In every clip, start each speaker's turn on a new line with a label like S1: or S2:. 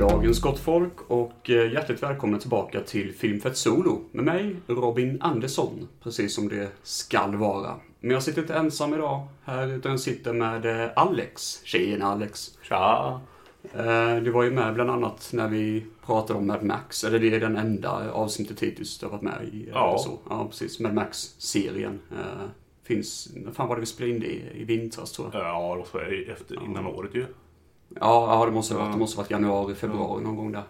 S1: dagens gott folk och eh, hjärtligt välkomna tillbaka till Filmfett Solo med mig Robin Andersson, precis som det skall vara. Men jag sitter inte ensam idag här utan jag sitter med eh, Alex. Tjena Alex!
S2: Tja!
S1: Eh, Du var ju med bland annat när vi pratade om Mad Max, eller det är den enda avsnittet hittills du har varit med i. eh,
S2: Ja.
S1: Så. ja precis. Mad Max-serien. eh, Finns, när fan var det vi spelade in det i, i vintras tror jag?
S2: Ja, det var ju efter, innan året ju.
S1: Ja, ja det måste ha varit. Det måste ha varit januari, februari någon gång där.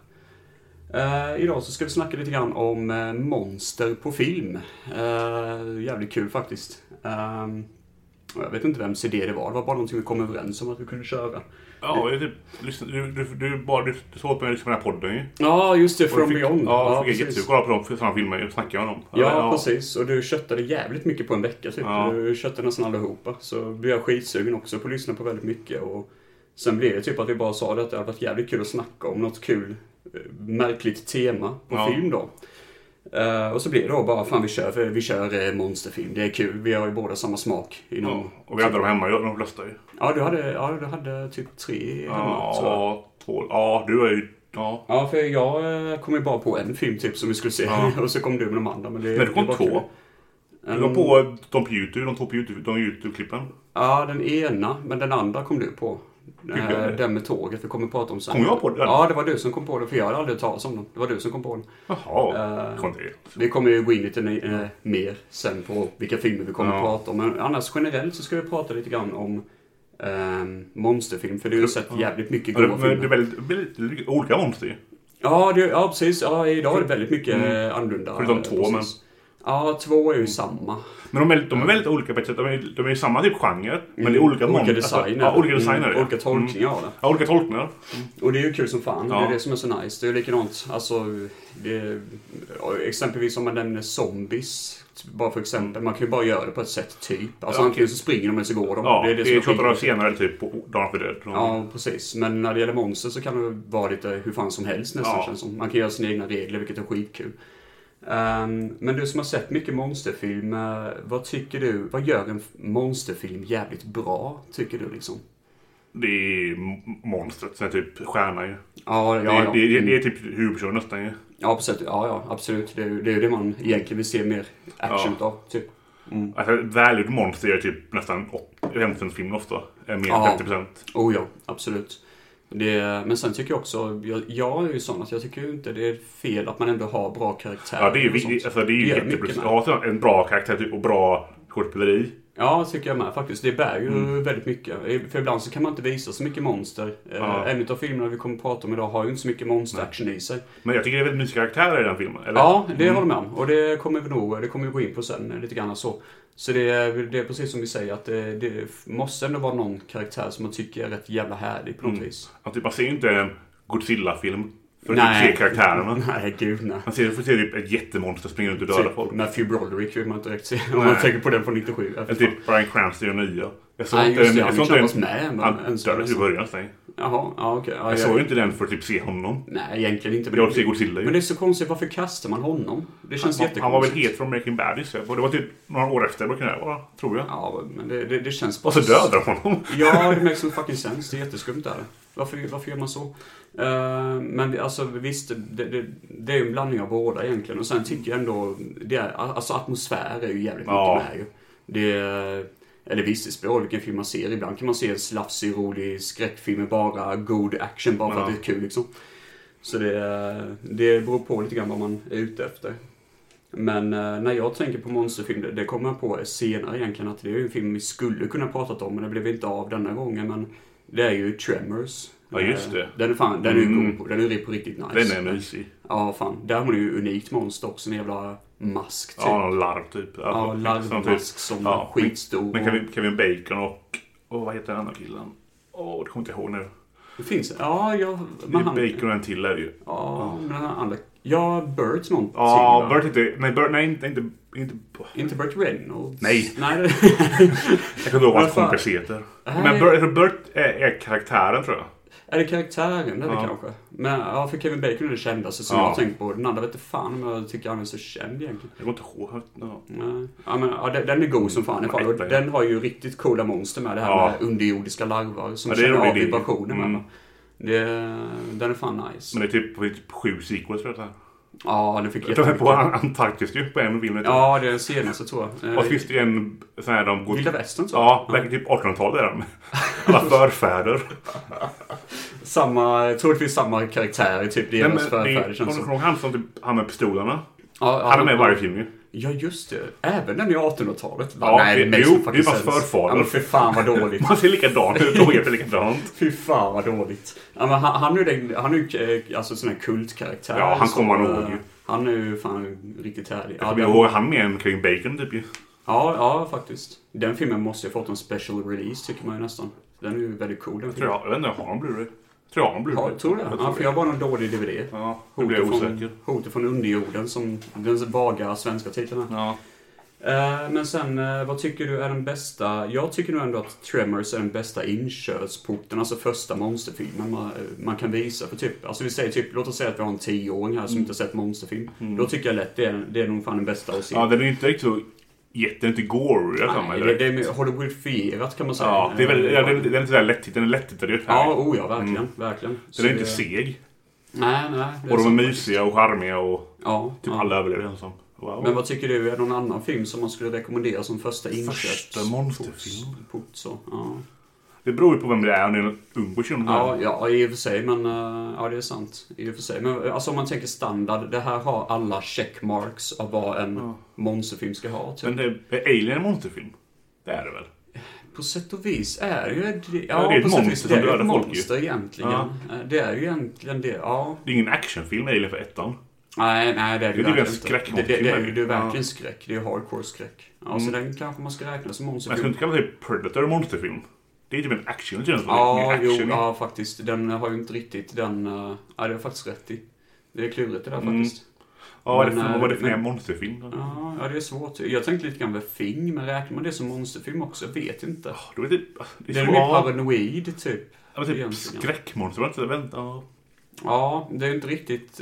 S1: Eh, idag så ska vi snacka lite grann om eh, monster på film. Eh, jävligt kul faktiskt. Ehm, och jag vet inte vems idé det var. Det var bara någonting vi kom överens om att vi kunde köra.
S2: Ja, jag typ, lyssnade- du, du, du, bara, du, du såg på mig liksom den här podden ju. Och
S1: Ja, just det.
S2: du
S1: From
S2: fick-
S1: Beyond.
S2: Ja, jag fick
S1: precis.
S2: jättekul kolla på de sådana filmer jag snackade om.
S1: Ja, precis. Och du köttade jävligt mycket på en vecka typ.
S2: Ja.
S1: Du köttade nästan allihopa. Så blev jag skitsugen också på att lyssna på väldigt mycket. Och sen blev det typ att vi bara sa det att det hade varit jävligt kul att snacka om något kul, eh, märkligt tema på
S2: Ja.
S1: film då. Eh, och så blev det då bara, fan vi kör, vi kör eh, monsterfilm, det är kul. Vi har ju båda samma smak. Inom... typ
S2: Ja, Och vi hade dem hemma, ju, de flesta ju.
S1: Ja, du hade, ja, du hade typ tre hemma, tror jag.
S2: Ja, två, ja, du är ju... Ja.
S1: Ja, för jag eh, kom ju bara på en film typ som vi skulle se.
S2: Ja.
S1: och så kom du med de andra. Men, det,
S2: Men du kom
S1: det var
S2: två.
S1: kul.
S2: Du kom på de på YouTube, de två på YouTube, de YouTube-klippen.
S1: Ja, den ena, men den andra kom du på. Eh,
S2: jag det?
S1: Den med tåget vi kommer prata om sen.
S2: Kom jag på den?
S1: Ja, det var du som kom på det, för jag hade aldrig hört talas om den. Det var du som kom på den.
S2: Jaha,
S1: Eh,
S2: kom det.
S1: Vi kommer ju gå in lite eh, mer sen på vilka filmer vi kommer
S2: Ja.
S1: att prata om. Men annars generellt så ska vi prata lite grann om ehm, monsterfilm, för du har ju sett jävligt mycket
S2: Ja, det,
S1: goa
S2: men
S1: filmer.
S2: det är väldigt, väldigt, väldigt olika monster ju.
S1: Ja, det, ja, precis. Ja, idag är det väldigt mycket mm. annorlunda.
S2: Förutom
S1: eh,
S2: två,
S1: precis.
S2: men-
S1: Ja, två är ju samma.
S2: Men de är, de är väldigt olika på ett sätt. De är, de är ju samma typ genre. Men det är olika
S1: Olika
S2: mon-
S1: designer.
S2: Alltså, ja, olika designer.
S1: Mm,
S2: ja.
S1: olika tolkningar av det.
S2: Ja, olika tolkningar.
S1: Och det är ju kul som fan. Det
S2: Ja.
S1: är det som är så nice. Det är ju likadant. Alltså, det är, ja, exempelvis om man nämner zombies. Bara för exempel. Man kan ju bara göra det på ett sätt, typ. Alltså
S2: Ja.
S1: antingen så springer de eller så går de.
S2: Ja, det är,
S1: som
S2: 28
S1: skillnaden.
S2: dagar senare typ på Dagen för död.
S1: Ja, precis. Men när det gäller monster så kan det vara lite hur fan som helst nästan
S2: Ja.
S1: känns som. Man kan göra sina egna regler, vilket är skitkul. Ehm, men du som har sett mycket monsterfilm, eh, vad tycker du? Vad gör en f- monsterfilm jävligt bra, tycker du liksom?
S2: Det är m- monstret, sen typ stjärna ju.
S1: Ja,
S2: Det,
S1: ja, ja.
S2: det, det, det är typ huvudpersonen nästan ju.
S1: Ja, precis. Ja, ja absolut. Det är, ju- det är ju det man egentligen vill se mer action
S2: Ja.
S1: utav. Typ.
S2: Alltså ett välgjort monster är typ nästan 50 film ofta. Eh, Mer
S1: Ja.
S2: än 50%.
S1: Oh ja, absolut. Det, men sen tycker jag också, jag, jag är ju sån att jag tycker ju inte det är fel att man ändå har bra karaktärer.
S2: Ja, det är ju,
S1: och sånt.
S2: vi- alltså, det är
S1: Det
S2: ju
S1: gör
S2: jättebra.
S1: mycket med.
S2: Ja, så en bra karaktär typ, och bra skådespeleri.
S1: Ja, tycker jag med faktiskt. Det bär ju
S2: Mm.
S1: väldigt mycket. Eh, För ibland så kan man inte visa så mycket monster.
S2: Ja.
S1: Ja. En av filmerna vi kommer att prata om idag har ju inte så mycket monsteraction i sig.
S2: Men jag tycker det är väldigt mysiga karaktärer i den filmen. Eller? Mm.
S1: Ja, det håller jag med om. Och det kommer vi nog det kommer vi gå in på sen eh, lite grann så. Så det är, det är precis som vi säger att det, det måste ändå vara någon karaktär som man tycker är rätt jävla härlig på något vis.
S2: Man, typ, man ser ju inte en Godzilla-film för typ att
S1: Nej.
S2: se karaktärerna.
S1: Nej, gud nej.
S2: Man ser, får se typ ett jättemonster springa runt och döda folk.
S1: Typ Matthew Broderick vill man inte direkt se om
S2: Nej.
S1: man tänker på den från 97. Ja,
S2: Eller typ Bryan Cranston i den nya. Jag såg
S1: Nej,
S2: inte
S1: just det,
S2: den-
S1: han
S2: jag såg
S1: knappast
S2: inte den-
S1: med än,
S2: Han
S1: ens.
S2: dödades i början. stäng.
S1: Jaha, ja okej. Ja,
S2: Jag såg ju inte den för att typ se honom.
S1: Nej, egentligen inte. men
S2: Jag
S1: det-
S2: vill se Godzilla ju.
S1: Men det är så konstigt, varför kastar man honom? Det känns
S2: han,
S1: jättekonstigt.
S2: han var väl het från Breaking Bad gissar jag på. Det var typ några år efter Breaking Bad va? Tror jag.
S1: Ja, men det, det, det känns bara...
S2: Och så dödar de honom.
S1: Ja, det makes no fucking sense. Det är jätteskumt där. Varför, varför gör man så? Eh, men vi- alltså visst, det, det, det är ju en blandning av båda egentligen. Och sen tycker jag ändå, det är, alltså atmosfär är ju jävligt
S2: Ja.
S1: mycket med ju. Det är, eller visst, det spelar roll vilken film man ser. Ibland kan man se en slafsig, rolig skräckfilm med bara god action bara för att
S2: Ja.
S1: det är kul liksom. Så det, är- det beror på lite grann vad man är ute efter. Men eh, när jag tänker på monsterfilm, det, det kommer jag på senare egentligen att det är ju en film vi skulle kunna pratat om men det blev inte av denna gången. Men det är ju Tremors.
S2: Ja, just det.
S1: Eh, Den är fan, den är ju
S2: Mm.
S1: god på, den är ju på riktigt nice.
S2: Den är mysig.
S1: Ja fan, där har man ju unikt monster också, en jävla mask typ.
S2: Ja, någon larv typ.
S1: Ja,
S2: sån typ.
S1: larvmask som
S2: Ja,
S1: skitstor.
S2: Men Kevin, Kevin Bacon och... Åh, vad heter den andra killen? Åh, det kommer jag inte ihåg nu.
S1: Det finns, ja, jag,
S2: Det
S1: men
S2: är
S1: han,
S2: Bacon och en till är det ju.
S1: ja, men han andra, ja, Burt någonting.
S2: Ja,
S1: va?
S2: Bert inte... Nej, Bert, nej inte, inte, inte...
S1: Inte Burt Reynolds?
S2: Nej.
S1: Nej, det-
S2: Jag kommer inte ihåg vad hans
S1: Vad fan?
S2: kompis heter.
S1: Nej.
S2: Men Bert, Bert är, är karaktären tror jag.
S1: är det karaktären eller
S2: Ja.
S1: kanske? Men ja, för Kevin Bacon är det kändaste som
S2: Ja.
S1: jag tänkt på. Den andra vet inte fan om jag tycker han är så känd egentligen.
S2: Jag kommer inte ihåg. Ja.
S1: Nej. Ja, men, ja, den, den är god som fan i alla fall. Och
S2: Ettan, ja.
S1: den har ju riktigt coola monster med. Det här
S2: Ja.
S1: med underjordiska larver som
S2: Ja, det är
S1: känner
S2: rolig
S1: av
S2: idé.
S1: vibrationer med.
S2: Mm.
S1: va? Det, den är fan nice.
S2: Men det är typ, det är typ sju sequels för det här.
S1: Ja, den fick
S2: De är på
S1: jättemycket.
S2: Antarktis ju, på en film.
S1: Ja, det är den senaste tror jag.
S2: Och
S1: Eh,
S2: så finns det ju en sån här de går...
S1: Vilda Västern så.
S2: Ja, verkar typ 1800-talet är de. Alla förfäder.
S1: Samma, troligtvis samma karaktär i typ
S2: Nej, men
S1: deras
S2: det
S1: förfäder
S2: är- Kommer
S1: känns
S2: du
S1: som.
S2: ihåg han som typ, han med pistolerna?
S1: Ja, ja,
S2: Han är med i varje film ju.
S1: Ja, just det. Även den i 1800-talet. Va?
S2: Ja,
S1: Nej, det
S2: det-
S1: makes
S2: jo,
S1: no fucking
S2: det är bara
S1: sense.
S2: förfader.
S1: Ja, men för fan vad dåligt.
S2: Man ser likadan ut och heter likadant.
S1: Fy fan vad dåligt. Ja, men han, han är ju den- han är ju eh, alltså, sån här kultkaraktär.
S2: Ja, han
S1: som,
S2: kommer man
S1: eh,
S2: ihåg ju.
S1: Han är ju fan riktigt härlig. Ja,
S2: Jag
S1: den-
S2: kommer ihåg han med en kring Bacon typ ju.
S1: ja, ja, faktiskt. Den filmen måste ju ha fått en special release tycker man ju nästan. Den är ju väldigt cool den
S2: Tror
S1: filmen.
S2: jag, jag vet inte, har han Blu-ray? Tror jag han Blu-ray?
S1: Ja, tror det. Ja, för jag har bara någon dålig DVD.
S2: Ja, nu blir jag
S1: Hotet
S2: osäker.
S1: från, hotet från underjorden som den vaga svenska titeln är.
S2: Ja.
S1: Eh, Men sen, eh, vad tycker du är den bästa? Jag tycker nog ändå att Tremors är den bästa inkörsporten, alltså första monsterfilmen man, man kan visa för typ, alltså vi säger typ, låt oss säga att vi har en tioåring
S2: Mm.
S1: här som inte har sett monsterfilm. Då tycker jag lätt det är, det är nog fan den bästa att se.
S2: ja, den är ju inte riktigt så jätte, inte gore jag har
S1: Nej,
S2: med
S1: det,
S2: det.
S1: det är mer Hollywoodifierat kan man säga.
S2: Ja, det är väldigt, ja,
S1: Eh,
S2: den, den är inte så där lättittad. Den är lättittad ju.
S1: Ja, oh ja, verkligen. verkligen. Så
S2: Den är inte
S1: det-
S2: seg.
S1: Nej, nej. det
S2: Och de är
S1: sant.
S2: mysiga och charmiga och
S1: Ja,
S2: typ
S1: ja.
S2: alla överlever känns det som. Wow.
S1: Men vad tycker du är någon annan film som man skulle rekommendera som första inköpsport?
S2: monsterfilm.
S1: Port, så, ja.
S2: Det beror ju på vem det är. Om det är en ung person.
S1: Ja, ja, i och för sig, men... eh, Ja, det är sant. I och för sig. Men eh, alltså, om man tänker standard, det här har alla checkmarks av vad en monsterfilm ska ha. Typ.
S2: Men det är Alien en monsterfilm? Det är det väl?
S1: På sätt och vis är ju... det-
S2: Ja, det är ett
S1: på sätt och
S2: monster
S1: vis,
S2: som
S1: det är ju
S2: dödar
S1: ett
S2: folk ju.
S1: monster egentligen.
S2: Ja.
S1: Eh, Det är ju egentligen det, ja.
S2: Det är ingen actionfilm Alien för ettan.
S1: Nej, nej, det är det ju
S2: Det är ju
S1: verkligen
S2: en
S1: inte.
S2: skräck-
S1: Det, det, det, är ju- det är
S2: Ja.
S1: verkligen skräck. Det är ju hardcore skräck. Ja, Så den kanske man ska räkna som
S2: Men jag skulle
S1: monsterfilm.
S2: inte kalla det Predator en monsterfilm. Det är typ en action känns det som. Mer
S1: Ja, jo,
S2: action.
S1: ja, faktiskt. Den har ju inte riktigt den... eh, Ja, det har faktiskt rätt i. Det är klurigt det där
S2: Mm.
S1: faktiskt.
S2: Ja, vad är det
S1: Men,
S2: för, vad är det för
S1: men-
S2: mer monsterfilm?
S1: Ja, ja, det är svårt. Jag tänkte lite grann med Fing, men räknar man det som monsterfilm också? Jag vet inte.
S2: Då är det, det är,
S1: Det är
S2: så-
S1: mer paranoid, typ.
S2: Ja, men typ
S1: egentligen.
S2: skräckmonster. var det inte det? Vänta. ja.
S1: Ja, det är inte riktigt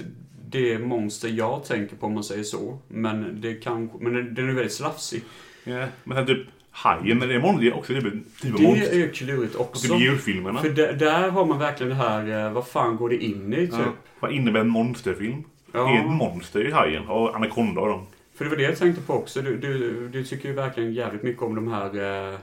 S1: det monster jag tänker på om man säger så. Men det kan, men den- den är väldigt slafsig.
S2: Ja, Men sen typ Hajen, men det är mon- det är också typ en typ av
S1: Det
S2: monster.
S1: är ju klurigt också.
S2: Typ djurfilmerna.
S1: För där, där har man verkligen det här, eh, vad fan går det in i typ?
S2: Ja. Vad innebär en monsterfilm?
S1: Ja.
S2: Det är ett monster i Hajen. Och Anaconda och dem.
S1: För det var det jag tänkte på också. Du, du, du tycker ju verkligen jävligt mycket om de här eh,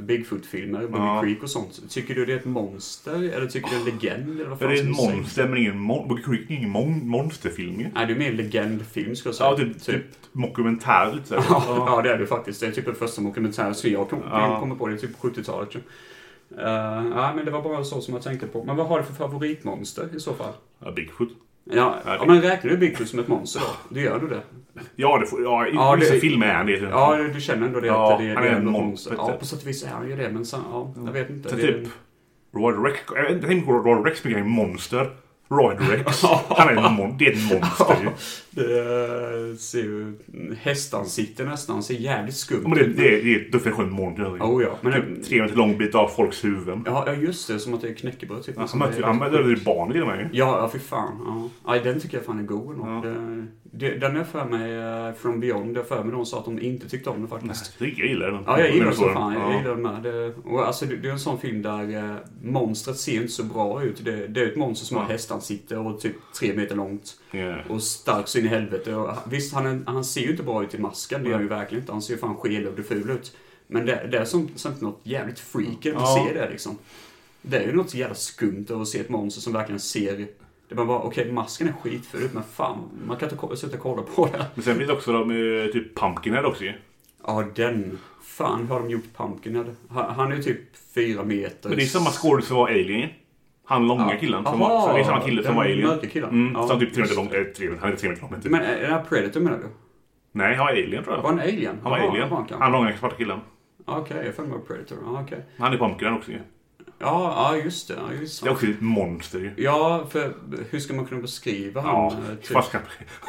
S1: Bigfoot-filmer, Bobby
S2: Ja.
S1: Creek och sånt. Tycker du det är ett monster? Eller tycker du det är en legend? Eller vad
S2: Ja,
S1: fan
S2: det är
S1: ska
S2: ett
S1: man säga?
S2: monster, men ingen, mon- Boogie Creek är ingen mon- monsterfilm ju.
S1: Nej, det är mer en legendfilm skulle jag säga.
S2: Ja, typ, typ mockumentär lite sådär.
S1: Ja, ja, det är det faktiskt. Det är typ den första dokumentären som jag kom,
S2: Ja.
S1: kommer på. Det är typ 70-talet. tror jag. Eh, ja, men det var bara så som jag tänkte på. Men vad har du för favoritmonster i så fall?
S2: Ja, Bigfoot.
S1: Ja,
S2: Ja,
S1: ja
S2: det-
S1: men räknar du Bigfoot som ett monster då? Det gör du det?
S2: Ja, det får, ja, i
S1: Ja, det-
S2: vissa filmer är han det.
S1: Ja, du känner ändå det?
S2: Ja,
S1: att det,
S2: han
S1: det
S2: är en
S1: ändå ett
S2: monster.
S1: Ja, på sätt och vis är han ju det. Men sen, ja, jag vet inte.
S2: Så
S1: Det är-
S2: typ Royd Rex. Jag vet inte, jag tänker på Royd Rex mycket. Han är ett monster. Royd Rex. Han är en mon- det är ett monster ju.
S1: Det ser ju hästansikte nästan. Han ser jävligt skumt
S2: Ja, Men det,
S1: ut.
S2: det, är- det är definitionen monster. ju.
S1: Oh, ja. Men,
S2: Typ tre meter lång bit av folks huvuden.
S1: ja, ja, just det. Som att det är knäckebröd typ.
S2: Han
S1: Som
S2: möter
S1: är-
S2: ju- han möter ju barn till och med ju.
S1: Ja, ja fy fan. Ja. Aj, den tycker jag fan är god ändå.
S2: Ja.
S1: Det- det- Den är för mig eh, från Beyond. Jag för mig de sa att de inte tyckte om den faktiskt.
S2: Jag tycker jag gillar den.
S1: Ja, jag gillar
S2: Men
S1: den som
S2: så-
S1: fan. Jag
S2: ja.
S1: gillar den med. Det, och alltså, det, det är en sån film där eh, monstret ser inte så bra ut. Det, det är ett monster som har hästansikte och typ tre meter långt.
S2: Ja.
S1: Och stark så in i helvete. Och, visst, han, är- han ser ju inte bra ut i masken. Det gör han ju verkligen inte. Han ser ju fan skelögd och ful ut. Men det, det är som, som något jävligt freaky när man
S2: Ja.
S1: ser det liksom. Det är ju något så jävla skumt över att se ett monster som verkligen ser... Det man bara, okej masken är skitful ut, men fan, man kan inte ko- sluta kolla på det.
S2: Men sen finns det också de, eh, typ Pumpkinhead också ju.
S1: Ja, den. Fan, hur har de gjort Pumpkinhead? Han, han är ju typ fyra meter.
S2: Men det är samma skådis som var Alien ju. Han långa killen. Som
S1: Aha,
S2: var, så det är samma kille som
S1: den
S2: var Alien.
S1: mörka killen.
S2: Mm,
S1: Ja,
S2: som typ tre
S1: just
S2: meter lång. eh, tre meter- Han är tre meter lång. men Typ.
S1: Men är det här Predator menar du?
S2: Nej, han var Alien tror jag.
S1: Var han alien?
S2: Han var
S1: Jaha,
S2: alien.
S1: var han kanske.
S2: Han långa svarta killen.
S1: Ja, Okej, jag får med Predator. Ja, okej.
S2: Han är Pumpkinhead också ju.
S1: Ja, ja, just det. Ja, just
S2: Det är
S1: det.
S2: också ett monster ju.
S1: Ja, för hur ska man kunna beskriva
S2: Ja,
S1: han? eh,
S2: hur fan ska-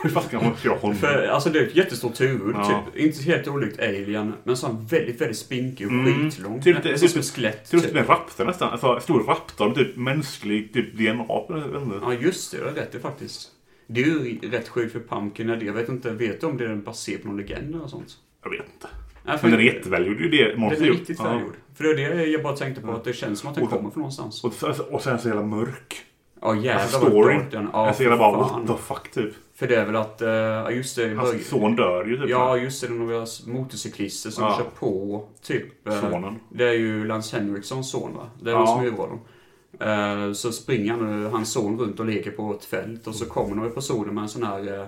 S2: hur fan ska man göra honom?
S1: För alltså det är ett jättestort huvud,
S2: Ja.
S1: typ. Inte helt olikt Alien, men så han väldigt, väldigt spinkig och
S2: Mm.
S1: skitlång.
S2: Typ-
S1: Nästan
S2: typ-
S1: som ett skelett.
S2: Ser ut
S1: typ.
S2: som en raptor nästan. Alltså en stor raptor. Typ mänsklig typ DNA. på den, jag vet inte.
S1: Ja, just det. Du har rätt i faktiskt. Det är ju rätt sjukt för Pumpkin är det. Jag vet inte, vet du om det är baserat på någon legend eller sånt?
S2: Jag vet inte.
S1: Nej, för-
S2: Men den är jätteväl Det är ju det
S1: Den
S2: monster
S1: är
S2: gjort.
S1: riktigt
S2: Ja.
S1: välgjord. För det är det jag bara tänkte på, att det känns som att den
S2: Och-
S1: kommer från någonstans.
S2: Och, sen- och sen så jävla mörk.
S1: Ja jävlar
S2: Alltså
S1: vad
S2: storyn.
S1: dark den. Ja,
S2: alltså jävla bara
S1: fan.
S2: what the fuck typ.
S1: För det är väl att, eh, ja just det.
S2: Hans
S1: börj-
S2: son dör ju typ.
S1: Ja just det, det är några motorcyklister som
S2: Ja.
S1: kör på typ... eh,
S2: Sonen.
S1: Det är ju Lance Henrikssons son va? Det är
S2: Ja.
S1: han som urvar dem. Eh, Så springer han, eh, hans son runt och leker på ett fält och så kommer några personer med en sån här eh,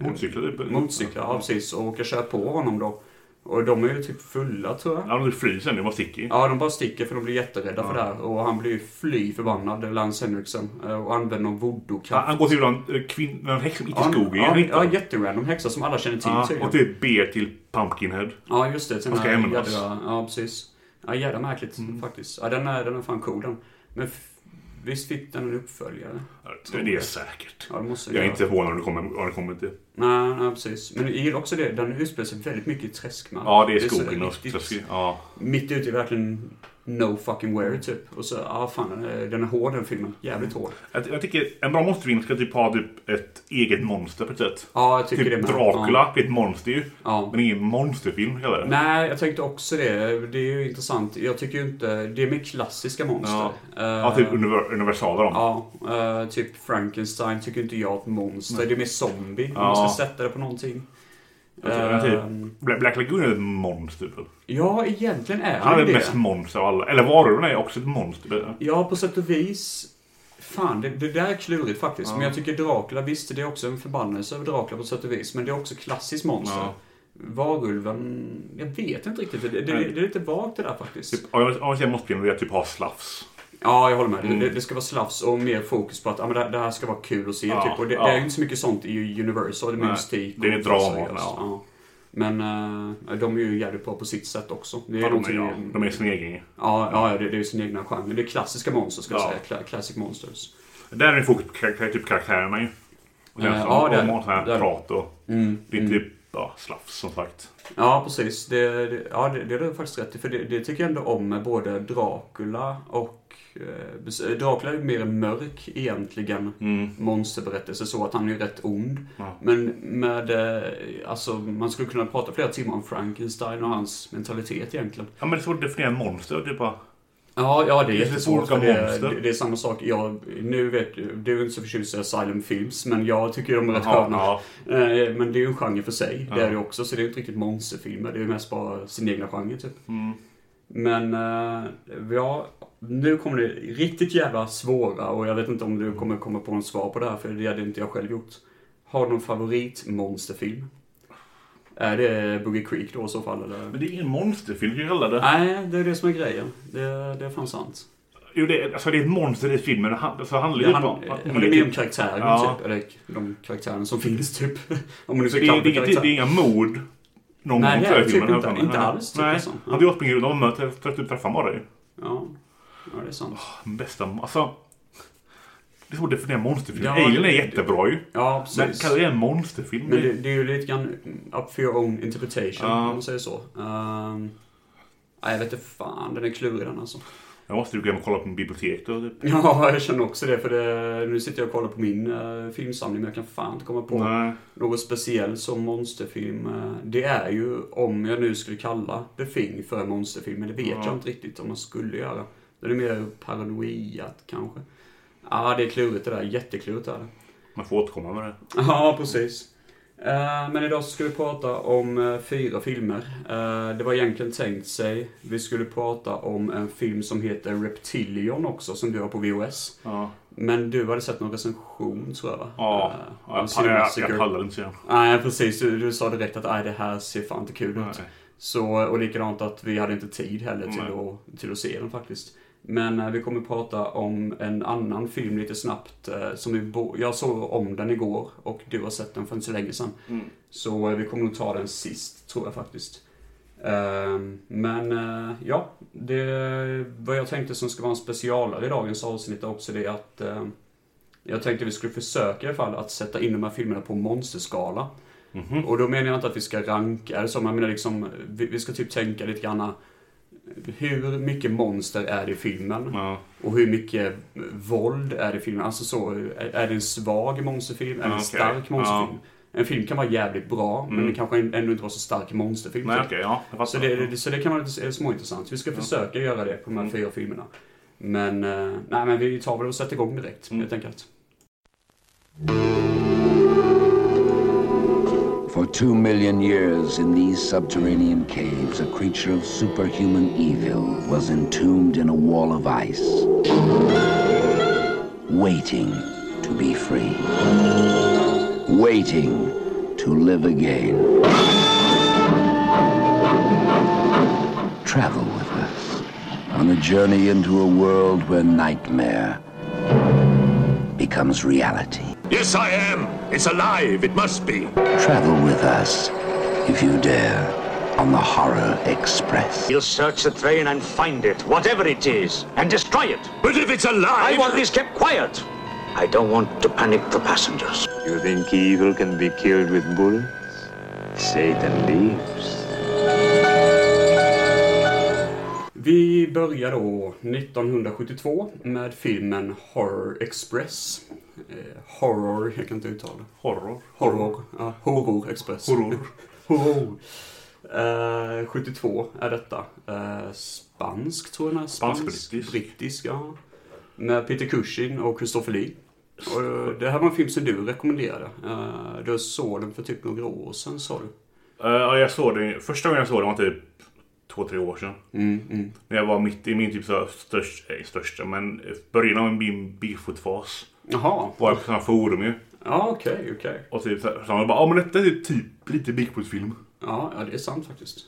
S2: Mm. Motorcyklar typ.
S1: motorcyklar, ja precis, och åker köra på honom då. Och de är ju typ fulla tror jag.
S2: Ja, de fryser nu. De sticker ju.
S1: Ja, de bara sticker för de blir jätterädda för det här. Och han blir ju fly förbannad, Lance Henriksen. eh, Och använder någon
S2: Han,
S1: voodoo-kraft.
S2: han går till eh, en kvinna, en häxa som gick i skogen.
S1: ja,
S2: igen,
S1: ja,
S2: inte?
S1: jätterandom häxa som alla känner till
S2: Ja,
S1: tydligen.
S2: och typ ber till Pumpkinhead.
S1: Ja, just det. Sen
S2: Han ska
S1: här
S2: hämnas.
S1: jädra, ja, precis. Ja, jävla märkligt
S2: Mm.
S1: faktiskt. Ja, den är, den är fan cool den. Men f- visst fick den en uppföljare?
S2: Det är säkert.
S1: Ja, det måste
S2: Jag är
S1: göra.
S2: inte förvånad om det kommer, om det kommer till.
S1: Nej, nej, precis. Men jag gillar också det. Den utspelar sig väldigt mycket i träskmark.
S2: Ja, det är
S1: så
S2: skogen och
S1: riktigt-
S2: träsket. Ja.
S1: Mitt ute i verkligen no fucking where typ. Och så, ja fan, den är, den är hård den filmen. Jävligt hård.
S2: Jag, jag tycker en bra monsterfilm ska typ ha typ ett eget monster på ett sätt.
S1: Ja, jag tycker det
S2: Typ
S1: med.
S2: Dracula,
S1: Ja.
S2: det är ett monster ju.
S1: Ja.
S2: Men ingen monsterfilm heller.
S1: Nej, jag tänkte också det. Det är ju intressant. Jag tycker ju inte... Det är mer klassiska monster. Eh, Ja,
S2: Ja, typ univer- universala de.
S1: Ja, eh, typ Frankenstein tycker inte jag är ett monster. Det är mer zombie om man
S2: Ja.
S1: ska sätta det på någonting.
S2: Jag tycker den typ-
S1: Ehm,
S2: Bla- Black Lagoon är ett monster. Typ.
S1: ja, egentligen är
S2: Han är
S1: han det.
S2: mest monster av alla. Eller varulven är också ett monster.
S1: Ja, på sätt och vis. Fan, det, det där är klurigt faktiskt. Men jag tycker Dracula, visst det är också en förbannelse över Dracula på sätt och vis. Men det är också klassiskt monster.
S2: Ja.
S1: Varulven, jag vet inte riktigt. Det, det, det, är lite vagt det där faktiskt.
S2: Typ, om jag- om jag säger monsterfilm vill jag typ ha slafs.
S1: Ja, jag håller med.
S2: Mm.
S1: Det, det, det ska vara slafs och mer fokus på att ja, men det, det här ska vara kul att se.
S2: Ja,
S1: typ. och det,
S2: ja.
S1: det är ju inte så mycket sånt i Universal. Det är
S2: Nej,
S1: mystik.
S2: det är
S1: och
S2: drama,
S1: seriöst.
S2: ja.
S1: alltså. Men eh, de är ju jävligt bra på sitt sätt också. Det är
S2: Ja, de är,
S1: någonting-
S2: ja, de är sin egen.
S1: Ja, ja, det, det är ju sin egna genre. Det är klassiska monster ska jag
S2: Ja.
S1: säga. Cla- Classic monsters.
S2: Där är det fokus på kar- typ karaktärerna ju. Och sen
S1: Eh,
S2: så
S1: ja,
S2: har
S1: det är
S2: de
S1: det.
S2: har sån
S1: Det är
S2: här
S1: det.
S2: prat och... Det är typ ja, slafs som sagt.
S1: Mm. Ja, precis. Det, det, ja, det, det är du faktiskt rätt i. För det, det tycker jag ändå om med både Dracula och... Eh, bes- Dracula är ju mer en mörk egentligen
S2: Mm.
S1: monsterberättelse så att han är ju rätt ond.
S2: Ja.
S1: Men med... eh, Alltså, man skulle kunna prata flera timmar om Frankenstein och hans mentalitet egentligen.
S2: Ja, men det är svårt att definiera monster. Typ bara,
S1: Ja, ja det är
S2: Det finns
S1: jättesvårt.
S2: olika
S1: för Det,
S2: monster.
S1: det, det är samma sak. Jag, nu vet du, du är inte så förtjust i Asylum Films, men jag tycker de är rätt
S2: Jaha,
S1: sköna.
S2: ja.
S1: Eh, Men det är ju en genre för sig. Det är det också. Så det är ju inte riktigt monsterfilmer. Det är ju mest bara sin egna genre typ.
S2: Mm.
S1: Men eh, ja, nu kommer det riktigt jävla svåra och jag vet inte om du kommer komma på något svar på det här för det hade inte jag själv gjort. Har du någon favoritmonsterfilm? Är det Boogie Creek då i så fall eller?
S2: men det är ingen monsterfilm kan jag kalla det.
S1: Nej, det är det som är grejen. Det, det är fan sant.
S2: Jo, det, är- alltså, det är ett monster i filmen. Han, alltså, handlar
S1: Det
S2: ju
S1: han,
S2: om-
S1: eh,
S2: om-
S1: han är med om karaktären
S2: Ja.
S1: typ. Eller de karaktärerna som finns typ. Om man nu
S2: Det
S1: ska
S2: är, det,
S1: kalla
S2: är,
S1: det
S2: det, är, det är
S1: karaktär.
S2: inga mord. Någon
S1: Nej, det är
S2: gång i
S1: typ
S2: filmen,
S1: inte-
S2: i alla fall.
S1: inte alls, tycker
S2: Nej,
S1: jag så. Ja.
S2: han springer runt och de möter, träffar- typ träffar bara ju.
S1: Ja. ja, det är sant.
S2: Bästa, alltså. Det är svårt att definiera monsterfilm.
S1: Ja,
S2: Alien är
S1: det-
S2: jättebra ju.
S1: Ja,
S2: Men
S1: precis.
S2: kallar det en monsterfilm?
S1: Men det, det är ju lite grann up for your own interpretation,
S2: Ja.
S1: om man säger så. Ehm, nej, jag vet inte fan, den är klurig den alltså.
S2: Jag måste ju gå hem och kolla på min bibliotek då. Typ.
S1: Ja, jag känner också det, för det, nu sitter jag och kollar på min eh, filmsamling, men jag kan fan inte komma på
S2: Nej.
S1: något speciellt som monsterfilm. Eh, det är ju, om jag nu skulle kalla The Thing för en monsterfilm, men det vet
S2: Ja.
S1: jag inte riktigt om man skulle göra. Det är mer paranoiat kanske. Ja, det är klurigt det där. Jätteklurigt är det.
S2: Man får återkomma med det.
S1: Ja, precis. Eh, Men idag så ska vi prata om eh, fyra filmer. Eh, Det var egentligen tänkt sig, vi skulle prata om en film som heter Reptilion också, som du har på VHS.
S2: Ja.
S1: Men du hade sett någon recension tror jag va?
S2: Ja,
S1: Eh,
S2: ja,
S1: av
S2: jag,
S1: Sin
S2: jag,
S1: Massacre.
S2: jag pallar inte sen.
S1: Nej, precis. Du, du sa direkt att "Aj, det här ser fan inte kul ut.
S2: Nej.
S1: Så, och likadant att vi hade inte tid heller till
S2: Nej.
S1: att, till att se den faktiskt. Men eh, vi kommer prata om en annan film lite snabbt. Eh, som vi bo- jag såg om den igår och du har sett den för inte så länge sedan. Så eh, vi kommer nog ta den sist, tror jag faktiskt. Ehm, men eh, ja, det, vad jag tänkte som ska vara en specialare i dagens avsnitt är också det att eh, jag tänkte vi skulle försöka i alla fall att sätta in de här filmerna på monsterskala.
S2: Mhm.
S1: Och då menar jag inte att vi ska ranka eller så, men jag menar liksom, vi, vi ska typ tänka lite grann hur mycket monster är det i filmen?
S2: Ja.
S1: Och hur mycket våld är det i filmen? Alltså så, är, är det en svag monsterfilm? Är det en
S2: Ja, okej. Mm.
S1: stark monsterfilm? En film kan vara jävligt bra, men den kanske ändå inte var så stark monsterfilm.
S2: Nej,
S1: typ.
S2: okej. ja, jag
S1: Så
S2: fattar.
S1: det, det, så det kan vara lite småintressant. Vi ska försöka göra det på de här
S2: Mm.
S1: fyra filmerna. Men, eh, nej, men vi tar väl och sätter igång direkt,
S2: Mm.
S1: helt enkelt.
S3: For two million years in these subterranean caves, a creature of superhuman evil was entombed in a wall of ice, waiting to be free, waiting to live again. Travel with us on a journey into a world where nightmare becomes reality.
S4: Yes, I am. It's alive. It must be.
S3: Travel with us, if you dare, on the Horror Express.
S5: You search the train and find it, whatever it is, and destroy it.
S4: But if it's alive,
S5: I want this kept quiet. I don't want to panic the passengers.
S6: You think evil can be killed with bullets? Satan lives.
S1: Vi börjar då 1972 med filmen Horror Express. Eh, horror, jag kan inte uttala det.
S2: Horror.
S1: Horror. Ja, horror Express.
S2: Horror.
S1: horror. Eh, 72 är detta. Eh, spansk tror jag den är.
S2: Spansk-brittisk.
S1: Brittisk, ja. Med Peter Cushing och Christopher Lee. Och, eh, det här var en film som du rekommenderade. Eh, du såg den för typ några år sedan sa du.
S2: Eh, ja, jag såg det. Första gången jag såg det var typ två, tre år sedan.
S1: Mm,
S2: När jag var mitt i min typ så här störst, eh, största, men början av min bigfoot-fas.
S1: Jaha.
S2: Var jag på sådana forum ju.
S1: Ja, okej, okej.
S2: Och typ så här, så han bara, ja men detta är ju typ lite bigfoot-film.
S1: Ja, ja, det är sant faktiskt.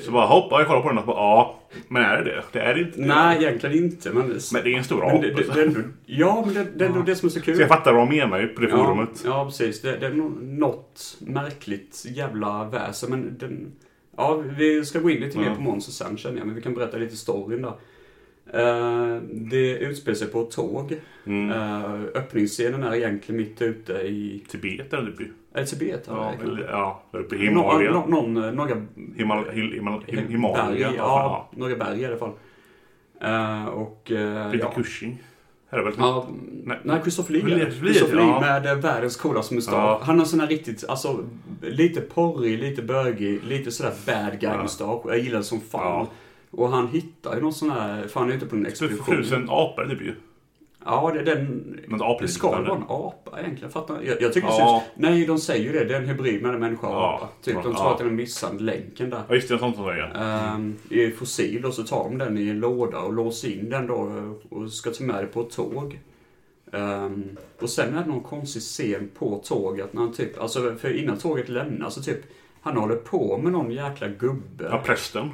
S2: Så bara, hopp, ja, jag kollar på den och bara, ja. Men är det det? Det är det inte.
S1: Nej, egentligen inte. Men,
S2: Men det är en stor
S1: men
S2: apa.
S1: det, det,
S2: så.
S1: det är ändå, ja, men det, det är ändå det som är så kul.
S2: Så jag fattar vad de menar ju på det forumet.
S1: Ja, ja precis. Det, det är nog något märkligt jävla väsen. Men den, ja, vi ska gå in lite mer på Monster sen känner jag. Men vi kan berätta lite storyn där. Eh, det utspelar sig på ett tåg.
S2: Mm.
S1: Eh, öppningsscenen är egentligen mitt ute i
S2: Tibet eller typ.
S1: eh, Tibet.
S2: Ja,
S1: Ja,
S2: eller- ja, uppe i
S1: någon,
S2: Himalaya.
S1: någon, någon, några
S2: Himal- Hil- Himal- Hil-
S1: berg,
S2: Himalaya.
S1: ja,
S2: Ja.
S1: några berg i alla fall. Eh, och... eh,
S2: Peter
S1: ja.
S2: Cushing. Här är väl
S1: Ja,
S2: Nej.
S1: nej, Christopher Lee.
S2: Lee-
S1: Lee,
S2: Lee,
S1: Christopher Lee
S2: ja.
S1: med eh, världens coolaste mustasch.
S2: Ja.
S1: Han har sån här riktigt, alltså lite porrig, lite bögig, lite sådär bad guy mustasch. Jag gillar det som fan.
S2: Ja. Typ
S1: Och han hittar ju någon sån här, fan han är ute på en expedition.
S2: tusen apor typ ju.
S1: Ja, det är den...
S2: Något apliknande.
S1: Det ska väl vara en apa egentligen? Fattar jag, jag tycker
S2: Typ Ja.
S1: det syns... Nej, de säger ju det. Det är en hybrid mellan människa och
S2: Ja.
S1: apa. Typ, de tror
S2: Ja.
S1: att den har missat länken där.
S2: Ja just det, sånt som det
S1: Ehm, i fossil och så tar de den i en låda och låser in den då eh, och ska ta med det på ett tåg. Ehm, och sen är det någon konstig scen på tåget när han typ, alltså för innan tåget lämnar så typ han håller på med någon jäkla gubbe.
S2: Ja, prästen.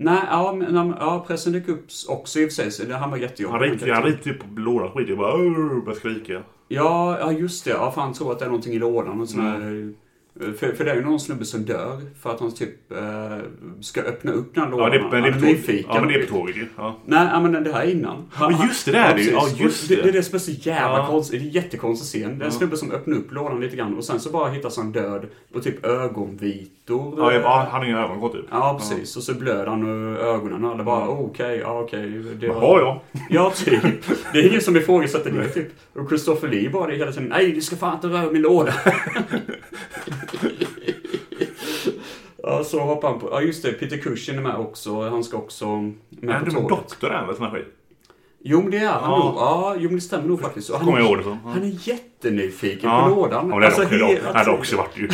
S1: Nej, ja, men, ja, men- ja pressen dök upp också i och för sig. så det- Han var
S2: Han
S1: jättejobbig.
S2: ritar han ritar typ på lådan skit. Jag bara, "Åh", börjar skrika.
S1: Ja, ja just det. Ja, för han tror att det är någonting i lådan. Och sån här,
S2: Mm.
S1: eh, för, för det är ju någon snubbe som dör för att han typ eh, ska öppna upp den här lådan.
S2: Ja, det, men det är på
S1: han
S2: tåget.
S1: nyfiken.
S2: Ja, men det är på tåget ju. Ja.
S1: Nej, ja, men det här är innan.
S2: Men just det, det är det ju.
S1: precis.
S2: Ja, just
S1: det.
S2: det.
S1: Det är det som är så jävla
S2: Ja.
S1: konstigt. Det är en jättekonstig scen. Det är en snubbe som öppnar upp lådan lite grann och sen så bara hittas han död på typ ögonvitor.
S2: Ja, jag bara, han har inga ögonkort typ.
S1: Ja, precis. Och så blöder han ur ögonen och alla bara "Oh, okej, ja okej. det var-
S2: Jaha ja.
S1: Ja, typ. Det är ingen som ifrågasätter det typ. Och Christopher Lee bara det hela tiden. Nej, du ska fan inte röra min låda. Ja, så hoppar han på. Ja, just det. Peter Cushing är med också. Han ska också med
S2: Men
S1: på
S2: du var
S1: tåget.
S2: doktor även sån här skit.
S1: Jo men det är han
S2: Ja.
S1: nog. Ja, jo men det stämmer nog faktiskt. Och Han,
S2: kommer jag ihåg det som. Ja.
S1: han är jättenyfiken
S2: Ja.
S1: på lådan. Alltså,
S2: Ja, men det hade
S1: hela
S2: också- det hade
S1: tiden.
S2: också varit ju.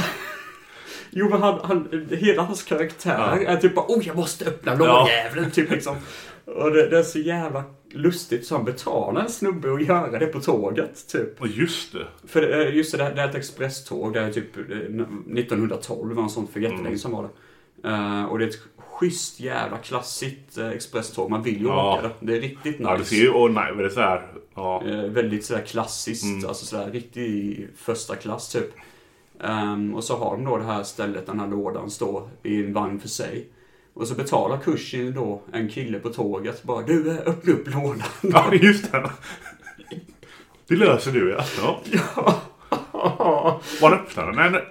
S1: Jo men han, han, hela hans karaktär är typ bara oh jag måste öppna lådjäveln. Typ liksom. Och det, det är så jävla lustigt så han betalar en snubbe och göra det på tåget. Typ.
S2: Ja, Just det.
S1: För det- eh, just det, det här- det här är ett expresståg. Det här är typ eh, 1912 var något sånt för
S2: Mm.
S1: jättelänge sedan var det. Eh, och det är ett schysst jävla klassigt eh, expresståg. Man vill ju
S2: Ja.
S1: åka det. Det är riktigt nice.
S2: Ja, det ser ju... Och nej, men det är så här. Ja.
S1: Eh, väldigt sådär klassiskt, alltså sådär riktig första klass typ. Ehm, och så har de då det här stället, den här lådan, står i en vagn för sig. Och så betalar Cushing då en kille på tåget bara du eh, öppna upp lådan.
S2: Ja, just det. Det löser du ja. ja. Var öppnar den? Nej, nej.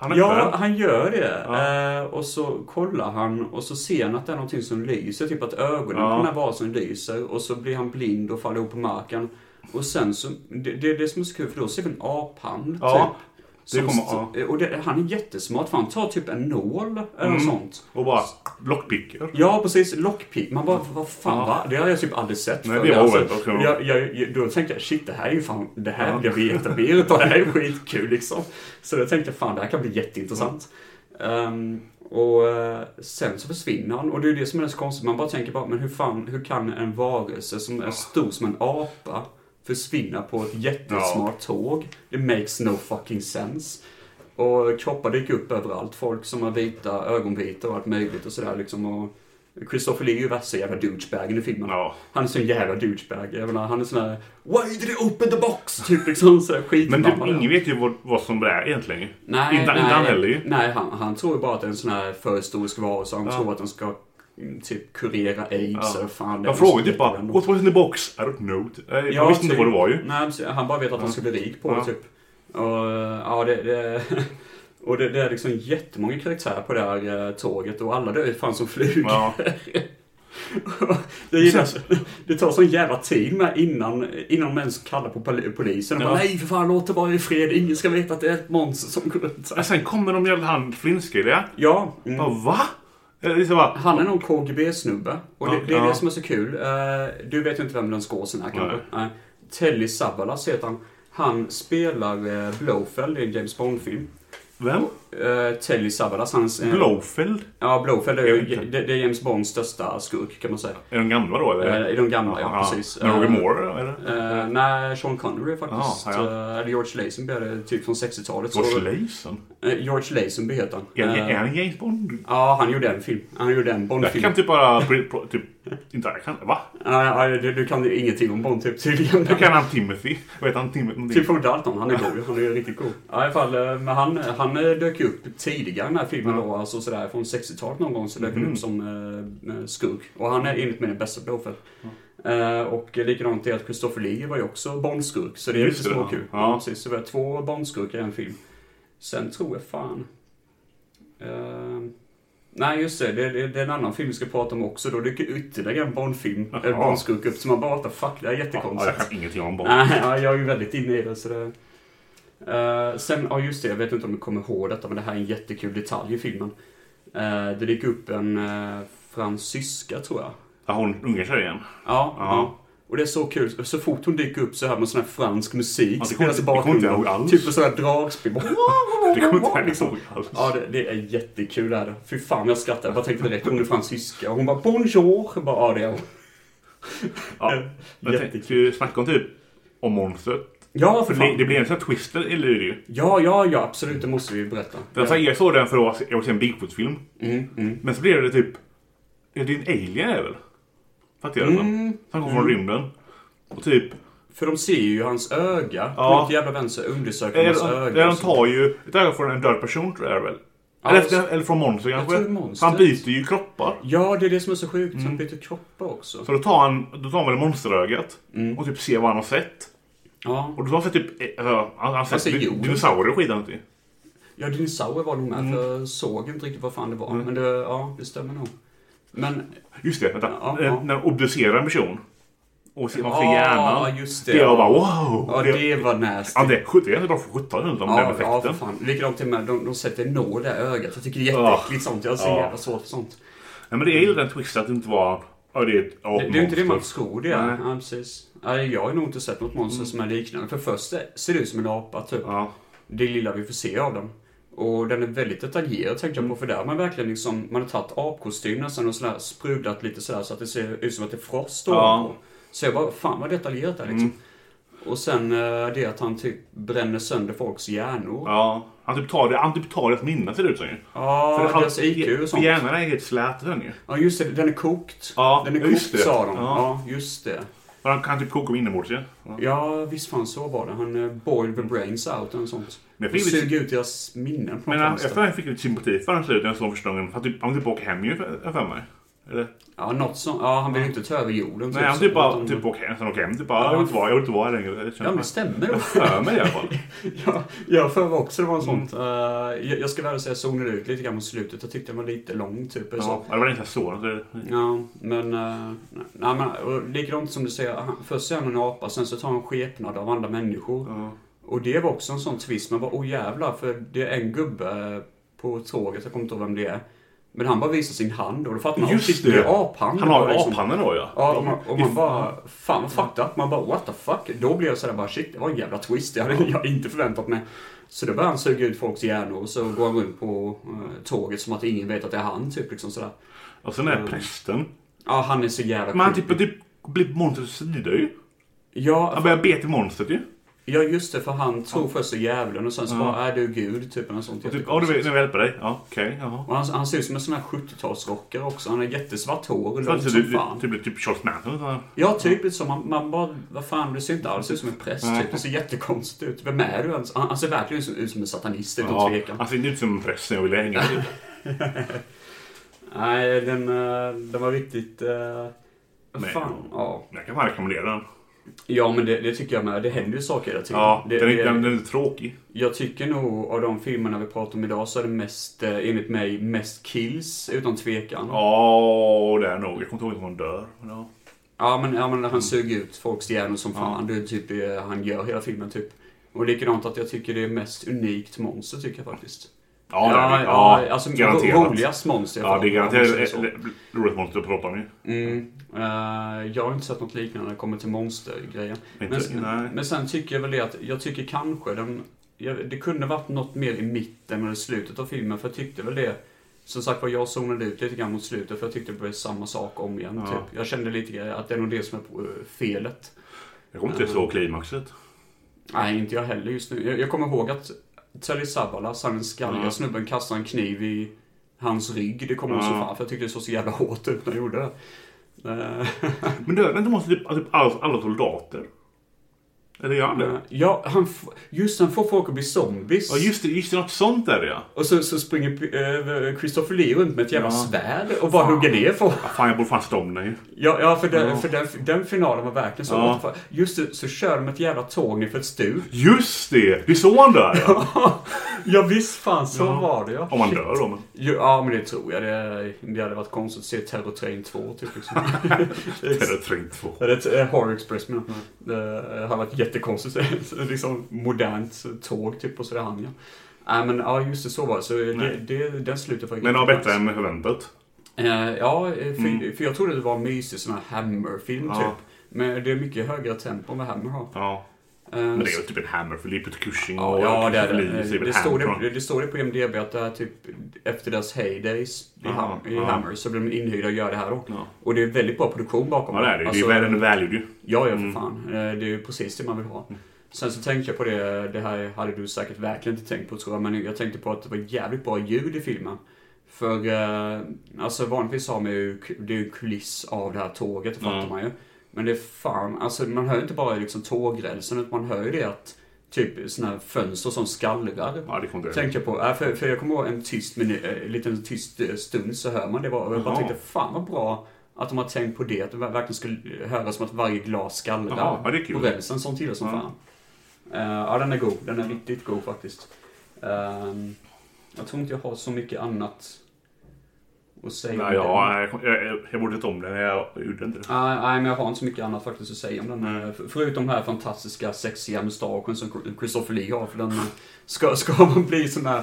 S2: Han öppnar
S1: ja,
S2: den.
S1: han gör det. Eh, och så kollar han och så ser han att det är någonting som lyser, typ att ögonen på den här vasen lyser. Och så blir han blind och faller ihop på marken. Och sen så, det, det, det som är så kul för då ser vi en aphamn
S2: Ja,
S1: typ.
S2: det
S1: Som
S2: kommer-
S1: st- Och det, han är jättesmart för han tar typ en nål
S2: Mm.
S1: eller något sånt.
S2: Och bara lockpicker.
S1: Ja, precis. Lockpick. Man bara, vad fan va? Det har jag typ aldrig sett
S2: Nej,
S1: förr.
S2: det var oväntat, kan man-
S1: jag, jag, jag, Då tänkte jag, shit det här är ju fan, det här vill jag veta mer utav. Det här är skitkul liksom. Så då tänkte jag, fan det här kan bli jätteintressant. Ehm, och eh, sen så försvinner han. Och det är ju det som är så konstigt. Man bara tänker bara, men hur fan, hur kan en varelse som är stor som en apa försvinna på ett jättesmart tåg? It makes no fucking sense. Och kroppar dyker upp överallt. Folk som har vita ögonvitor och allt möjligt och sådär liksom. Och Christopher Lee är ju värsta jävla douchebagen i filmen.
S2: Ja.
S1: Han är sån jävla douchebag. Jag menar, han är sån här Why did they open the box? Typ liksom sådär
S2: Men
S1: skitförbannad.
S2: typ, ingen vet ju vad, vad som det är egentligen.
S1: Nej,
S2: inte,
S1: nej,
S2: inte han heller ju.
S1: Nej, han, han tror ju bara att det är en sån här förhistorisk varelse. Han tror att den ska mm, typ kurera aids. Ja. Fan, det är
S2: Jag frågade
S1: så
S2: typ bara
S1: jättebra.
S2: What was in the box? I don't know. Eh, Jag jag visste inte
S1: typ.
S2: vad det var ju.
S1: Nej, precis. han bara vet att han ska bli rik på det
S2: Ja.
S1: typ. Och, eh, ja, det, det, och det, det är liksom jättemånga karaktärer på det här eh, tåget och alla dör ju fan som flugor.
S2: Ja.
S1: Det, gillar, det tar sån jävla tid med innan, innan de ens kallar på poli- polisen. De bara,
S2: Ja.
S1: nej för fan låt det vara i fred. Ingen ska veta att det är ett monster som går runt. här."
S2: Men sen kommer de jävla han flintskalliga.
S1: Ja. Mm.
S2: Bara va? Eller liksom bara,
S1: Han är någon KGB-snubbe. Och det, det är
S2: Ja.
S1: det som är så kul. Eh, Du vet ju inte vem den skåsen är kanske?
S2: Nej.
S1: Nej. Telly Savalas heter han. Han spelar eh, Blowfeld i en James Bond-film.
S2: Vem?
S1: Eh, Telly Savalas, hans... eh,
S2: Blowfield?
S1: Ja, Blowfeld är, ju,
S2: Inte.
S1: det, det är James Bonds största skurk kan man säga.
S2: Är de gamla då eller?
S1: Eh, I de gamla, ja, precis.
S2: Men Roger
S1: Eh,
S2: Moore eller?
S1: Eh, nej, Sean Connery faktiskt.
S2: Ja,
S1: Ah,
S2: ja.
S1: George Lazenby är det typ från 60-talet. så-
S2: George Lason?
S1: Eh, George Lazenby heter han.
S2: Är
S1: Eh,
S2: är han James Bond?
S1: Ja, han gjorde en film. Han gjorde en
S2: Jag
S1: Bond-film.
S2: kan typ bara... pri- pro- Typ, inte jag kan... Va?
S1: Nej, nej, du, du kan ju ingenting om Bond typ tydligen.
S2: Jag kan han Timothy. Vad heter han? Timothy?
S1: Typ från Dalton, han är god. Han är ju riktigt god. Ja, i alla fall, eh, men han, han eh, dök ju upp tidigare i den här filmen då, alltså sådär från 60-talet någon gång så dök han upp som eh, skurk. Och han är enligt mig den bästa Blowfell. Eh, och eh, likadant är att Christopher Lee var ju också Bondskurk, så det är
S2: Just
S1: lite
S2: det,
S1: småkul.
S2: ja. Ja.
S1: Ja. precis. Så vi har två Bondskurkar i en film. Sen tror jag fan... Eh, nej, just det. Det, det. det är en annan film vi ska prata om också. Då dyker ytterligare en Bondfilm, eller
S2: Jaha.
S1: Bondskurk upp. Så man bara, what the fuck, det här är
S2: Ja,
S1: jättekonstigt.
S2: jag kan ingenting om Bond.
S1: Nej, ja, jag är ju väldigt inne i det. Så det... Eh, sen, ja just det, jag vet inte om du kommer ihåg detta, men det här är en jättekul detalj i filmen. Eh, det dyker upp en uh, fransyska, tror jag.
S2: Ja, hon unga
S1: Ja,
S2: tjejen. Ja.
S1: ja. Och det är så kul. Så fort hon dyker upp så hör man sån här fransk musik
S2: Ja, det
S1: spelas i
S2: kommer- det kommer inte
S1: bakgrunden.
S2: jag ihåg alls.
S1: Typ en sån här dragspel.
S2: Det kommer inte jag ihåg alls.
S1: Ja, det, det är jättekul. Är det. Fy fan, jag skrattar. Jag bara tänkte direkt, hon är fransyska. Och hon bara bonjour. Jag bara, ja, det är hon.
S2: Ja. Men tänk-
S1: Jättekul.
S2: ska vi snacka om typ... Om monstret.
S1: Ja, för
S2: För det,
S1: fan.
S2: det blir en sån här twister i Lyrio.
S1: Ja, ja, ja, absolut. Det måste vi ju berätta.
S2: Alltså, jag såg den för att jag var- jag var se en Bigfoot-film.
S1: Mm,
S2: Men så blev det typ... Är det en alien är väl? Fattar jag det som?
S1: Mm.
S2: Som kom från rymden. Och typ...
S1: För de ser ju hans öga.
S2: Ja.
S1: På något jävla vänster undersöker de hans
S2: Eller,
S1: öga.
S2: eller de
S1: och så.
S2: tar ju ett öga från en död person tror jag det är väl?
S1: Ja,
S2: eller,
S1: så-
S2: eller, eller från monster kanske?
S1: tror det är monster.
S2: Han byter ju kroppar.
S1: Ja, det är det som är så sjukt. Han byter kroppar också.
S2: Mm. Så då tar han, då tar han väl monsterögat
S1: Mm.
S2: och typ ser vad han har sett.
S1: Ja,
S2: Och då har han sett typ... eh, Alltså, han har sett
S1: ser jorden.
S2: din- dinosaurier och skit annat i.
S1: ja dinosaurier var nog med.
S2: Mm.
S1: För jag såg inte riktigt vad fan det var. Men det, ja, det stämmer nog. Men...
S2: Just det, vänta.
S1: Ja,
S2: Eh,
S1: ja.
S2: När de obducerar en person. Och ser, man ser
S1: Ja,
S2: hjärnan.
S1: just det.
S2: Det är bara wow!
S1: Ja, det var nasty.
S2: Ja, det är sjukt. Det är bra för 1700 om den
S1: Ja, ja, för
S2: effekten.
S1: fan. Likadant till med, de, de sätter en nål i ögat. Jag tycker det är jätteäckligt sånt. Jag har så
S2: Ja.
S1: jävla svårt för sånt.
S2: Nej, men det är ju den twisten att det inte var... Ja, det är ett
S1: Det, det är ju inte det man
S2: monster.
S1: tror det är.
S2: Nej. Mm.
S1: Ja, precis. Ja, jag har nog inte sett något monster som är liknande. För först ser det ut som en apa, typ.
S2: Ja.
S1: det lilla vi får se av den. Och den är väldigt detaljerad tänkte
S2: Mm.
S1: jag på, för där har man verkligen liksom, man har tagit apkostym nästan och sådär, sprudlat lite sådär så att det ser ut som att det är frost
S2: Ja. Mm.
S1: ovanpå. Så jag bara, fan vad detaljerat det är liksom. Och sen eh, det att han typ bränner sönder folks hjärnor.
S2: Ja. Han typ tar det, han typ tar deras minne ser det ut som ju.
S1: Ja,
S2: han-
S1: deras IQ och sånt.
S2: för Hjärnan är helt slät sen ju.
S1: Ja just det, den är kokt.
S2: Ja,
S1: den är kokt
S2: just det.
S1: sa de. Ja.
S2: Ja.
S1: just det.
S2: Och han kan typ koka dem inombords ju. Ja. Mm.
S1: Ja, visst fan så var det. Han eh, boiled the brains out eller sånt.
S2: Men jag
S1: Och
S2: fick lite-
S1: suger ut deras minnen på något
S2: Men eh, han,
S1: vänster.
S2: efter det här fick jag lite sympati för honom när jag såg första gången. För Han typ, han typ åker hem ju, jag för mig. Eller?
S1: Ja, något som, ja, han vill ju inte ta över jorden.
S2: Nej, han
S1: så,
S2: typ bara
S1: utan-
S2: typ åker hem. Sen åker hem. Typ bara, jag vill inte vara, jag vill inte vara här längre. Det
S1: Ja, men det
S2: känns
S1: stämmer.
S2: jag för mig i alla fall.
S1: Ja, jag för mig också det var en sånt.
S2: Mm.
S1: Eh, jag, jag ska väl säga jag zonade ut lite grann mot slutet. Jag tyckte den var lite lång typ. eller
S2: Ja,
S1: Så.
S2: det var inte så. Det,
S1: Ja, men... eh, nej, nej, men och likadant som du säger. Han, först är han en apa, sen så tar han skepnad av andra människor.
S2: ja.
S1: Och det var också en sån twist. Man bara, åh jävlar, för det är en gubbe på tåget, jag kommer inte ihåg vem det är. Men han bara visar sin hand och då fattar man, åh, shit,
S2: Just
S1: det
S2: det!
S1: är aphand.
S2: Han har
S1: Och liksom-
S2: aphannen då ja.
S1: Ja, och man, och man
S2: Det-
S1: bara, fan vad fucked up. Man bara, what the fuck? Då blev jag sådär bara, shit, det var en jävla twist. Det hade jag inte förväntat mig. Så då börjar han suga ut folks hjärnor och så går han runt på eh, tåget som att ingen vet att det är han, typ liksom sådär.
S2: Och sen är prästen.
S1: Ja, han är så jävla
S2: Men han
S1: creepy.
S2: typ, typ blir monstrets sida ju.
S1: Ja,
S2: Han börjar be till monstret ju.
S1: ja, just det, för han tror först så djävulen och sen så bara, är du gud? Typ eller sånt.
S2: Typ, ja du vet, nu vill jag hjälpa dig. Ja, okej, jaha.
S1: Och han, han ser ut som en sån här 70-talsrockare också. Han har jättesvart hår och långt
S2: Alltså,
S1: som
S2: du, du,
S1: fan.
S2: du blir typ Charles Manson. eller så.
S1: Ja, typ lite så. Man, man bara, vad fan, du ser inte alls ut som en präst. Typ. Det ser jättekonstigt ut. Vem är du ens? Han, han ser verkligen ut som, ut som en satanist utan
S2: Ja,
S1: tvekan.
S2: han ser inte ut som prästen jag ville hänga med.
S1: Nej, den, eh, den var riktigt... eh,
S2: Nej.
S1: Fan, ja.
S2: Men Jag kan fan rekommendera den.
S1: Ja, men det, det tycker jag med. Det händer ju saker hela tiden.
S2: Ja,
S1: det,
S2: den,
S1: det-
S2: är, den, den är lite tråkig.
S1: Jag tycker nog av de filmerna vi pratar om idag så är det mest, eh, enligt mig, mest kills utan tvekan.
S2: Ja, det är nog. Jag kommer inte ihåg om hon dör. men Ja.
S1: Ja men, ja, men
S2: Mm.
S1: han suger ut folks hjärnor som fan. Det är typ det han gör hela filmen typ. Och likadant att jag tycker det är mest unikt monster tycker jag faktiskt.
S2: Ja, det är det.
S1: ja,
S2: Ja,
S1: alltså
S2: garanterat.
S1: ro- roligast monster. i alla
S2: Ja,
S1: fall,
S2: det är
S1: om man
S2: garanterat
S1: säger så.
S2: ett roligt monster på roppan ju.
S1: Mm. Eh, jag har inte sett något liknande när det kommer till monstergrejen.
S2: Inte-
S1: Men, sen-
S2: nej.
S1: men sen tycker jag väl det att jag tycker kanske den, jag, det kunde varit något mer i mitten eller slutet av filmen för jag tyckte väl det. Som sagt var, jag zonade ut lite grann mot slutet för jag tyckte det blev samma sak om igen.
S2: Ja.
S1: Typ. Jag kände lite grann att det är nog det som är eh, felet.
S2: Jag kommer inte ihåg klimaxet.
S1: Nej, inte jag heller just nu. Jag, jag kommer ihåg att Telly Savalas, han den skalliga
S2: Ja.
S1: snubben, kastade en kniv i hans rygg. Det kommer jag ihåg så
S2: Ja.
S1: fan, för jag tyckte det såg så jävla hårt ut när jag gjorde det. Eh,
S2: Men dör inte måste typ, typ alla, alla soldater? Eller gör han det?
S1: ja, han, f- just han får folk att bli zombies.
S2: Ja, just det. Just det, något sånt där ja.
S1: Och så, så springer eh, Christopher Lee runt med ett jävla
S2: Ja.
S1: svärd och bara hugger ner folk.
S2: Fan, jag borde fan stå om den ju.
S1: Ja, ja för, den, för den, den finalen var verkligen så.
S2: Ja.
S1: what the fuck. Just det, så kör de ett jävla tåg ner för ett stup.
S2: Just det! Det är så han dör ja.
S1: ja, visst fan så var det ja.
S2: Om han dör då. Men.
S1: Jo, ja, men det tror jag. Det, det hade varit konstigt att se Terror Train 2, typ. Liksom.
S2: Eller Train 2.
S1: Eller ett eh, Horror Express, menar jag.
S2: Mm.
S1: Det hade varit jättekonstigt. Ett liksom modernt tåg, typ, och så är det han, ja. Nej, men ja, just det, så var det. Så det,
S2: Nej.
S1: det, den slutar faktiskt.
S2: Men det var bättre än förväntat.
S1: Eh, ja, eh, för, för jag trodde det var en mysig sån här Hammer-film,
S2: Mm. Ja.
S1: typ. Men det är mycket högre tempo än vad Hammer har.
S2: Ja.
S1: Eh,
S2: Men det är ju typ en hammer för Lippet Cushing
S1: Ja,
S2: och
S1: ja det, är
S2: Lee, så
S1: det.
S2: väl
S1: Det, står
S2: hammer från-
S1: det, det står det på IMDB att det är typ efter deras heydays i,
S2: Aha,
S1: Ham, i
S2: ja.
S1: Hammer så blir de inhyrda och gör det här då.
S2: Ja.
S1: Och det är väldigt bra produktion bakom
S2: Ja, det är det.
S1: Alltså,
S2: det är en välgjord ju.
S1: Ja, ja för fan. Eh, Det är ju precis det man vill ha. Sen så tänkte jag på det, det här hade du säkert verkligen inte tänkt på tror jag, men jag tänkte på att det var jävligt bra ljud i filmen. För eh, alltså vanligtvis har man ju, det är ju en kuliss av det här tåget, det fattar man ju. Men det är fan, alltså man hör ju inte bara liksom tågrälsen utan man hör ju det att typ sådana här fönster som skallrar.
S2: Ja, det kommer inte
S1: Tänker jag på. Äh, för, för jag kommer ihåg en tyst minu, eh, en liten tyst eh, stund så hör man det bara. Och jag bara
S2: Jaha.
S1: tänkte fan vad bra att de har tänkt på det. Att det ver- verkligen skulle höras som att varje glas skallrar.
S2: Jaha, ja, det är kul.
S1: på rälsen. Sånt gillar jag som
S2: Ja.
S1: fan. Eh, ja den är god. Den är riktigt god faktiskt. Ehm, jag tror inte jag har så mycket annat att säga
S2: Nej,
S1: om den.
S2: ja, jag, jag, jag, jag borde ta om den. Jag gjorde inte det.
S1: Nej, nej, men jag har inte så mycket annat faktiskt att säga om den.
S2: Mm.
S1: här. F- Förutom den här fantastiska sexiga mustaschen som Christopher Lee har. För den eh, ska, ska man bli sån här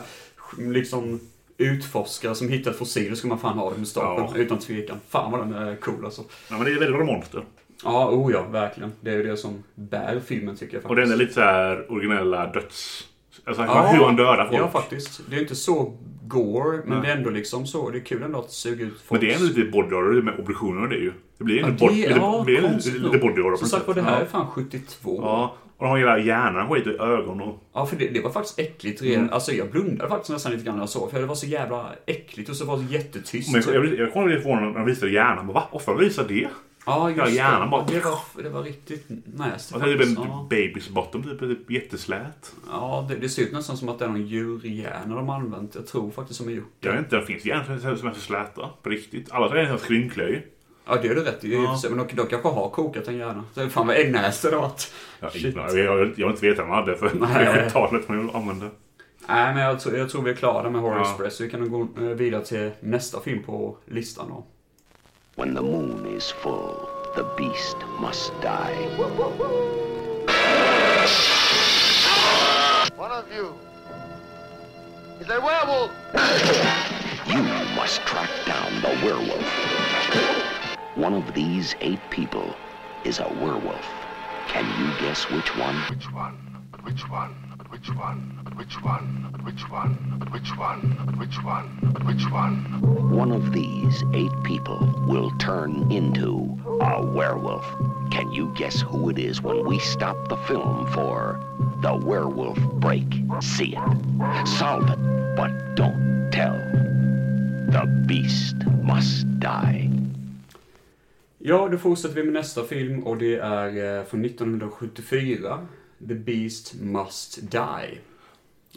S1: liksom utforskare som hittar fossiler ska man fan ha den mustaschen.
S2: Ja.
S1: Utan tvekan. Fan vad den är cool alltså.
S2: Ja, men det är väldigt bra monster.
S1: Ja, oh ja, verkligen. Det är ju det som bär filmen tycker jag faktiskt.
S2: Och den är lite så här originella döds... Alltså
S1: Ja.
S2: hur han dödar folk.
S1: Ja, faktiskt. Det är inte så gore, men det är ändå liksom så. Det är kul ändå att suga ut
S2: Men
S1: folk.
S2: det är lite body med obduktioner och det är ju. Det blir en bod- lite,
S1: ja,
S2: det blir en
S1: konstigt
S2: lite,
S1: nog.
S2: lite body horror på
S1: Som
S2: något
S1: sagt var,
S2: sätt.
S1: det här är
S2: Ja.
S1: fan 72.
S2: Ja, och de har hela hjärnan skit i ögon och...
S1: Ja, för det, det var faktiskt äckligt redan.
S2: Mm.
S1: Alltså jag blundade faktiskt nästan lite grann när jag såg för det var så jävla äckligt och så var det jättetyst.
S2: Men jag, jag, jag kommer bli förvånad när de visar hjärnan. Bara, Va? Varför visar det? Alltså,
S1: Ja, just
S2: Ja, gärna
S1: det.
S2: bara-
S1: Det var, det var riktigt nice.
S2: Och sen typ en
S1: ja,
S2: babys bottom, typ, typ jätteslät.
S1: ja det, det ser ut nästan som att det är någon djurhjärna de har använt. Jag tror faktiskt som är gjort.
S2: Jag vet inte, det finns järn som är så släta. På riktigt. Alla som är en skrynklöj.
S1: Ja, det är du rätt i. i och för sig, Men de, de kanske har kokat en hjärna. Så Fan vad äggnaser det har varit.
S2: Jag, har
S1: Shit.
S2: ingen aning. jag, jag, jag har inte vetat vad han hade för
S1: Nej.
S2: det talet man använde.
S1: Nej, men jag, tror- jag tror vi är klara med Horror
S2: Ja.
S1: Express. Vi kan nog gå eh, vidare till nästa film på listan då.
S3: When the moon is full, the beast must die.
S7: One of you is a werewolf.
S3: You must track down the werewolf. One of these eight people is a werewolf. Can you guess which one?
S7: Which one? But which one? But which one? But which one? But which one? But which one? But which one? But which one?
S3: One of these eight people will turn into a werewolf. Can you guess who it is when we stop the film for the werewolf break? See it. Solve it, but don't tell. The beast must die.
S1: Ja, då fortsätter vi med nästa film och det är eh, från 1974. The Beast Must Die.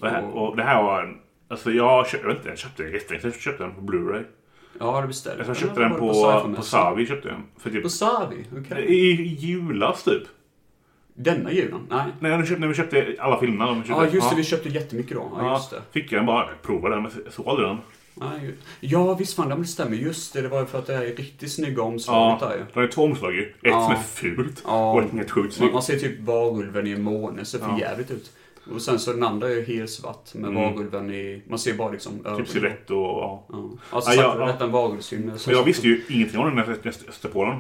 S2: Det här, och det här var en... Alltså jag köpte, jag vet inte, jag köpte den jättelänge sedan. Jag köpte den på Blu-ray.
S1: Ja, det beställde
S2: Alltså jag
S1: Eller
S2: köpte
S1: var
S2: den
S1: det
S2: på,
S1: sci-fi-mässan?
S2: på Savi. Köpte jag den. För typ,
S1: På Savi? Okej.
S2: I i julas typ.
S1: Denna julen? Nej.
S2: Nej, nu köpte, när vi köpte alla filmerna. de Köpte,
S1: Ja, just det. Vi köpte jättemycket då. Ja, just det.
S2: Fick jag den bara, prova den, men så- så aldrig den.
S1: Nej, ju- Ja, visst fan, det stämmer. Just det, det var ju för att det här är riktigt snygga omslaget där ju.
S2: Ja, det är två omslag ju. Ett som är fult
S1: Ja.
S2: och ett som är sjukt
S1: Man,
S2: snyggt.
S1: man ser typ varulven i en måne, ser för jävligt ut. Och sen så den andra är ju helt svart med varulven i... Man ser bara liksom ögonen.
S2: Mm. Typ silhuett och... Ja.
S1: Ja. Alltså,
S2: Ja,
S1: ja,
S2: ja,
S1: sagt,
S2: ja.
S1: detta är en varulvsfilm.
S2: Men jag visste ju ingenting om den när jag stötte- stötte på den.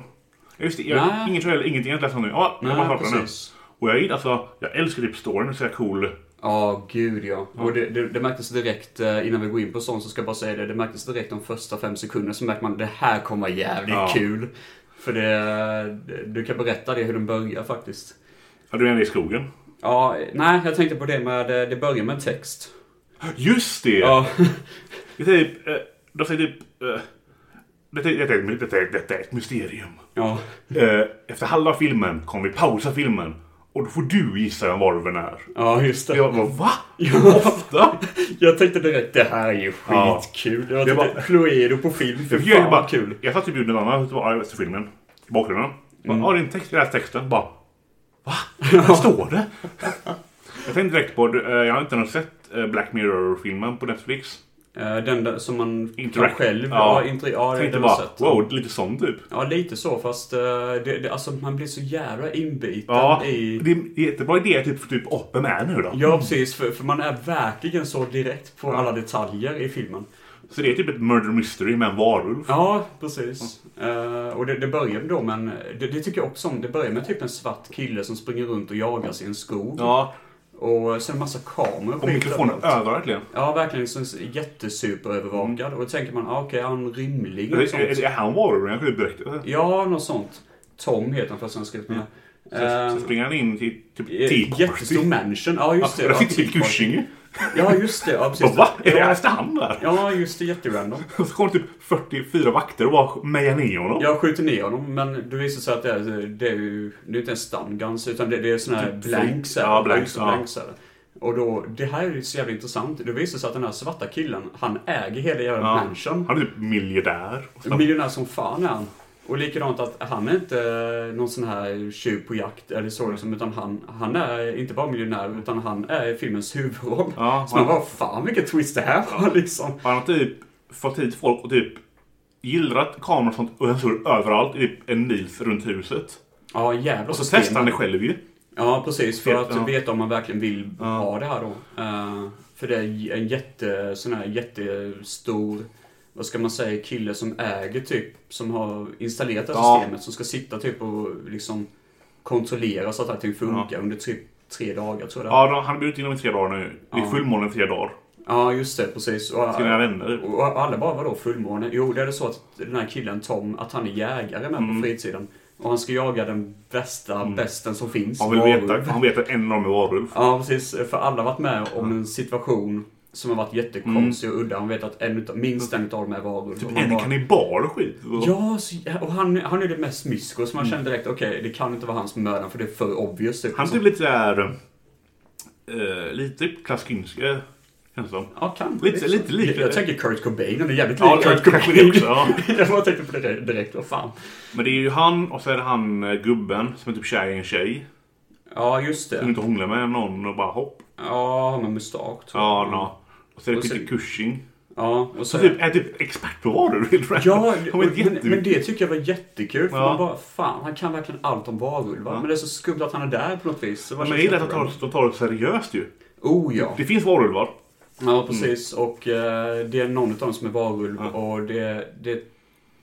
S2: Jag visste jag,
S1: Nej.
S2: inget trailer, ingenting. Jag läste den nu. Ja, jag
S1: Nej,
S2: bara startar den nu.
S1: precis.
S2: Och jag gillar alltså... Jag älskar typ storyn. Så här cool.
S1: Ja, gud ja. Och det, det, det märktes direkt, eh, innan vi går in på sånt så ska jag bara säga det, det märktes direkt de första fem sekunderna så märkte man det här kommer vara jävligt
S2: Ja.
S1: kul. För det, det- du kan berätta det hur den börjar faktiskt.
S2: Ja, du menar i skogen?
S1: Ja, nej, jag tänkte på det med, eh, det börjar med en text.
S2: Just det!
S1: Ja,
S2: Det är typ... eh, De säger typ... eh, Detta detta är, ett- detta, är, detta är ett mysterium.
S1: ja.
S2: Eh, Efter halva filmen kommer vi pausa filmen. Och då får du gissa vem varulven är.
S1: ja just det.
S2: Jag bara, va? Ofta?
S1: Jag tänkte direkt, det här är ju
S2: Ja.
S1: skitkul. Det var
S2: Det
S1: typ
S2: var-
S1: ett Cluedo på film, för
S2: Jag, jag,
S1: fan
S2: bara,
S1: vad kul.
S2: jag satt typ bjuden annan ute på efter filmen. I bakgrunden. Bara,
S1: Mm.
S2: Ja, din text, jag läste texten. Bara, va? Vad står det? jag tänkte direkt på, eh, jag har inte ens sett eh, Black Mirror-filmen på Netflix.
S1: Eh, Den där som man
S2: Interact-
S1: kan själv,
S2: Ja.
S1: ja, intri- ja det
S2: tänkte
S1: det har jag
S2: bara,
S1: sett.
S2: wow, lite sån typ.
S1: Ja, lite så, fast eh, det, det, alltså, man blir så jävla inbiten
S2: Ja,
S1: i...
S2: det är en jättebra idé typ, för typ, åh, vem är nu då?
S1: Ja, precis. För, för man är verkligen så direkt på alla detaljer i filmen.
S2: Så det är typ ett murder mystery med en varulv.
S1: Ja, precis. Eh, och det, det börjar då med en, det, det tycker jag också om. Det börjar med typ en svart kille som springer runt och jagas i en skog.
S2: Ja,
S1: Och sen en massa kameror.
S2: och
S1: skit
S2: mikrofonen
S1: överallt.
S2: över verkligen.
S1: Ja, verkligen så jättesuperövervakad. Och då tänker man, ah, okej, han är en rymling
S2: Mm. Är,
S1: och
S2: är,
S1: sånt.
S2: är han varulven? Jag kunde direkt...
S1: Ja, något sånt. Tom heter han fast han har skrivit med.
S2: Sen,
S1: Eh,
S2: sen springer han in till typ Tea
S1: eh, Jättestor
S2: Party.
S1: mansion. Ja, just det.
S2: Där
S1: Ja,
S2: sitter
S1: Tea
S2: typ
S1: Party.
S2: Gushinge.
S1: Ja, just det. Ja,
S2: Bara,
S1: precis.
S2: va? Är det Amsterdam där?
S1: Ja, just det. Jätterandom.
S2: Och så kommer typ 44 vakter och bara mejar ner honom.
S1: Jag skjuter ner honom, men det visar sig att det är, det är ju det är inte ens stunguns, utan det, det är såna här
S2: Typ
S1: blanks.
S2: fake-
S1: här.
S2: ja, blanks,
S1: Just det,
S2: ja.
S1: här. Och då, det här är ju så jävla intressant. Det visar sig att den här svarta killen, han äger hela jävla
S2: Ja.
S1: mansion.
S2: Han är typ miljardär. Och så-
S1: Miljonär som fan är han. Och likadant att han är inte eh, någon sån här tjuv på jakt eller så liksom, utan han, han är inte bara miljonär utan han är filmens huvudroll.
S2: Ja,
S1: så man
S2: han-
S1: bara, fan vilket twist det här var liksom.
S2: Han har typ fått hit folk och typ gillrat kameror och sånt och sensorer överallt i typ en mil runt huset.
S1: Ja jävlar
S2: Och så
S1: systemet.
S2: testar han det själv ju.
S1: Ja precis, för
S2: Ja.
S1: att veta om man verkligen vill ha det här då. Eh, för det är en jätte, sån här jättestor, vad ska man säga, kille som äger typ, som har installerat det här
S2: Ja.
S1: systemet. Som ska sitta typ och liksom kontrollera så att allting funkar under typ tre dagar tror jag det är.
S2: Ja, då- han har bjudit in dem i tre dagar nu. Det är fullmåne i tre dagar.
S1: Ja just det, precis. Och,
S2: Till mina vänner.
S1: och alla bara vadå fullmåne? Jo det är det så att den här killen Tom, att han är jägare med
S2: Mm.
S1: på fritiden. Och han ska jaga den bästa bästen som finns.
S2: Han vill
S1: varulv.
S2: veta, han vet att en av dem är varulv.
S1: Ja, precis. För alla har varit med om en situation som har varit jättekonstig och udda. Man vet att en utav, minst en utav dem är varulv. Och
S2: Typ
S1: man
S2: en
S1: bara-
S2: kannibal och skit. Och-
S1: Ja, så, och han, han är det mest mysko så man känner direkt okej, det kan inte vara han som mördaren för det är för obvious. Typ.
S2: Mm. Han är
S1: Så-
S2: typ lite såhär... eh, lite typ Klaus Kinski, eh, känns det som.
S1: Ja, kan. Liksom.
S2: Lite- lite lik.
S1: Jag, jag tänker Kurt Cobain, han är jävligt
S2: Ja,
S1: lik
S2: jag
S1: Kurt
S2: kanske det
S1: Cobain.
S2: också, ja.
S1: jag bara tänkte på det direkt- direkt, vad fan.
S2: Men det är ju han och så är det han eh, gubben som är typ kär i en tjej.
S1: Ja, just
S2: Som
S1: det.
S2: inte hånglar med någon och bara hopp.
S1: Ja, han har mustasch. tror jag.
S2: Ja, no. Och så är det
S1: Och sen-
S2: Peter Cushing.
S1: Ja, och så...
S2: Så typ, är typ expert på varor helt random.
S1: Ja,
S2: Han vet
S1: men, men
S2: jättemycket.
S1: det tycker jag var jättekul. För
S2: Ja.
S1: man bara, fan, han kan verkligen allt om varulvar. Men det är så skumt att han är där på något vis. Så
S2: Men
S1: bara
S2: jag
S1: känns
S2: gillar att de
S1: jättebra.
S2: tar, de tar det seriöst ju.
S1: Oh ja.
S2: Det finns varulvar. Mm.
S1: Ja, precis. Och eh, det är någon av dem som är varulv. Och det, det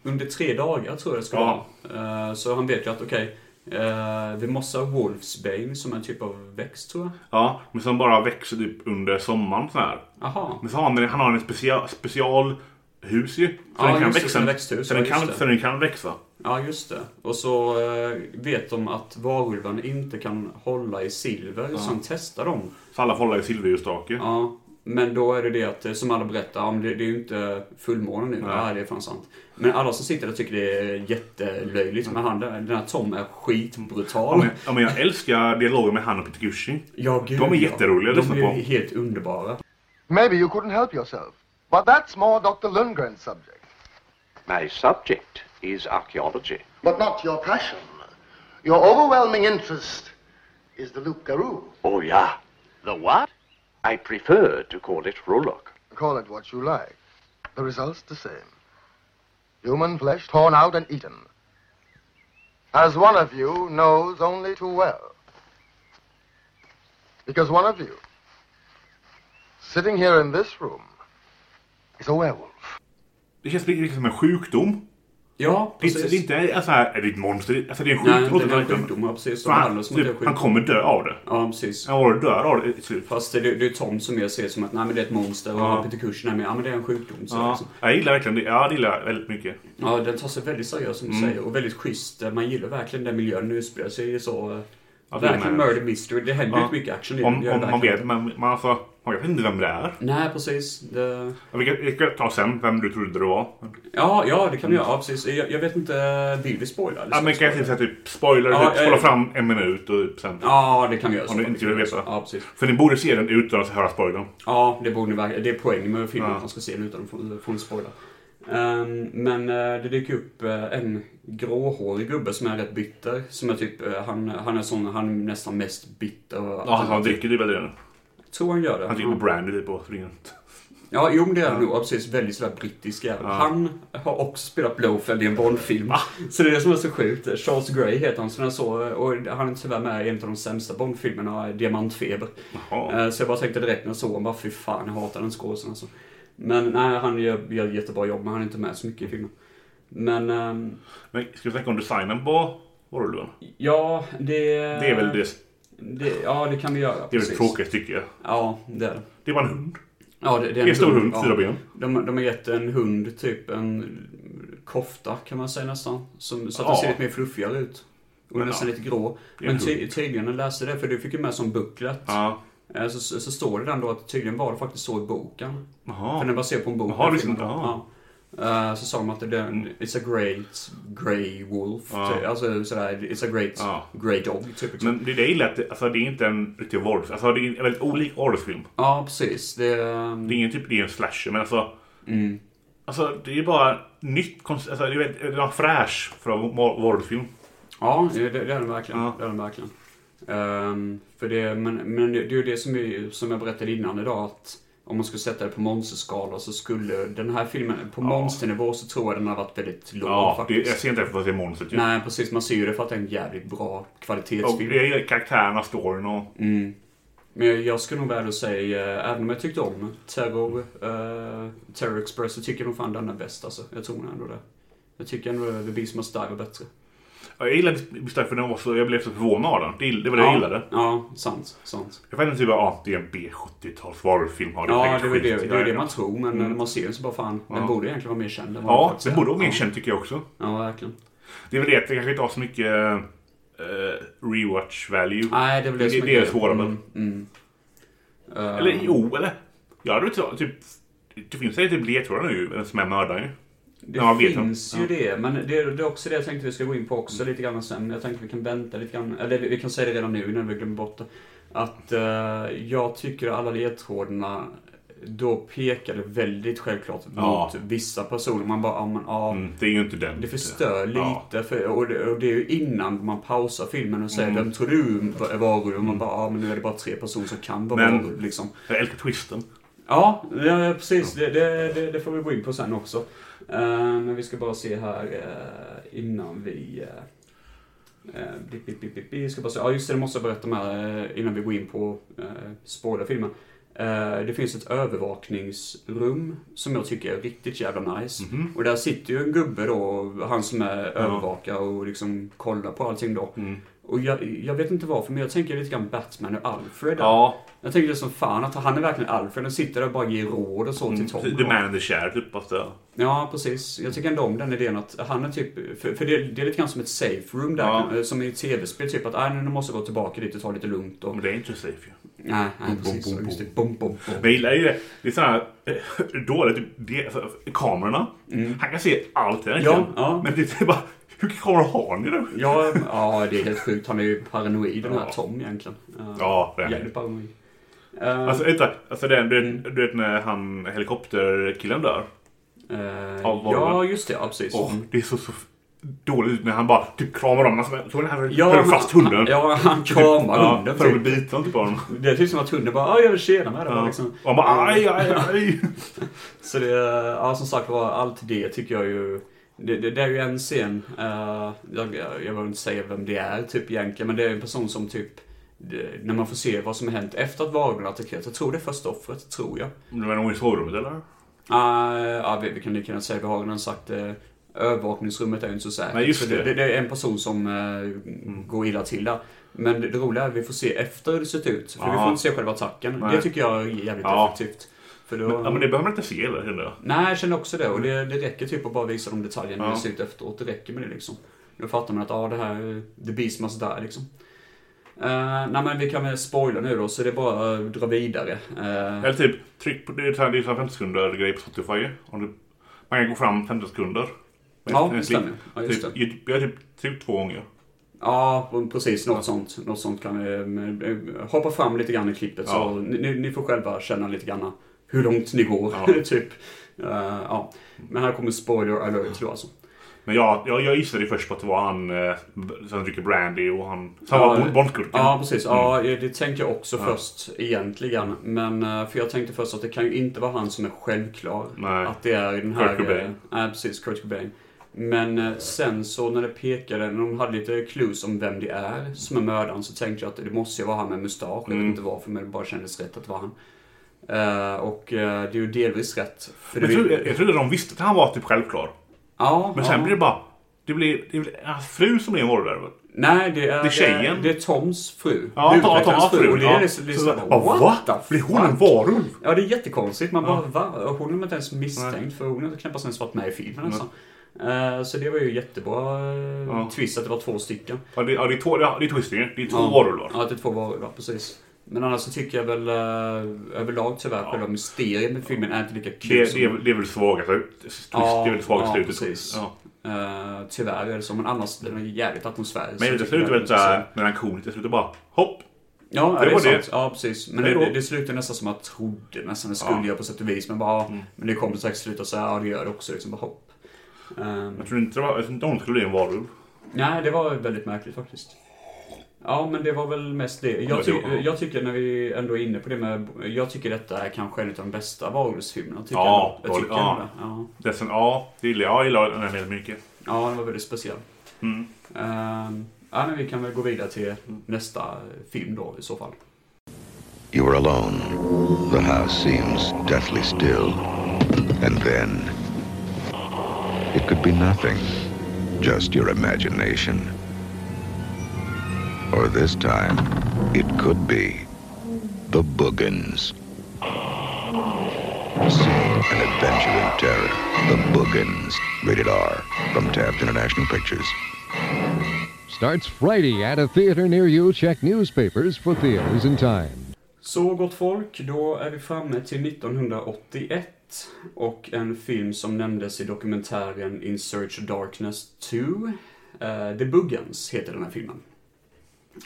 S1: under tre dagar tror jag det ska
S2: Ja.
S1: vara. Eh, så han vet ju att okej, eh, vi måste ha Wolfsbane som är en typ av växt tror jag.
S2: Ja, men som bara växer typ under sommaren så här.
S1: Aha.
S2: Men så har han, han har en special, special hus ju. Så
S1: Ja,
S2: den kan
S1: just det,
S2: växa.
S1: som växthus,
S2: så,
S1: ja,
S2: den kan,
S1: just det.
S2: så den kan växa.
S1: Ja, just det. Och så eh, vet de att varulven inte kan hålla i silver, så han testar dem.
S2: Så alla får hålla i silverljusstake.
S1: Ja, men då är det det att, eh, som alla berättar, om det, det är ju inte fullmåne nu. Nej, det är fan sant. Men alla som sitter där tycker det är jättelöjligt.
S2: Mm.
S1: Men han, där- den här Tom är
S2: Ja,
S1: skitbrutal.
S2: men, ja, men jag älskar dialogen med han och Peter Cushing.
S1: Ja, gud,
S2: De är
S1: ja.
S2: jätteroliga att
S1: De
S2: lyssna
S1: är
S2: på.
S1: ju helt underbara.
S8: Maybe you couldn't help yourself. But that's more Dr. Lundgren's subject.
S3: My subject is archaeology.
S8: But not your passion. Your overwhelming interest is the Loup Garou.
S3: Oh, yeah. The what? I prefer to call it Rulok.
S8: Call it what you like. The result's the same. Human flesh torn out and eaten. As one of you knows only too well. Because one of you, sitting here in this room, is a werewolf.
S2: Det känns lite lite som en sjukdom.
S1: Ja,
S2: Det är inte- det är
S1: precis.
S2: inte alltså, här, är det ett monster. Alltså, det är en
S1: Nej,
S2: sjukdom.
S1: det är en sjukdom, ja, precis.
S2: Så
S1: De
S2: Han,
S1: handlar som att det är
S2: typ, han
S1: sjukdom.
S2: kommer dö av det.
S1: Ja, precis.
S2: Han var dör av det i slutet.
S1: Fast det, det är Tom som jag ser som att nej, men det är ett monster och Peter Cushing är med. Ja, men det är en sjukdom. Så
S2: Ja,
S1: liksom.
S2: jag gillar verkligen det. Ja, det gillar jag väldigt mycket.
S1: Ja, den tar sig väldigt seriöst som du
S2: Mm.
S1: säger och väldigt schysst. Man gillar verkligen den miljön den utspelar sig i. Så, eh,
S2: Ja, det är
S1: verkligen
S2: med.
S1: murder mystery. Det händer ju
S2: Ja.
S1: inte mycket action i den.
S2: Om,
S1: Det gör
S2: om
S1: det
S2: man
S1: verkligen.
S2: vet, men man, alltså, man vet inte vem det är.
S1: Nej, precis. Det...
S2: Ja, Vi kan, vi kan ta sen vem du trodde det var.
S1: Ja, ja, det kan du göra. Ja, precis. Jag, jag vet inte, vill vi spoila? eller
S2: Mm. Ja,
S1: ska
S2: men
S1: vi
S2: kan jag
S1: spoila?
S2: typ säga typ spoiler,
S1: Ja,
S2: typ, spola
S1: eh,
S2: fram en minut och typ sen.
S1: Ja, det kan vi göra.
S2: Om du inte vill veta.
S1: Ja, precis.
S2: För ni borde se den utan att höra spoilern.
S1: Ja, det borde ni verkligen. Det är poängen med filmen,
S2: Ja.
S1: att man ska se den utan att få- få en spoiler. Ehm, men eh, det dyker upp eh, en gråhårig gubbe som är rätt bitter. Som är typ, eh, han, han är sån, han är nästan mest bitter.
S2: Ja, han, han dricker typ aldrig den.
S1: tror han gör det.
S2: Han dricker
S1: Ja.
S2: brandy typ och springer runt.
S1: Ja, jo men det är han nog. Ja, precis. Väldigt sådär brittisk jävel. Han har också spelat Blowfeld i en Bondfilm.
S2: Ah.
S1: Så det är det som är så sjukt. Charles Grey heter han som jag såg. Och han är tyvärr med i en av de sämsta Bondfilmerna, Diamantfeber.
S2: Jaha.
S1: Eh, Så jag bara tänkte direkt när jag såg honom, bara fy fan, jag hatar den skådisen alltså. Men nej, han gör, gör ett jättebra jobb, men han är inte med så mycket i filmen. Men ehm,
S2: Men ska vi snacka om designen på varulven?
S1: ja, det...
S2: Det är väl det,
S1: det- Ja, det kan vi göra.
S2: det, är väl det
S1: precis.
S2: tråkigaste tycker jag.
S1: Ja, det är det.
S2: Det var en hund.
S1: Ja, det, det är
S2: Det är en stor hund,
S1: ja.
S2: fyra ben.
S1: De, de har gett en hund typ en kofta kan man säga nästan. Som, så att den
S2: Ja.
S1: ser lite mer fluffigare ut. Och den är nästan lite grå.
S2: är en
S1: Men ty, tydligen, jag läste det för du fick ju med som booklet.
S2: Ja.
S1: Eh, Så, så, så står det den då att tydligen var det faktiskt så i boken.
S2: Jaha.
S1: För den är baserad på en bok.
S2: Jaha,
S1: den
S2: det
S1: filmen.
S2: visste jag inte.
S1: ja. Eh, Så sa de att det är en- it's a great grey wolf. Typ. Alltså sådär, it's a great
S2: Ja.
S1: grey dog. Typ.
S2: Men det är det jag gillar, att det, alltså, det är inte en riktig varulv. Alltså det är en väldigt olik varulvsfilm.
S1: Ja, precis. Det, ehm,
S2: Det är ingen typ, det är en slasher men alltså.
S1: Mm.
S2: Alltså det är bara nytt koncept. Alltså, det är väldigt- det är en fräsch för att vara varulvsfilm.
S1: Ja, det, det är den verkligen.
S2: Ja.
S1: Det är den verkligen. Ehm, för det, men, men det är ju det som, vi, som jag berättade innan idag att om man skulle sätta det på monsterskala så skulle den här filmen, på monsternivå så tror jag den har varit väldigt låg
S2: Ja, det,
S1: faktiskt.
S2: jag ser inte efter vad det är monstret ju.
S1: Nej, precis. Man ser ju det för att det är en jävligt bra
S2: Och
S1: kvalitetsfilm.
S2: jag gillar karaktärerna, storyn och...
S1: Mm. Men jag, jag skulle nog vara ärlig och säga, eh, även om jag tyckte om Terror, eh, Terror Express, så tycker jag nog fan den är bäst alltså. Jag tror nog ändå det. Jag tycker ändå The Beast Must Die var bättre.
S2: Ja, Jag gillade Beast för den var så, jag blev så förvånad av den. Det, det var det
S1: ja,
S2: jag gillade.
S1: Ja, sant. sant.
S2: Jag vet inte typ, ja det är en B70-tals varulvsfilm.
S1: Ja,
S2: säkert
S1: det är ju
S2: skit
S1: det,
S2: i
S1: det, är det
S2: världen.
S1: man tror, men när man ser den så bara fan, den borde egentligen vara mer känd än vad den
S2: Ja,
S1: faktiskt
S2: den
S1: är.
S2: borde vara mer känd tycker jag också.
S1: Ja, verkligen.
S2: Det är väl det att det kanske inte har så mycket eh, rewatch value.
S1: Ah. Nej, det är väl det
S2: det,
S1: som
S2: det är
S1: grejen.
S2: svåra med
S1: Mm, mm. Eh,
S2: Eller jo, eller? Jag hade inte typ... Det finns ju typ ledtrådar nu vem som är mördaren ju.
S1: Det
S2: Ja, vet
S1: finns
S2: jag.
S1: ju det, men det, det är också det jag tänkte vi ska gå in på också lite grann sen. Jag tänkte vi kan vänta lite grann, eller vi kan säga det redan nu innan vi glömmer bort det. Att eh, jag tycker alla ledtrådarna då pekade väldigt självklart
S2: Ja.
S1: mot vissa personer. Man bara, ja men ja.
S2: Mm, det är ju inte den.
S1: Det förstör
S2: Ja.
S1: lite, för, och, det, och det är ju innan man pausar filmen och säger vem tror du är varulv? Och man bara, ja men nu är det bara tre personer som kan vara
S2: Men-
S1: varulv liksom.
S2: Jag älskar twisten.
S1: Ja, ja precis. Det, det, det, det får vi gå in på sen också. Eh, men vi ska bara se här eh, innan vi... eh, eh, bip, bip, bip, bip, bip. Jag ska bara se. Ja, just det, det måste jag berätta med eh, innan vi går in på uh, spåra filmen. Eh, det finns ett övervakningsrum som jag tycker är riktigt jävla nice. Och där sitter ju en gubbe då, han som är övervakare och liksom kollar på allting då. Och jag, jag vet inte varför, men jag tänker lite grann Batman och Alfred. där.
S2: Ja.
S1: Jag tänker det som fan att han är verkligen Alfred. Han sitter där och bara ger råd och så till Tom.
S2: The man in the chair typ. Fast, ja.
S1: Ja, precis. Jag tycker ändå om den idén att han är typ... För, för det, det är lite grann som ett safe room där.
S2: Ja.
S1: eh, Som i ett tv-spel. Typ att "Ah, nej, nu måste jag gå tillbaka dit och ta lite lugnt. Och,
S2: Men det är inte safe ju.
S1: nej, nej, precis.
S2: bom,
S1: så, just
S2: bom.
S1: det. Bom, bom, bom.
S2: Men jag gillar ju det. Det är sådana dåligt. Typ, det, så- kamerorna. Han kan se allt egentligen.
S1: Mm. Ja, ja.
S2: Men det är typ bara... Hur mycket kameror har ni då?
S1: Ja, ja, det är helt sjukt. Han är ju paranoid den här
S2: Ja.
S1: Tom egentligen. Eh,
S2: Ja, det är han.
S1: Jävligt paranoid. Eh,
S2: Alltså, vänta, alltså det, du,
S1: Mm.
S2: vet, du vet när han helikopterkillen dör?
S1: eh,
S2: ja, vad var
S1: ja,
S2: det?
S1: just det. Ja, precis.
S2: Åh, det är så, så dåligt ut när han bara typ kramar om honom. Såg ni han
S1: Ja,
S2: höll
S1: men-
S2: fast hunden? Typ,
S1: Ja, han kramar hunden,
S2: För att
S1: typ.
S2: bli biten typ av honom.
S1: Det är typ som att hunden bara "Ah, jag vill tjena med dig.
S2: Ja.
S1: Liksom.
S2: Och han bara aj, aj, aj.
S1: Så det, ja som sagt var, allt det tycker jag ju... Det, det, det är ju en scen, eh, jag, jag vill inte säga vem det är typ egentligen, men det är en person som typ... det- När man får se vad som har hänt efter att varulven har attackerat. Jag tror det är första offret, tror jag.
S2: Men var hon i sovrummet eller?
S1: Uh, ja, vi, vi kan lika gärna säga, vi har redan sagt eh, övervakningsrummet är ju inte så säkert.
S2: Nej, just
S1: så
S2: det. Mm.
S1: det, det är en person som eh, går illa till där. Men det, det roliga är att vi får se efter hur det sett ut. För vi
S2: Ja.
S1: får inte se själva attacken.
S2: Nej.
S1: Det tycker jag är jävligt
S2: Ja.
S1: effektivt. För då,
S2: Ja, men det behöver man inte se eller kände jag.
S1: Nej, jag känner också det. Och det, det räcker typ att bara visa de detaljerna
S2: Ja.
S1: ja. ser ut efteråt. Det räcker med det liksom. Då fattar man att ja, det här, är the beast must die liksom. Eh, nej men vi kan väl spoila nu då, så det är bara att dra vidare. Eh,
S2: Eller typ, tryck på, det är så här- det är så här 50 sekunder grej på Spotify. ju. Om du, man kan gå fram 15 sekunder.
S1: Ja,
S2: Med
S1: det
S2: ett klick.
S1: stämmer. Ja, just
S2: typ,
S1: det.
S2: ju- Jag har typ, typ två gånger.
S1: ja, precis. Något sånt. Något sånt kan vi eh, hoppa fram lite grann i klippet.
S2: Ja.
S1: Så ni, ni- ni får själva känna lite grann hur långt ni går.
S2: Ja.
S1: typ. Eh, ja. Men här kommer spoiler alert då alltså.
S2: Men jag, jag, jag gissade ju först på att det var han eh, som dricker brandy och han... Som
S1: Ja,
S2: var Bondkurken.
S1: Ja, precis. Ja,
S2: Mm.
S1: det tänkte jag också först egentligen. Men eh, för jag tänkte först att det kan ju inte vara han som är självklar.
S2: Nej.
S1: Att det är den här...
S2: Kurt Cobain.
S1: eh, Nej, precis. Kurt Cobain. Men eh, sen så när det pekade, när de hade lite clues om vem det är som är mördaren så tänkte jag att det måste ju vara han med mustasch. Jag
S2: Mm.
S1: vet inte varför men det bara kändes rätt att det var han. Eh, och eh, det är ju delvis rätt. För
S2: Men
S1: det
S2: jag,
S1: vill-
S2: trodde, jag trodde de visste att han var typ självklar.
S1: ja,
S2: Men
S1: ja.
S2: sen blir det bara... Det blir, det blir hans fru som är involverad. väl?
S1: Nej, det är,
S2: Det är tjejen.
S1: Det är Toms fru.
S2: Ja, ta, ta
S1: Huvudkaraktärens
S2: hans fru.
S1: Och det är liksom-
S2: ja.
S1: det som- det är
S2: Så-
S1: så
S2: ja,
S1: här,
S2: va?
S1: what the
S2: Blir hon en varulv?
S1: Ja, det är jättekonstigt. Man bara, va? Hon är inte ens misstänkt för hon har knappast ens varit med i filmen nästan. Eh, Så det var ju jättebra eh,
S2: Ja.
S1: twist att det var två stycken.
S2: Ja, det, ja, det är två, ja, det är twistingen. Det är två
S1: Ja.
S2: varulvar.
S1: Ja, att det är två varulvar, precis. Men annars så tycker jag väl eh, överlag tyvärr själva mysteriet med filmen är inte lika kul
S2: Det,
S1: som...
S2: det, är, det är väl svagast twist. det är väl svagast
S1: ja,
S2: slutet.
S1: precis.
S2: Ja.
S1: Eh, tyvärr är det så, men annars den är jävligt atmosfärisk.
S2: Men det
S1: Jag
S2: slutar
S1: tycker
S2: väl såhär melankoliskt. Det slutar bara hopp.
S1: Ja,
S2: Det
S1: det,
S2: var
S1: är sant.
S2: det.
S1: Ja, precis. Men
S2: Hej
S1: det,
S2: då.
S1: det, det slutade nästan som att jag trodde nästan det skulle
S2: Ja. Mm.
S1: göra på sätt och vis. Men bara, ja, men det kommer säkert sluta så här, ja det gör det också. Liksom bara hopp. Ehm,
S2: Jag tror inte, det var, jag tror inte hon skulle bli en varulv.
S1: nej, det var väldigt märkligt faktiskt. Ja, men det var väl mest det.
S2: Ja, det
S1: Jag, ty-
S2: var- ja.
S1: jag tycker när vi ändå är inne på det med... Jag tycker detta är kanske en av de bästa varulvsfilmerna. tycker
S2: Ja,
S1: jag. Jag tycker
S2: ja.
S1: ja. Det. ja.
S2: Det är sen, ja, det gillar jag. Jag gillar den här väldigt mycket.
S1: Ja, den var väldigt speciell.
S2: Mm.
S1: Ehm, ja, men vi kan väl gå vidare till nästa film då i så fall.
S9: You are alone. The house seems deathly still. And then. It could be nothing, just your imagination. Or this time, it could be the Boogans. See an adventure in terror. The Boogans. Rated R from Taft International Pictures.
S10: Starts Friday at a theater near you. Check newspapers for theaters and time.
S1: Så gott folk, då är vi framme till 1981 och en film som nämndes i dokumentären In Search of Darkness 2. Eh, The Buggans heter den här filmen.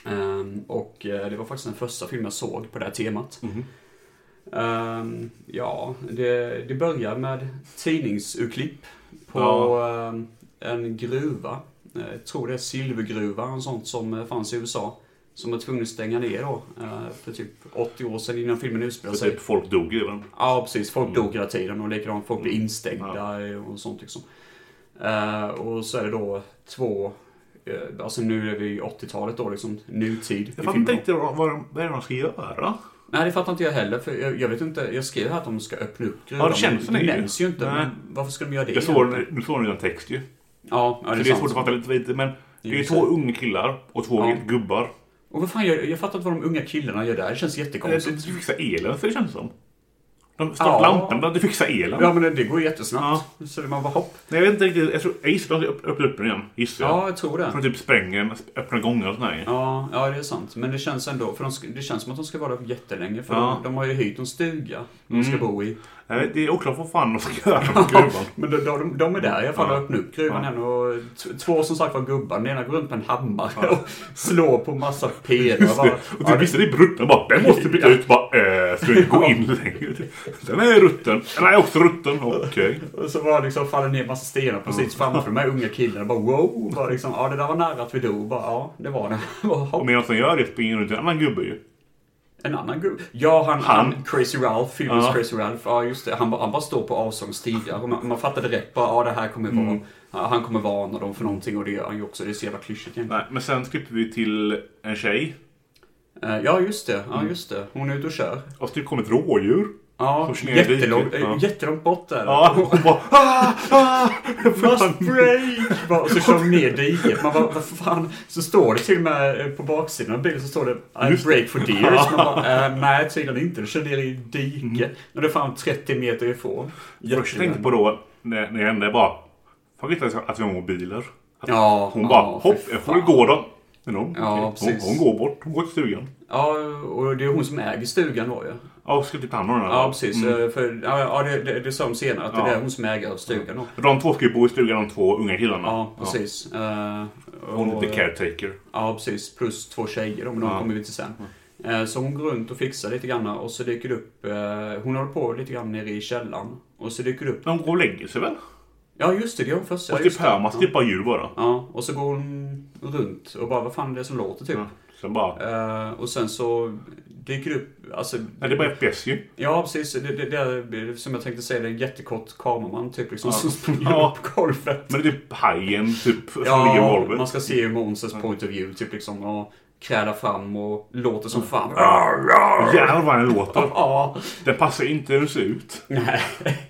S1: Ehm, och eh, det var faktiskt den första film jag såg på det här temat. Ehm, ja, det, det börjar med tidningsurklipp på ehm, en gruva. Eh, Jag tror det är silvergruva och sånt som eh, fanns i USA. Som var tvungen att stänga ner då. eh, För typ 80 år sedan innan filmen utspelar
S2: För
S1: sig.
S2: typ Mm. folk dog i den.
S1: Ja, precis. Folk dog hela tiden och likadant folk
S2: Mm.
S1: blev instängda och sånt liksom. Eh, och så är det då två, eh, alltså nu är vi i 80-talet då liksom, nutid. i
S2: Jag fattar
S1: filmen
S2: inte
S1: då.
S2: riktigt vad, vad, de- vad är det de ska göra.
S1: Nej, det fattar inte jag heller. För jag, jag vet inte, jag skrev här att de ska öppna upp gruvan.
S2: Ja, det känns
S1: men
S2: det ju.
S1: nämns ju inte.
S2: Nej.
S1: Men varför skulle de göra det?
S2: Jag såg
S1: egentligen?
S2: den- nu såg den utan text ju.
S1: Ja, ja, det
S2: Så
S1: är,
S2: det är
S1: sant.
S2: svårt att fatta lite lite men det är ju
S1: Just
S2: två
S1: det.
S2: unga killar och två
S1: Ja.
S2: gubbar.
S1: Och vad fan, jag, jag fattar inte vad de unga killarna gör där. Det känns
S2: De ska
S1: jättekonstigt.
S2: fixa elen för det känns som. De startar
S1: Ja.
S2: lamporna, de fixar elen.
S1: Ja, men det, det går ju jättesnabbt. Så det man bara hopp.
S2: Nej, jag vet inte riktigt. Jag, tror, jag gissar att de öpp- öppnar upp den igen. Gissar jag.
S1: Ja, jag tror
S2: För
S1: det.
S2: de typ spränger den, öppnar gångar och sådär. Ja.
S1: Ja, ja, det är sant. Men det känns ändå, för de, sk- det känns som att de ska vara där jättelänge. För
S2: Ja.
S1: de,
S2: Mm.
S1: de har ju hyrt en stuga de ska bo i.
S2: Nej, Det är oklart vad fan de ska göra med gruvan.
S1: Men de, de, de är där i alla fall
S2: Ja.
S1: och öppnar upp gruvan
S2: Ja.
S1: än. Och t- två som sagt var gubbar. Den ena går runt med en hammare och slår på massa pelare. Bara,
S2: Och
S1: ja,
S2: typ vissa det är brutten bara den måste byta ut bara eh, ska inte gå in längre. Den är rutten. Den är också rutten. Okej.
S1: Och så bara liksom faller ner massa stenar precis framför de här unga killarna. Bara wow! Bara liksom, ja, det där var nära att vi dog. Bara, ja, det var det. Bara,
S2: Och
S1: hopp.
S2: medan de gör det springer runt en annan gubbe ju.
S1: En annan gubbe. Ja, han,
S2: Han.
S1: han. Crazy Ralph. Filmens
S2: Ja.
S1: Crazy Ralph. Ja, just det. Han, bara- han bara står på avståndstider. Man, man fattar direkt bara, ja, det här kommer vara...
S2: Mm.
S1: ja, Han kommer varna dem för någonting och det gör han ju också. Det är så jävla klyschigt egentligen.
S2: Nej, men sen klipper vi till en tjej.
S1: Eh, Ja, just det.
S2: Mm.
S1: Ja, just det. Hon är ute och kör.
S2: Och så typ kommer ett rådjur.
S1: Ja,
S2: Som sned i
S1: jättelångt,
S2: diket. Ja.
S1: ja. jättelångt bort där.
S2: Ja, hon bara ah, ah,
S1: Must break! Bara, Och så kör de ner diket. Man bara, vad fan? Så står det till och med eh, på baksidan av bilen så står det I
S2: Just det.
S1: break for deer. Så man bara, eh, nej tydligen inte. Du kör ner i diket.
S2: Mm.
S1: När du är fan 30 meter ifrån.
S2: Jag tänkte på då när, när det hände bara. Fan vet jag att vi har mobiler. Att
S1: Ja,
S2: hon
S1: ja,
S2: bara
S1: fy
S2: hopp, jag får
S1: fan.
S2: gå då. Men hon,
S1: Ja,
S2: hon,
S1: precis.
S2: hon går bort. Hon går till stugan.
S1: Ja, och det är hon som äger stugan då ju.
S2: Ja, och ska typ ta hand om den. här.
S1: Ja, precis. Eh, För, ja, ja, det, det, det sa de senare. Att
S2: Ja.
S1: det är hon som äger stugan då.
S2: De två ska ju bo i stugan, de två unga killarna.
S1: Ja, precis. Eh,
S2: Ja. Hon är
S1: och-
S2: lite caretaker.
S1: Ja, precis. Plus två tjejer då, men de
S2: Ja.
S1: kommer vi till sen. Eh, Så hon går runt och fixar lite grann och så dyker det upp... eh, Hon håller på lite grann nere i källaren. Och så dyker det upp...
S2: De går och lägger sig väl?
S1: Ja, just det, det är hon först. Ja,
S2: och typ
S1: just det.
S2: hör man typ bara ljud bara.
S1: Ja, och så går hon runt och bara vad fan är det som låter typ.
S2: Ja. Sen bara...
S1: Eh, och sen så dyker det upp, alltså...
S2: Nej, det är bara FPS ju.
S1: Ja, precis. Det, det, det är, som jag tänkte säga, det är en jättekort kameraman typ liksom
S2: Ja.
S1: som springer
S2: Ja.
S1: upp golvet.
S2: Men det är typ hajen typ som ligger i
S1: Ja,
S2: golvet.
S1: man ska se hur Monsters point of view typ liksom och kräla fram och låter som fan.
S2: Jävlar vad den låter.
S1: Ja.
S2: Den passar inte hur den ser ut.
S1: Nej.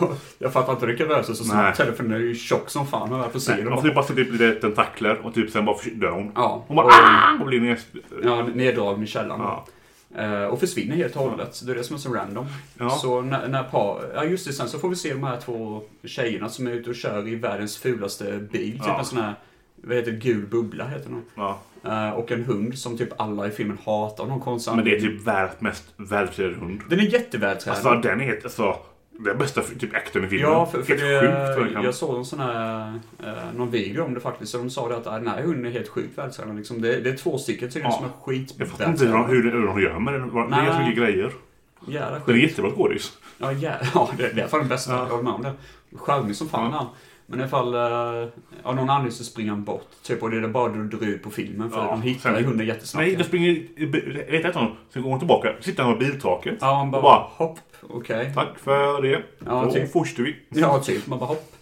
S1: Och Jag fattar inte hur det kan röra sig så
S2: Nej.
S1: snabbt heller för den är ju tjock som fan. Man får se
S2: Man får
S1: dem.
S2: typ bara se typ lite tentakler och typ sen bara försvinner- dör hon.
S1: Ja.
S2: Hon bara
S1: Och-
S2: ah! Och blir ner.
S1: Ja, neddragen i källaren.
S2: Ja.
S1: Eh, Och försvinner helt och hållet. Så Det är det som är så random.
S2: Ja.
S1: Så när, när par, ja just det, sen så får vi se de här två tjejerna som är ute och kör i världens fulaste bil. Typ
S2: Ja.
S1: en sån här, vad heter det, gul bubbla heter den.
S2: Ja.
S1: Eh, Och en hund som typ alla i filmen hatar av någon konstig
S2: Men det är
S1: anledning.
S2: typ världens mest vältränade hund.
S1: Den är jättevältränad.
S2: Alltså den är helt... Alltså, den bästa typ akten i filmen.
S1: Ja, för, för
S2: helt
S1: det,
S2: sjukt vad den kan.
S1: jag såg en sån här, eh, någon video om det faktiskt. Och de sa det att "Ah, den här hunden är helt sjukt vältränad. Liksom. Det, det är två stycken tydligen
S2: Ja.
S1: som är
S2: Jag fattar inte hur de,
S1: skitvältränade.
S2: hur, hur de gör med den. Det är
S1: Nej.
S2: så mycket grejer.
S1: Jävla
S2: Den är
S1: sjukt.
S2: jättebra skådis.
S1: Ja, jä... ja det, det är fan den bästa. Jag håller med om det. Charmig som fan
S2: Ja.
S1: han. Men i alla fall, eh, av någon anledning så springer han bort. Typ, och det är bara du drar ut på filmen. För
S2: Ja.
S1: de hittar
S2: Sen-
S1: ju hunden jättesnabbt.
S2: Nej, den springer... Vet jag inte. Sen går hon tillbaka. Sitter han på biltaket.
S1: Ja, han
S2: och
S1: bara, hopp, okej.
S2: Tack för det.
S1: Ja,
S2: Då
S1: typ.
S2: fortsätter vi.
S1: Ja, typ. Man bara hopp.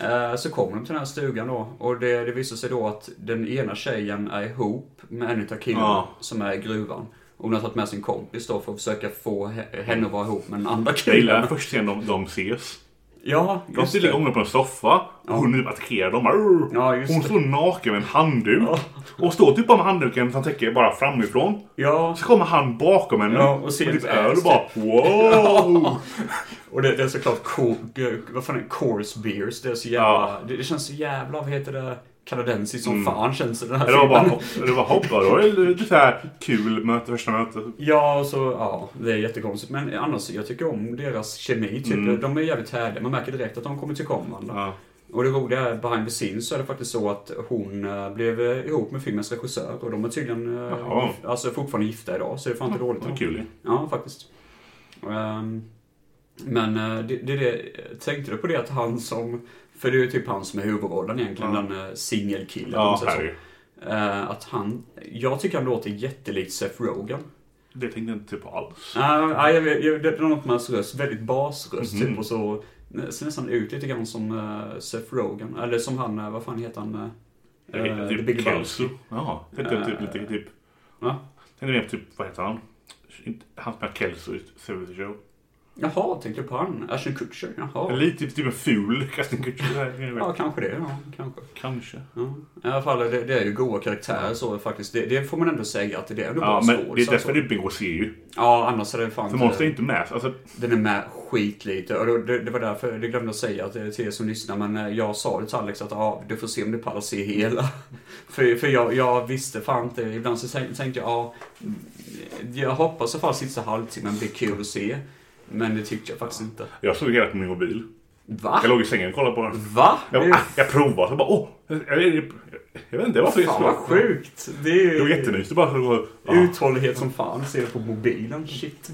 S1: Eh, Så kommer de till den här stugan då och det, det visar sig då att den ena tjejen är ihop med en utav killarna
S2: Ja.
S1: som är i gruvan. Och hon har tagit med sin kompis då för att försöka få he- henne att vara ihop med den andra
S2: Jag gillar den
S1: killen.
S2: första scenen de, de ses.
S1: Ja,
S2: De
S1: just
S2: sitter
S1: det.
S2: igång på en soffa. Och hon typ attackerar dem. Arr!
S1: Ja, just
S2: hon
S1: det.
S2: står naken med en handduk. Och står typ bara med handduken som täcker bara framifrån.
S1: Ja,
S2: Så kommer han bakom henne.
S1: Ja, och ser
S2: typ
S1: hennes
S2: öl och
S1: ass.
S2: bara wow!
S1: och det, det är såklart co- g- vad fan är det? Coors beers. Det är så jävla...
S2: Ja. Mm.
S1: Det, det känns så jävla, vad heter det? kanadensisk som fan känns det den här
S2: Eller det var bara
S1: filmen.
S2: hopp. Det var hopp. bara. Det var ju lite så här kul möte, första mötet.
S1: Ja, och så, ja, det är jättekonstigt. Men annars, jag tycker om deras kemi. Typ. De är jävligt härliga. Man märker direkt att de kommer tycka om varandra.
S2: Mm. Ja.
S1: Och det roliga är, behind the scenes så är det faktiskt så att hon eh, blev eh, ihop med filmens regissör. Och de är tydligen eh,
S2: Jaha.
S1: gif- alltså, fortfarande gifta idag, så det är fan inte dåligt.
S2: Vad kul ju.
S1: Ja, faktiskt. Ehm, men eh, det, det, det, tänkte du på det att han som, för det är ju typ han som är huvudrollen egentligen, den eh, singelkillen. om man säger
S2: Ja,
S1: så.
S2: Harry.
S1: Eh, att han, jag tycker han låter jättelikt Seth Rogen.
S2: Det tänkte jag inte på alls.
S1: Nej, nej, jag vet- jag- det är något med hans röst. Väldigt basröst
S2: Mhm.
S1: typ. Och så ser nästan ut lite grann som eh, Seth Rogen. Eller som han, eh, vad fan heter han? eh, eh, The Big Lebowski.
S2: typ Ja, tänkte jag typ lite typ.
S1: Va?
S2: Tänkte mer på typ, vad heter han? Inte- Han spelar Kelso i Seventy Show.
S1: Jaha, tänkte jag på han. Ashton Kutcher. Jaha.
S2: Lite typ, typ en ful Justin Kutcher.
S1: Ja, kanske det. Ja, kanske.
S2: Kanske.
S1: Ja. Mm. I alla fall, det, det är ju goa karaktärer så faktiskt. Det, det får man ändå säga att det är ändå bra
S2: Ja, men det är
S1: skådisar, så.
S2: därför det är Bingo ser ju.
S1: Ja, annars är det fan
S2: För Monster är inte med. Alltså,
S1: Den är med skitlite. Och det, det var därför det glömde jag säga att- till er som lyssnar. Men eh, jag sa det till Alex att ah, du får se om du pallar se hela. för för jag, jag visste fan inte. Ibland så tänk- tänkte jag ah, jag hoppas i alla fall sista halvtimmen blir kul att se. Men det tyckte jag faktiskt inte.
S2: jag såg hela på min mobil.
S1: Va?
S2: Jag låg i sängen och kollade på den.
S1: Va? Det
S2: Jag,
S1: är
S2: bara,
S1: ju
S2: ah, jag provade. Så bara, åh! Jag, jag, jag, jag vet inte, alltså, jag var
S1: fan
S2: så
S1: vad
S2: jättesvår.
S1: sjukt. Det är ju
S2: Det var jättemysigt. Det Bara, så- ja.
S1: uthållighet som fan att se det på mobilen. Shit.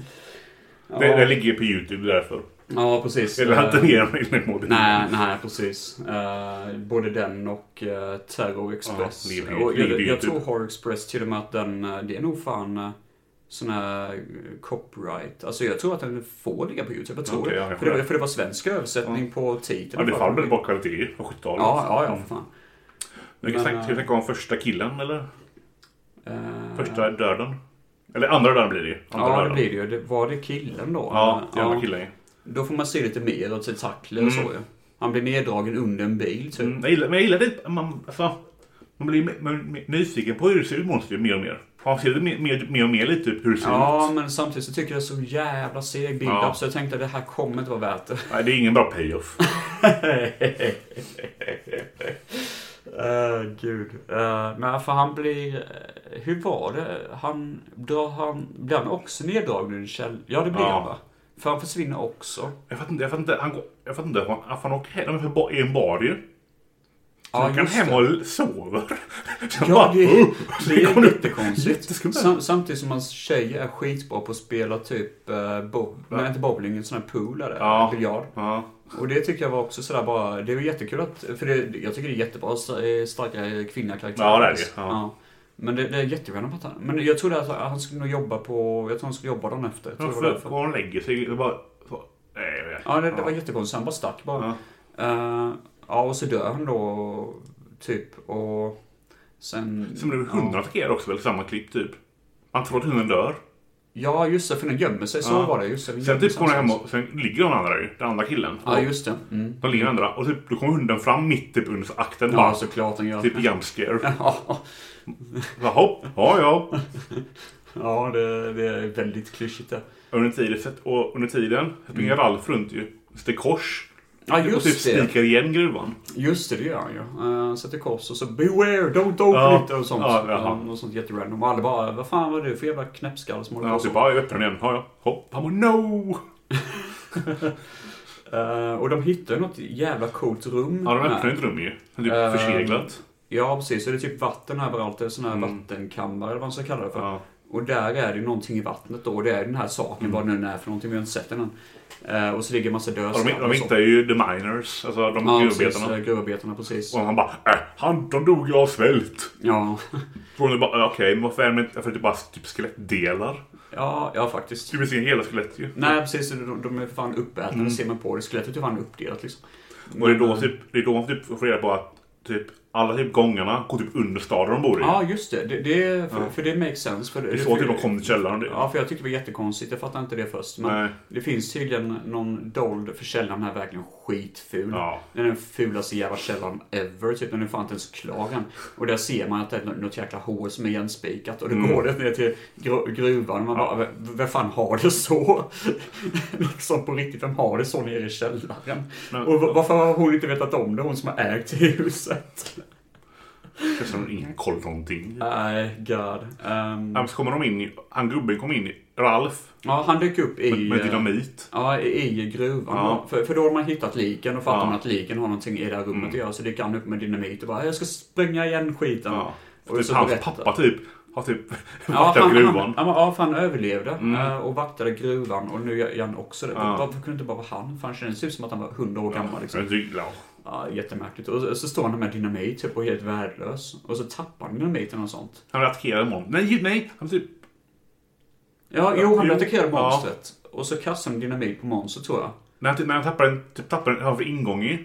S1: Ja,
S2: det, det ligger ju på YouTube därför.
S1: ja precis.
S2: Eller
S1: Eh,
S2: hade ner mig i min mobil.
S1: Nej, nej precis. Eh, både den och eh, Terror Express.
S2: Ja, lever ju-
S1: och jag,
S2: lever ju
S1: jag
S2: typ.
S1: tror Horror Express till och med att den, eh, det är nog fan eh, sån här eh, copyright. Alltså jag tror att den får ligga på YouTube, jag tror
S2: Okej,
S1: det.
S2: ja, jag
S1: för, det
S2: får
S1: var,
S2: det.
S1: för det var svensk översättning på titeln.
S2: Ja, det
S1: för
S2: faller
S1: mig.
S2: bra kvalitet på 70-talet.
S1: Ja, ja, ja, för fan.
S2: Jag kan
S1: Men,
S2: tänka- tänka om första killen eller?
S1: Eh,
S2: Första döden. Eller andra döden blir det ju. Andra
S1: ja, det
S2: döden.
S1: blir det ju. Det, var det killen då?
S2: Ja, det är
S1: Ja,
S2: andra killen Mm. ju.
S1: Då får man se lite mer av tentakler och så ju. Han blir neddragen under en bil typ.
S2: Mm, jag gillar, men jag gillar det. Man, alltså, man blir mer- mer- mer nyfiken på hur det ser ut monster mer och mer. Man ser det mer, mer, mer och mer lite hur det ser
S1: Ja,
S2: ut.
S1: men samtidigt så tycker jag det är så jävla seg build-up
S2: Ja.
S1: så jag tänkte att det här kommer inte vara värt det.
S2: Nej, det är ingen bra payoff.
S1: Eh, gud. Eh, men för han blir... eh, Hur var det? Han, drar han, blir han också neddragen ur en käll? Ja, det blir
S2: Ja.
S1: han va? För han försvinner också.
S2: Jag fattar inte, jag fattar inte, han, går- jag fattar inte, han, han åker hem, de är för ba- i en bar ju.
S1: Ja,
S2: han kan
S1: just
S2: hem
S1: det.
S2: och sover. Så han
S1: Ja,
S2: bara,
S1: det,
S2: "Uh!"
S1: det
S2: kommer
S1: är
S2: ut.
S1: jättekonstigt.
S2: Jätteskumt.
S1: Sam, samtidigt som hans tjej är skitbra på att spela typ eh, bob, nej, inte bowling, en sån här pool eller
S2: Ja.
S1: biljard.
S2: Ja,
S1: Och det tycker jag var också sådär bara, det var jättekul att, för det, jag tycker det är jättebra st- eh, starka kvinnliga karaktärer.
S2: Ja, det är det,
S1: faktiskt.
S2: ja.
S1: Men det, det är jätteskönt att han, men jag trodde att han skulle nog jobba på, jag tror han skulle jobba dagen efter. Jag tror
S2: han
S1: det var
S2: får-
S1: därför.
S2: går och lägger sig och bara... Så, nej, jag vet.
S1: Ja, det, det var jättekonstigt. Han bara stack bara. Eh, Ja. och så dör han då, typ. Och sen...
S2: Sen blev hunden attackerad också väl, samma klipp typ. Man tror att hunden dör.
S1: Ja, just det. För den gömmer sig. Så
S2: Ja.
S1: var det. Just det, den
S2: Sen
S1: gömmer
S2: typ
S1: sig
S2: kommer han hem
S1: någonstans.
S2: och sen ligger de andra ju, den andra killen.
S1: Ja, just det. Mm.
S2: De ligger andra och typ, då kommer hunden fram mitt typ under akten.
S1: Ja,
S2: bara,
S1: såklart den gör.
S2: Typ jump scare.
S1: Ja,
S2: Jaha, ja ja.
S1: ja det, det är väldigt klyschigt det.
S2: Under tiden, och under tiden springer Ralf runt ju. Sätter kors.
S1: Mm. Ja,
S2: och typ
S1: just det.
S2: sniker igen gruvan.
S1: Just det, det gör han ju. Eh, sätter kors och så “Beware, don't open
S2: Ja.
S1: it” och sånt.
S2: Ja, jaha.
S1: Eh, och sånt jätterandom. Och alla bara “Vad fan var du för jävla knäppskalle som håller på
S2: Ja,
S1: så?”
S2: typ bara jag öppnar den igen. Ja ja. Hopp. Han bara no!
S1: Eh, Och de hittar ju något jävla coolt rum.
S2: Ja, de
S1: med.
S2: öppnar ju ett rum ju. Typ
S1: Ehm.
S2: förseglat.
S1: Ja, precis. Så det är typ vatten överallt. Det är sån här vattenkammare eller vad man ska kalla det för.
S2: Mm. Ja. Mm.
S1: Och där är det ju någonting i vattnet då. Och det är den här saken, vad den är för någonting. Vi har inte sett den än. Eh, och så ligger en massa
S2: Ja, de,
S1: dödskallar
S2: de
S1: och så.
S2: hittar ju the miners, alltså de
S1: Ja, precis.
S2: gruvarbetarna.
S1: eh, Gruvarbetarna, precis.
S2: Och han bara äh, han de dog ju av svält.
S1: Ja.
S2: Från det bara "Äh, okej, men varför är de inte... För det är bara typ skelettdelar.
S1: ja, ja faktiskt.
S2: Du vill se hela skelett ju.
S1: Nej, precis. De, de är för fan uppätna.
S2: Mm.
S1: Det ser man på det. Skelettet är fan uppdelat liksom.
S2: Och det är då typ, det är då man typ får reda på att typ alla typ gångarna går typ under staden de bor i.
S1: Ja, ah, just det. det, det för, för det makes sense. För,
S2: det är så
S1: för,
S2: typ de kommer till källaren. Det,
S1: Ja, för jag tyckte det var jättekonstigt. Jag fattade inte det först. Men
S2: Nej.
S1: det finns tydligen någon dold, för källaren är verkligen skitful.
S2: Ja.
S1: Den är den fulaste jävla källaren ever. Typ, den är fan inte ens klar än. Och där ser man att det är nå- något jäkla hål som är igenspikat. Och då
S2: Mm.
S1: går det ner till gru- gruvan. Man bara, "V- vem fan har det så? liksom på riktigt, vem har det så nere i källaren?
S2: Men-
S1: och v- varför har hon inte vetat om det? Hon som har ägt huset.
S2: Känns som ingen koll på någonting.
S1: Nej, god. Ehm,
S2: Ja, men så kommer de in, i- han gubben kom in, i- Ralf,
S1: ja, han dök upp i... eh,
S2: med, med dynamit.
S1: Ja, i i gruvan.
S2: Ja.
S1: För, för då har man hittat liken och fattar
S2: Ja. Mm.
S1: man att liken har någonting i det här rummet att göra. Så dyker han upp med dynamit och bara jag ska spränga igen skiten.
S2: Ja.
S1: Och
S2: Typ
S1: så
S2: hans
S1: berättar-
S2: pappa typ har typ
S1: Ja,
S2: varit
S1: han,
S2: över
S1: han,
S2: gruvan.
S1: han,
S2: Mm.
S1: ja, för han överlevde eh, och vaktade gruvan och nu gör han också det.
S2: Ja.
S1: Varför kunde det inte bara vara han? För han kändes ju som att han var 100 år gammal. Liksom.
S2: Men typ, ja.
S1: Ja, jättemärkligt. Och så- så står han med dynamit typ, och är helt värdelös. Och så tappar han dynamiten och sånt.
S2: Han blir attackerad imorgon. Nej, nej! Han typ...
S1: Ja, jo, han
S2: jo.
S1: blir attackerad av
S2: Ja.
S1: monstret. Och så kastar han dynamit på monstret tror jag.
S2: När han, typ, när han tappar en, typ, tappar en, han får ingång i.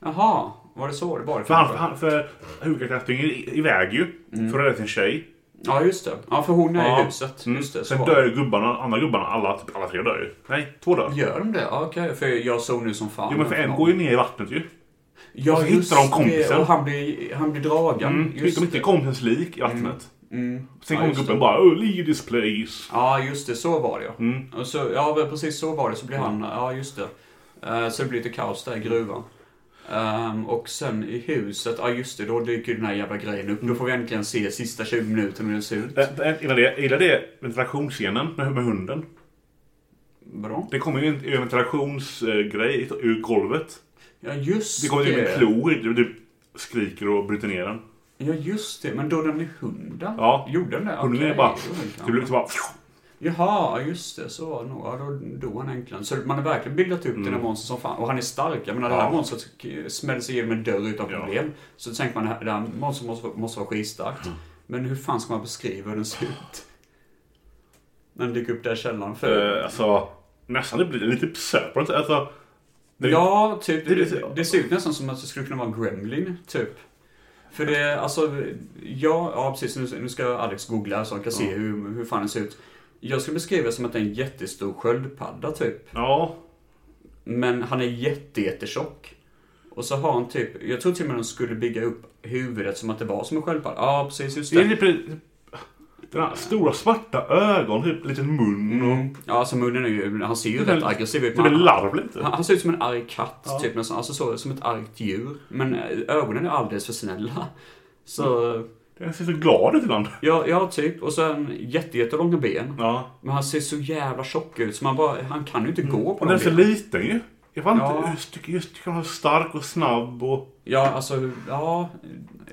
S1: Jaha, var det så det var?
S2: För, han, han, för huvudkaraktären springer i- iväg ju.
S1: Mm.
S2: För att rädda sin tjej.
S1: Ja, just det. Ja, för hon är
S2: Ja.
S1: i huset.
S2: Mm.
S1: Just det, så
S2: Sen
S1: var
S2: dör
S1: det.
S2: ju gubbarna, andra gubbarna. Alla, typ, alla tre dör ju. Nej, två dör.
S1: Gör de det? Ja, Okej, för jag såg nu som fan.
S2: Jo men för en går ju ner i vattnet ju. och
S1: Ja,
S2: så
S1: just
S2: hittar de
S1: det.
S2: kompisen.
S1: Och han blir, han blir dragen.
S2: Mm, just
S1: just
S2: de inte
S1: det. Mm,
S2: kompisens lik i vattnet. Sen
S1: Ja,
S2: kommer
S1: just
S2: gubben
S1: det.
S2: bara oh, leave this place.
S1: Ja, just det. Så var det ja.
S2: Mm.
S1: Och så, ja, väl precis så var det. Så blir han... Ja, just det. Eh, så det blir lite kaos där i gruvan. Ehm, och sen i huset, ja just det, då dyker ju den här jävla grejen
S2: Mm.
S1: upp. Då får vi äntligen se sista 20 minuterna hur det ser ut.
S2: Ä- ä- Gillar det, gillar det ventilationsscenen med, med hunden?
S1: Bra.
S2: Det kommer ju en en ventilationsgrej ur golvet.
S1: Ja, just
S2: Det kommer typ en klo du, du skriker och bryter ner den.
S1: Ja, just det. Men då den är hunden?
S2: Ja.
S1: Gjorde den det?
S2: Hunden
S1: Okej,
S2: är bara...
S1: det var inte
S2: Det blir
S1: annat.
S2: liksom bara...
S1: Jaha, just det. Så var det nog. Ja, då dog han äntligen. Så man har verkligen bildat upp den här monstern som fan. Och han är stark. Jag menar, det här
S2: Mm. Ja.
S1: monstret smällde sig igenom en dörr utan
S2: Ja.
S1: problem. Så tänker man, det här- det här monstret måste, måste vara skitstarkt.
S2: Mm.
S1: Men hur fan ska man beskriva hur den ser ut? När den dyker upp där i källaren. För...
S2: eh, alltså... Nästan det blir lite pseudo. Alltså... det-
S1: ja, typ.
S2: det-
S1: Det,
S2: det-
S1: det, ser ut nästan som att det skulle kunna vara en gremlin, typ. För det, alltså, ja, ja precis. Nu, nu ska Alex googla så han kan se hur, hur fan den ser ut. Jag skulle beskriva det som att det är en jättestor sköldpadda, typ.
S2: Ja.
S1: Men han är jätte, jättetjock. Och så har han typ, jag tror till och med de skulle bygga upp huvudet som att det var som en sköldpadda. Ja, precis, just
S2: Det är
S1: det.
S2: lite... Den här stora svarta ögon, typ liten mun och...
S1: Ja, alltså munnen är ju, han ser ju
S2: Det är
S1: rätt
S2: väl-
S1: aggressiv ut.
S2: Typ en
S1: men Han,
S2: larv lite.
S1: han, han ser ut som en arg katt, typ nästan. Alltså så, som ett argt djur. Men eh, ögonen är alldeles för snälla. Så,
S2: Den ser så glad ut ibland.
S1: ja, ja typ. Och sen jätte, jättelånga ben.
S2: Ja.
S1: Men han ser så jävla tjock ut så man bara, han kan ju inte gå på
S2: Och den är
S1: de
S2: så
S1: benen.
S2: liten ju. Jag vet inte,
S1: Ja.
S2: just, tycker- just tycker han är stark och snabb och...
S1: Ja, alltså, ja,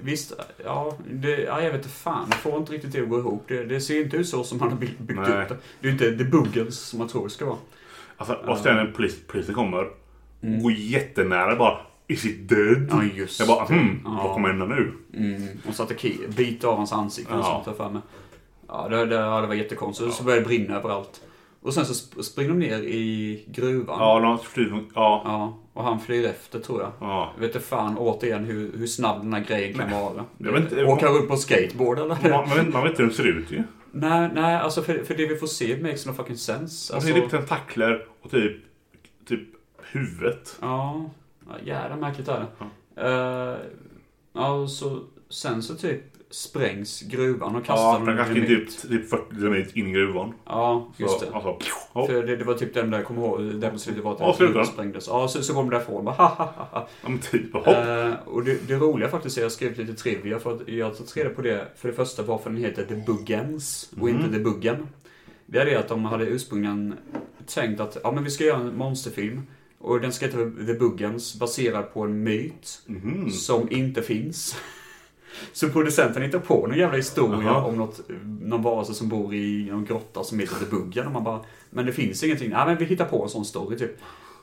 S1: visst, ja, det, ja, jag vet inte fan. Jag får inte riktigt det att gå ihop. Det, det ser inte ut så som man har byggt, byggt
S2: Nej.
S1: upp det. Det är inte the buggers som man tror det ska vara.
S2: Alltså, och sen när polis, polisen kommer och går jättenära bara Is it dead?
S1: Mm. Ja, just
S2: jag bara hmm,
S1: det.
S2: vad kommer hända nu?
S1: Mm, och satte ki- bit av hans ansikte och
S2: Ja.
S1: sånt där för mig. Ja, det, det, ja, det var jättekonstigt. Så började det brinna överallt. Och sen så sp- springer de ner i gruvan.
S2: Ja, de har flytt från... Ja.
S1: Ja, och han flyr efter tror jag.
S2: Ja.
S1: Jag vet inte fan återigen hur, hur snabb den här grejen kan vara.
S2: Jag vet inte-
S1: Åka runt på skateboard eller?
S2: Man, man, vet- man vet inte hur de ser ut ju.
S1: Nej, nej, alltså för, för det vi får se makes no fucking sense.
S2: De
S1: Alltså,
S2: ser typ tentakler och typ... Typ huvudet.
S1: ja, ja, jävla märkligt är det. Eh, ja, så sen så typ sprängs gruvan och kastar
S2: Ja,
S1: de
S2: de kanske
S1: dynamit.
S2: typ, typ 40 dynamit in i gruvan.
S1: Ja,
S2: Så,
S1: just det.
S2: Alltså, ja.
S1: För det, det var typ den där, jag kommer ihåg, den på slutet var att
S2: Ja, slutar.
S1: den sprängdes. Ja, så, så kom de därifrån bara, ha, ha, ha, ha.
S2: ja, men typ hopp.
S1: Eh, och det, det roliga faktiskt är att jag har skrivit lite trivia för att jag har tagit reda på det. För det första varför den heter The Buggens och inte The Buggen. Det är det att de hade ursprungligen tänkt att ja, men vi ska göra en monsterfilm. Och den ska heta The Buggens baserad på en myt som inte finns. Så producenten hittar på någon jävla historia
S2: Jaha.
S1: om något, någon varelse som bor i någon grotta som heter The Buggen. Och man bara, men det finns ingenting. Nej, men vi hittar på en sån story typ.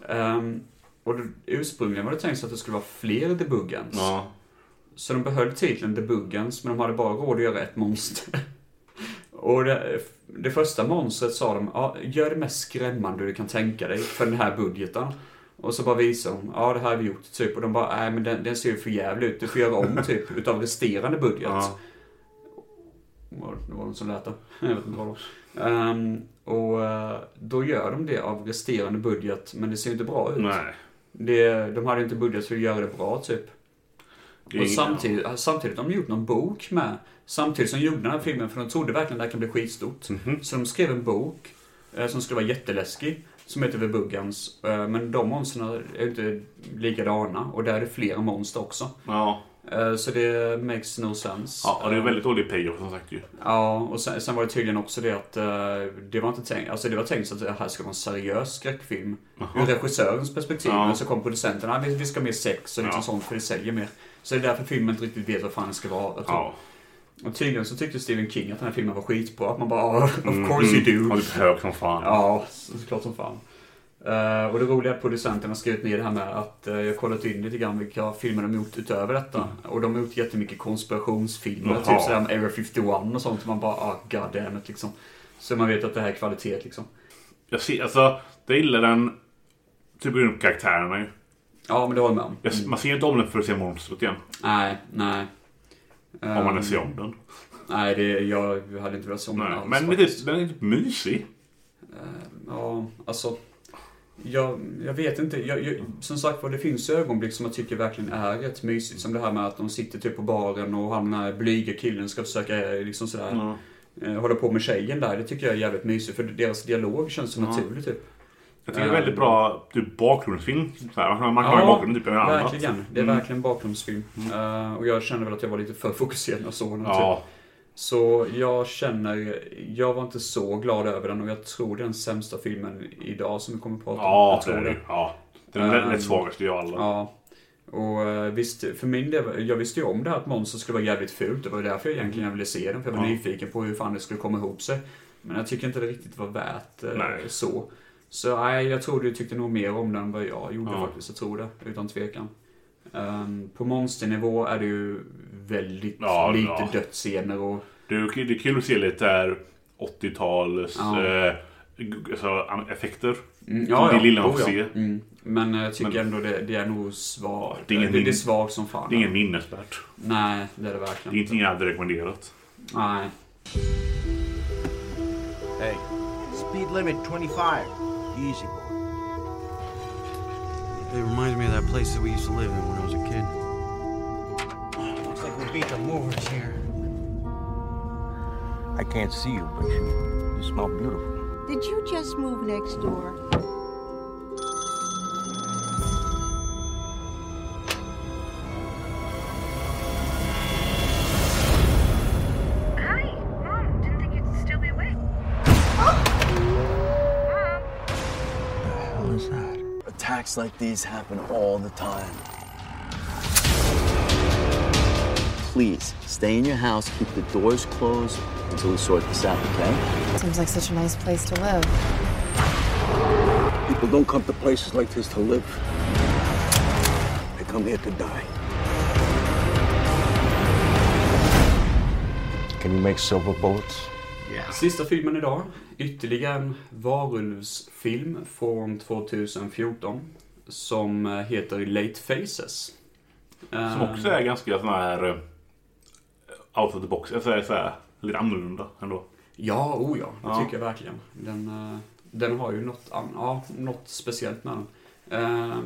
S1: Ehm, och det, ursprungligen var det tänkt så att det skulle vara fler The Buggens.
S2: Ja.
S1: Så de behöll titeln The Buggens, men de hade bara råd att göra ett monster. Och det, det första monstret sa de, ja, gör det mest skrämmande du kan tänka dig för den här budgeten. Och så bara visade de, ja det här har vi gjort, typ. Och de bara, nej men den, den ser ju för jävligt ut, du får göra om typ, utav resterande budget.
S2: Ja.
S1: Var- Det var någon som lät det. Jag vet inte vad det var. Ehm, och eh, då gör de det av resterande budget, men det ser ju inte bra ut.
S2: Nej.
S1: Det, de hade ju inte budget för att göra det bra, typ.
S2: Det är
S1: Och
S2: ingen-
S1: samtidigt, samtidigt har de gjort någon bok med. Samtidigt som de gjorde den här filmen, för de trodde verkligen det här kan bli skitstort.
S2: Mhm.
S1: Så de skrev en bok eh, som skulle vara jätteläskig. Som heter The Buggans. Eh, men de monstren är ju inte likadana. Och där är det flera monster också.
S2: Ja.
S1: Eh, Eh, Så det makes no sense. Eh,
S2: Ja, och det är väldigt dålig payoff som sagt ju.
S1: Ja, och sen, sen var det tydligen också det att eh, det var inte tänkt, alltså det var tänkt så att det här ska vara en seriös skräckfilm. Ur regissörens perspektiv.
S2: Ja.
S1: Men så kom producenten, nej vi- vi ska ha mer sex och liksom
S2: Ja.
S1: sånt för det säljer mer. Så det är därför filmen inte riktigt vet vad fan det ska vara. typ.
S2: Ja.
S1: Och tydligen så tyckte Stephen King att den här filmen var skitbra. Att man bara, "Ah, of course you
S2: Mm, Ja,
S1: do.
S2: det är hög som fan.
S1: Ja, så- såklart som fan. Eh, och det roliga är att producenten har skrivit ner det här med att eh, jag har kollat in lite grann vilka filmer de har gjort utöver detta. Och de har gjort jättemycket konspirationsfilmer,
S2: Mm. Jaha.
S1: typ sådär om Area 51 och sånt. Man bara, ah god damn it, liksom. Så man vet att det här är kvalitet liksom.
S2: Jag ser, alltså, jag gillar den typ runt karaktärerna ju.
S1: Ja, men det håller jag med om.
S2: Jag, Man ser inte om den för att se monstret igen.
S1: Nej, nej. Eh,
S2: Om man ens ser om
S1: Mm.
S2: den.
S1: Nej, det, jag hade inte velat se om den
S2: Nej,
S1: alls,
S2: men det är
S1: faktiskt.
S2: typ, den är typ mysig.
S1: Ja, alltså. Jag, jag vet inte. Jag, jag, som sagt var, det finns ju ögonblick som jag tycker verkligen är rätt mysigt. Som det här med att de sitter typ på baren och han den här blyga killen ska försöka eh, liksom sådär. eh, Hålla på med tjejen där. Det tycker jag är jävligt mysigt. För deras dialog känns så naturlig typ.
S2: Jag tycker det är väldigt bra typ, bakgrundsfilm. Så här, man man kan ha i bakgrunden typ en annat.
S1: verkligen. Det är verkligen bakgrundsfilm. Eh, och jag känner väl att jag var lite för fokuserad när jag såg den. Typ.
S2: Ja,
S1: Så jag känner, jag var inte så glad över den och jag tror det är den sämsta filmen idag som vi kommer att prata om.
S2: ja
S1: jag
S2: det
S1: tror
S2: är det. Ja. Den är
S1: Ehm,
S2: um, lätt svagaste av alla.
S1: Ja. Och eh, visst, för min del, jag visste ju om det här att monster skulle vara jävligt fult. Det var ju därför jag egentligen ville se den. För jag var nyfiken på hur fan det skulle komma ihop sig. Men jag tycker inte det riktigt var värt eh,
S2: Nej.
S1: så. Så nej, jag tror du tyckte nog mer om den än vad jag gjorde
S2: Ja.
S1: faktiskt. Jag tror det, utan tvekan. Ehm, på monsternivå är det ju väldigt
S2: Ja,
S1: lite
S2: ja.
S1: dödsscener och...
S2: Det är, det är kul att se lite här 80-tals
S1: Ja.
S2: eh, g- alltså, an- effekter.
S1: Mm,
S2: Som det lilla man
S1: oh,
S2: får se.
S1: Mm. Men jag tycker
S2: Men-
S1: ändå det, det är nog svagt.
S2: det
S1: Det,
S2: är ingen
S1: det, är
S2: min-
S1: svagt som fan.
S2: Det är ingen minnesvärt.
S1: Nej, det är det
S2: Det är
S1: verkligen
S2: ingenting jag hade rekommenderat.
S1: Nej.
S10: Hey, speed limit 25. Easy, boy. It reminds me of that place that we used to live in when I was a kid. Looks like we beat the movers here.
S6: I can't see you, but you, you smell beautiful.
S11: Did you just move next door?
S12: Hi, Mom. Didn't think you'd still be awake.
S10: hell is that? Attacks like these happen all the time. Please, stay in your house, keep the doors closed until we sort this out, okay?
S13: Seems like such a nice place to live.
S6: People don't come to places like this to live. They come here to die. Can you make silver bullets?
S1: Sista filmen idag. Ytterligare en varulvsfilm från 2014. Som eh, heter Late Faces.
S2: Som
S1: Eh,
S2: också är ganska sån här eh, out of the box. Alltså, så här, lite annorlunda ändå.
S1: Ja, oh ja. Det
S2: Ja.
S1: tycker jag verkligen. Den, eh, den har ju något, an- ja, något speciellt med den. Eh,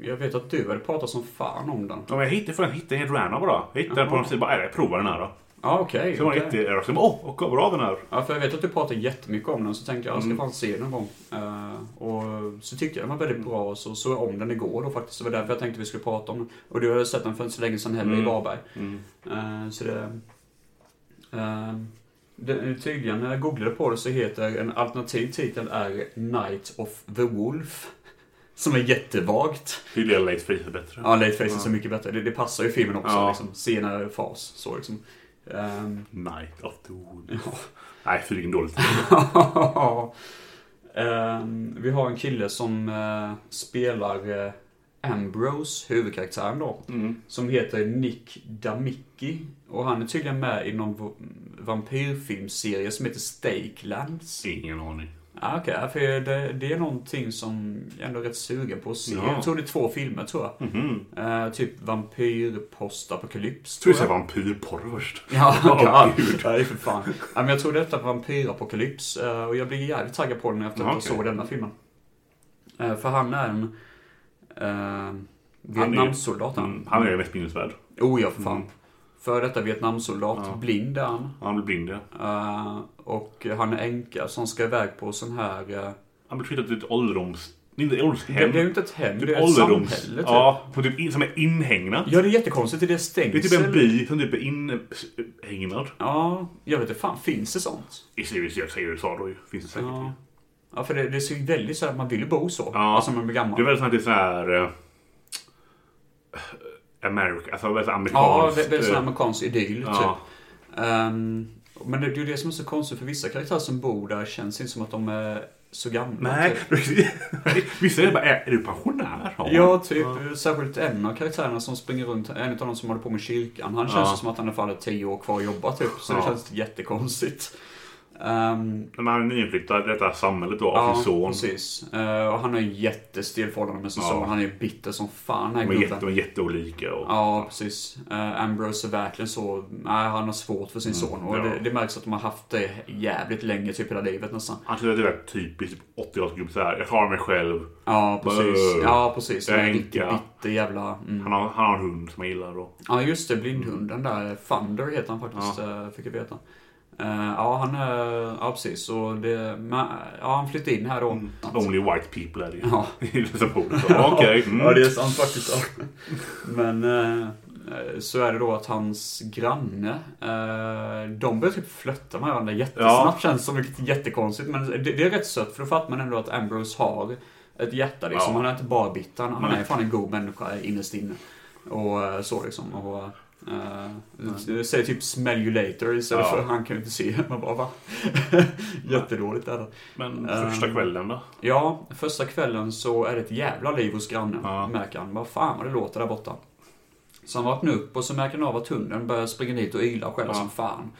S1: jag vet att du hade pratat som fan om den.
S2: Ja, men jag hittade, för jag hittade helt random bara. Jag hittade
S1: Jaha.
S2: den på någon sida bara, "Äh, jag provar den här då.
S1: Ja, okej.
S2: Så var den
S1: okej.
S2: jätteöverraskad. Åh, och vad bra den här.
S1: Ja, för jag vet att du pratar jättemycket om den, så tänkte jag jag ska
S2: Mm.
S1: fan se den någon gång. Eh, och så tyckte jag den var väldigt bra, och så såg jag om den igår då faktiskt. Det var därför jag tänkte vi skulle prata om den. Och du har sett den för inte så länge sedan heller i
S2: Mm.
S1: Varberg.
S2: Mm.
S1: Eh, så det... eh, det, tydligen, när jag googlade på det så heter en alternativ titel är Night of the Wolf. Som är jättevagt.
S2: Tydligen Late Face är bättre.
S1: Ja, Late Faces är mycket bättre. Det, det passar ju filmen också.
S2: Ja.
S1: Liksom, senare fas. Så liksom. Ehm,
S2: Night of the Wolf. Nej, fy vilken dålig titel.
S1: Ehm, vi har en kille som eh, spelar eh, Ambrose, huvudkaraktären då.
S2: Mm.
S1: Som heter Nick Damicki. Och han är tydligen med i någon v- vampyrfilmserie som heter Stakelands.
S2: Ingen aning.
S1: Ah, Okej, ja, för det, det är någonting som jag ändå är rätt sugen på att se.
S2: Ja.
S1: Jag tror det är två filmer tror jag.
S2: Mhm.
S1: Eh, typ Vampyrpostapokalyps
S2: Tror du säger vampyrporr först?
S1: Ja,
S2: Åh,
S1: ja.
S2: gud.
S1: Nej, för fan. Ja, men jag tror detta var Vampyrapokalyps eh, och jag blev jävligt taggad på den efter att
S2: Ja,
S1: jag
S2: okej.
S1: såg denna filmen. Eh, För han är en eh, Vietnamsoldat. Han.
S2: Mm, Han är Mm. mest minnesvärd.
S1: Oh ja, för fan. För detta Vietnamsoldat. Blind är han.
S2: Han blir blind ja.
S1: Eh, Och han är änka som ska iväg på sån här... eh,
S2: Han blir flyttad till ett ålderdoms... Inte ett åldershem.
S1: Det- det är ju inte ett hem, det är ett
S2: ålderdoms-
S1: samhälle, typ.
S2: Ja, på typ in, som är inhägnat.
S1: Ja, det är jättekonstigt. Det är stängsel.
S2: Det är typ en by som typ är inhägnad.
S1: Ja, jag vet inte fan. Finns det sånt?
S2: I Sirius, jag säger USA då ju. Finns det säkert.
S1: Ja. Ja, för det, det ser ju väldigt så här, man vill ju bo så.
S2: Ja.
S1: Alltså, man blir gammal.
S2: Det är väldigt sånt här, typ sån här... eh, America, alltså väldigt
S1: Ja,
S2: amerikanskt.
S1: det, det är en sån
S2: eh,
S1: här amerikansk idyll,
S2: ja.
S1: typ. Ehm, men det, det är ju det som är så konstigt, för vissa karaktärer som bor där känns inte som att de är så gamla.
S2: Nej,
S1: typ.
S2: vissa är det bara, är, är du pensionär? Har man?
S1: Ja, typ. Särskilt en av karaktärerna som springer runt, en av de som håller på med kyrkan. Han känns
S2: Ja.
S1: ju som att han i alla fall är tio år kvar att jobba, typ. Så det
S2: Ja.
S1: känns jättekonstigt.
S2: Men han är nyinflyttad i detta samhället då, av
S1: Ja,
S2: sin son.
S1: precis. Eh, och han har ju jättestel förhållande med sin
S2: Ja.
S1: son. Han är ju bitter som fan, den
S2: De
S1: här
S2: är, jätte,
S1: gubben.
S2: de är jätteolika. Och,
S1: Ja, precis. Eh, Ambrose är verkligen så... Nej, han har svårt för sin son. Och
S2: ja.
S1: det, det märks att de har haft det jävligt länge, typ hela livet nästan.
S2: Han tycker att det är väldigt typiskt typ 80-talsgubbe såhär. Jag klarar mig själv.
S1: Ja, precis.
S2: Bö.
S1: Ja, precis.
S2: Jag är
S1: En riktig
S2: änka.
S1: bitter jävla... Mm.
S2: Han, har, han har en hund som jag gillar. Och,
S1: Ja, just det. Blindhunden där. Thunder heter han faktiskt, eh, fick jag veta. Eh, ja, han är... Ja, precis. Och det, men, ja, han flyttade in här då.
S2: only white people är det ju.
S1: Ja.
S2: I recensionen. Så, Okej. mm.
S1: Ja, det är sant faktiskt. ja. Men eh, eh, så är det då att hans granne, eh, de börjar typ flörta med varandra jättesnabbt känns som, vilket är jättekonstigt. Men det, det är rätt sött, för då fattar man ändå att Ambrose har ett hjärta liksom.
S2: Ja.
S1: Han är inte bara bitter, han, han
S2: Nej.
S1: är fan en god människa innerst inne. Och eh, så liksom. Och, Uh, säger typ 'smell you later' istället
S2: Mm. Ja.
S1: för han kan ju inte se. Man bara va? Jättedåligt är det.
S2: Men
S1: Ehm,
S2: första kvällen då?
S1: Ja, första kvällen så är det ett jävla liv hos grannen. Märker han. Vad fan vad det låter där borta. Så han vaknar upp och så märker han av att hunden börjar springa dit och yla och skälla som fan.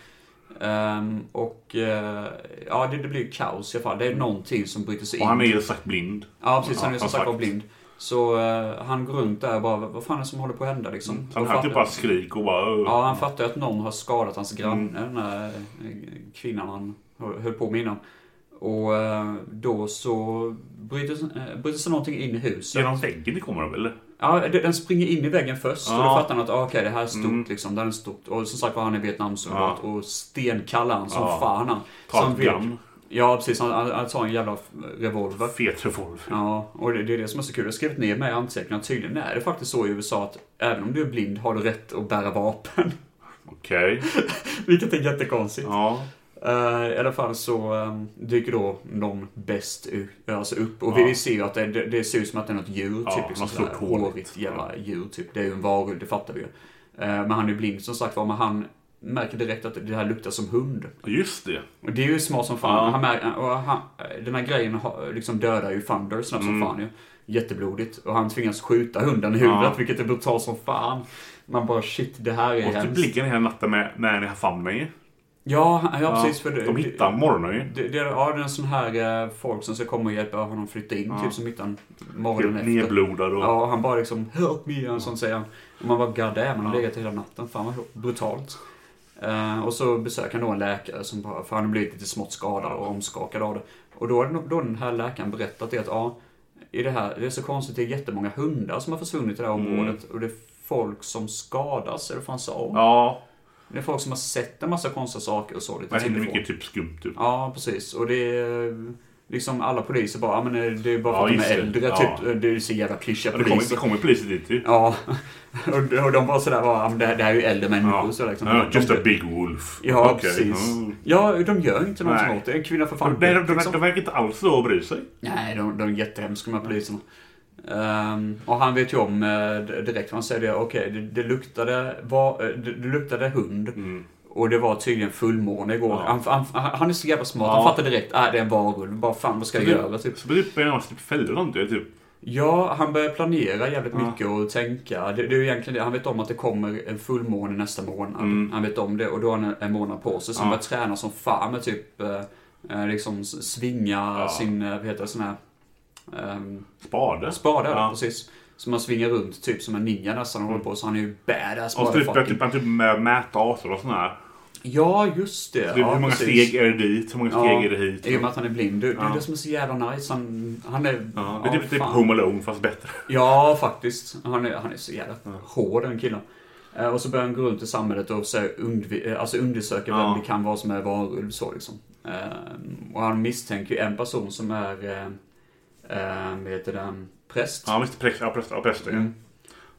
S1: Ehm, och eh, ja, det, det blir ju kaos i alla fall. Det är någonting som bryter sig
S2: Och
S1: in.
S2: han är ju sagt blind.
S1: Ja, precis. Han är
S2: Ja,
S1: som
S2: som
S1: sagt var
S2: sagt.
S1: blind. Så eh, han går runt där och bara, vad fan är det som håller på att hända liksom?
S2: Så han
S1: Och
S2: hör
S1: fattar-
S2: typ bara skrik och bara... "Åh."
S1: Ja, han fattar ju att någon har skadat hans granne, den här eh, kvinnan han hö- höll på med innan. Och eh, då så bryter, eh, bryter sig någonting in i huset.
S2: Genom väggen det kommer de eller?
S1: Ja, det- den springer in i väggen först och då
S2: Ja. Mm.
S1: fattar han att ah, okej, det här är stort liksom. Det här är stort. Och som sagt var, han är Vietnamsoldat och stenkall är han som
S2: Ja.
S1: fan han.
S2: Tar
S1: Så han
S2: ett
S1: vet-
S2: gun.
S1: Ja, precis. Han, han, han tar en jävla revolver.
S2: Fet revolver.
S1: Ja, och det, det är det som är så kul. Jag har skrivit ner med i anteckningarna. Tydligen är det faktiskt så i USA att även om du är blind har du rätt att bära vapen.
S2: Okej.
S1: Vilket är jättekonstigt.
S2: Ja.
S1: Eh, I alla fall så eh, dyker då någon bäst u- alltså upp. Och
S2: Ja.
S1: vi ser ju att det, det, det ser ut som att det är något djur.
S2: Ja,
S1: typ,
S2: något
S1: liksom
S2: stort
S1: sådär
S2: hårigt.
S1: hårigt jävla djur. Typ. Det är ju en varulv, det fattar vi ju. Eh, Men han är blind som sagt var. Men han märker direkt att det här luktar som hund.
S2: Just det.
S1: Och det är ju smart som fan.
S2: Ja.
S1: Han mär- eh, och han, den här grejen har- liksom dödar ju Thunder snabbt som
S2: Mm.
S1: fan ju. Jätteblodigt. Och han tvingas skjuta hunden i huvudet,
S2: Ja.
S1: vilket är brutalt som fan. Man bara shit, det här är
S2: Och typ så
S1: hemskt.
S2: blicken hela natten med när ni har famnen ju.
S1: Ja, ja, precis. För det,
S2: De hittar morgonen ju.
S1: det, det, ja, det är en sån här eh, folk som ska komma och hjälpa honom flytta in,
S2: Ja.
S1: typ som hittar han morgonen
S2: Helt
S1: efter.
S2: nerblodad och-
S1: Ja, han bara liksom “Help me” och sånt säger han. Och man bara “God damn, han har legat hela natten. Fan vad brutalt”. Eh, och så besöker han då en läkare som bara, för han har blivit lite smått skadad och omskakad av det. Och då har den- då har den här läkaren berättat det att ja, i det här, det är så konstigt, det är jättemånga hundar som har försvunnit i det här
S2: Mm.
S1: området. Och det är folk som skadas, eller vad fan sa hon?
S2: Ja.
S1: Det är folk som har sett en massa konstiga saker och så lite
S2: Det händer
S1: tillifrån.
S2: mycket typ skumt typ.
S1: Ja, precis. Och det är liksom alla poliser bara, ja men eh, det är bara
S2: Ja,
S1: för att
S2: just
S1: de
S2: det.
S1: är äldre
S2: Ja.
S1: typ. Det är så jävla klyschiga
S2: Ja, det kommer-
S1: poliser.
S2: det kommer poliser dit ju.
S1: Ja. Och de- och de bara sådär, bara, ja men det, det här är ju äldre människor. Så liksom.
S2: Ja, just
S1: de,
S2: a big wolf.
S1: Ja,
S2: Okej.
S1: precis.
S2: Mm.
S1: Ja, de gör inte någonting
S2: Nej.
S1: åt det. En kvinna för
S2: De,
S1: fan.
S2: de, de,
S1: liksom.
S2: de verkar inte alls då bry sig.
S1: Nej, de, de är jättehemska de här poliserna. Ehm, och han vet ju om eh, d- direkt vad han säger det. Okej, det, det, luktade, var, eh, det, det luktade hund.
S2: Mm.
S1: Och det var tydligen fullmåne igår. Han, han, han han är så jävla smart. Han
S2: Ja.
S1: fattar direkt. Äh, det är en varulv. Bara fan, vad ska jag
S2: Så
S1: göra? Typ.
S2: Så typ börjar man typ fälla dem typ. typ.
S1: Ja, han börjar planera jävligt mycket och tänka. Det, det är ju egentligen det. Han vet om att det kommer en fullmåne nästa månad.
S2: Mm.
S1: Han vet om det och då har han en- en månad på sig. Så han
S2: Ja.
S1: börjar träna som fan med typ eh, eh, liksom s- svinga
S2: Ja.
S1: sin, eh, vad heter det, sån här... ehm,
S2: Spade.
S1: Spade, ja.
S2: Ja. Mm.
S1: precis. Som han svingar runt typ som en ninja nästan och håller på. Så han är ju badass
S2: Och så typ börjar
S1: motherfucking.
S2: typ, han typ med- mäta avstånd och sådana här.
S1: Ja, just det.
S2: Så typ,
S1: ja,
S2: hur många
S1: precis.
S2: steg är det dit? Hur många steg är det hit?
S1: I och med att han är blind. Det, det är
S2: Ja.
S1: det som är så jävla nice. Han, han är...
S2: Ja, det är typ, typ
S1: fan.
S2: Home Alone fast bättre.
S1: Ja, faktiskt. Han är, han är så jävla hård den killen. Eh, Och så börjar han gå runt i samhället och så undvi- eh, alltså undersöka
S2: Ja.
S1: vem det kan vara Ehm, som är varulv. Så liksom. Eh, Och han misstänker ju en person som är eh, eh, heter den, präst.
S2: Ja, visst. Präst, ja, präst, ja, präst
S1: Mm.
S2: ja.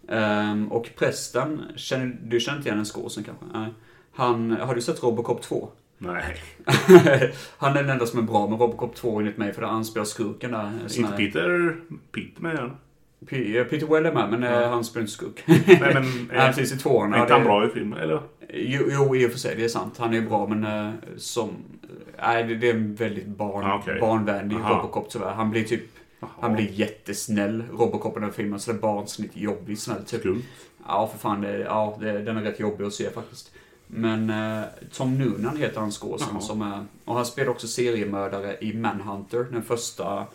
S1: Ehm, och prästen, känner, du känner inte igen den skåsen kanske? Nej. Han, har du sett Robocop 2?
S2: Nej.
S1: han är den enda som är bra med Robocop 2 enligt mig, för där anspelar skurken där. en sån
S2: Inte
S1: här-
S2: Peter... Peter med igen.
S1: P- eh, Peter Weller med, men eh, han spelar inte skurk.
S2: Nej, men, eh,
S1: han finns i tvåan.
S2: Är inte han bra i filmen, eller?
S1: Jo, jo, i och för sig, det är sant. Han är bra, men eh, som... Nej, det, det är en väldigt barn,
S2: Ah, okej.
S1: barnvänlig
S2: Aha.
S1: Robocop tyvärr. Han blir typ... Han blir jättesnäll, Robocop, i den här filmen. Så det är barnsligt jobbig snäll, typ. Ja, för fan. Det, ja, det, den är rätt jobbig att se faktiskt. Men eh, Tom Noonan heter han skådisen
S2: Jaha.
S1: som är... Och han spelar också seriemördare i Manhunter, den första...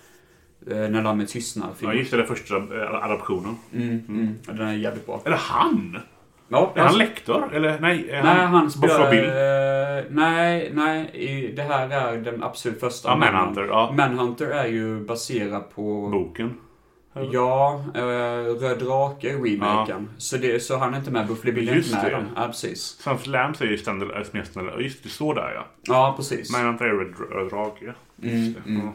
S1: Eh, när lammet tystnar.
S2: Ja, just det. Den första eh, adaptionen.
S1: Mm, mm. Ja, Den är jävligt bra.
S2: Eller han?
S1: Ja,
S2: Är han lektor? Eller nej, är
S1: Alltså- nej, han,
S2: han
S1: spelar...
S2: Buffalo Bill?
S1: eh, nej, nej. i- Det här är den absolut första.
S2: Ja, Manhunter, ja.
S1: Manhunter är ju baserad på...
S2: Boken?
S1: Ja, eh, Röd Drake, remaken. Så, det, så han är inte med. Buffalo Bill är inte
S2: Just
S1: med.
S2: det.
S1: den. Ja, precis.
S2: Sans Lambs är ju standard är mer standard. eh, Just det, det står där ja.
S1: Ja, precis.
S2: Men han är röd drake.
S1: Mm, mm.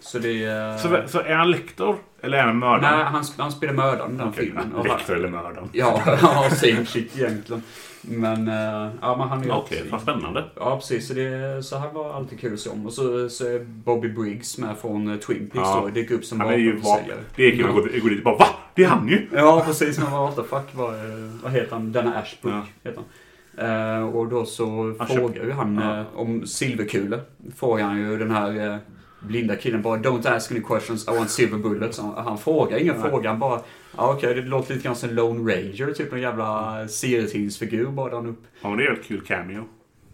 S1: Så det är...
S2: Så, så är han lektor? Eller är han mördare?
S1: Nej, han, sp- han spelar mördaren i den
S2: Okej,
S1: filmen.
S2: ja.
S1: Och han-
S2: Lektor eller mördaren.
S1: Ja, ja, same shit egentligen. Men, eh, ja, men han är
S2: Okej, vad spännande.
S1: Ja, precis. Så, det, så han var alltid kul att se om. Och så, så är Bobby Briggs med från eh, Twin Peaks
S2: Ja.
S1: då. Dyker upp som
S2: Han är ju
S1: vapenförsäljare.
S2: vapen. Det är kul att gå- gå dit och bara VA? Det är han ju!
S1: Ja, precis. Man bara, what the fuck, vad, eh, vad heter han? Denna Ashbrook heter han. Eh, och då så
S2: Han
S1: frågar
S2: köpte-
S1: ju han
S2: Ja.
S1: eh, om silverkulor. Frågar han ju den här eh, blinda killen bara Don't ask any questions, I want silver bullets. Han, han frågar ingen
S2: Nej.
S1: fråga, han bara ja, okej, det låter lite grann som Lone Ranger, typ någon jävla serietidningsfigur bara där han upp.
S2: Ja, men det är väl ett kul cameo.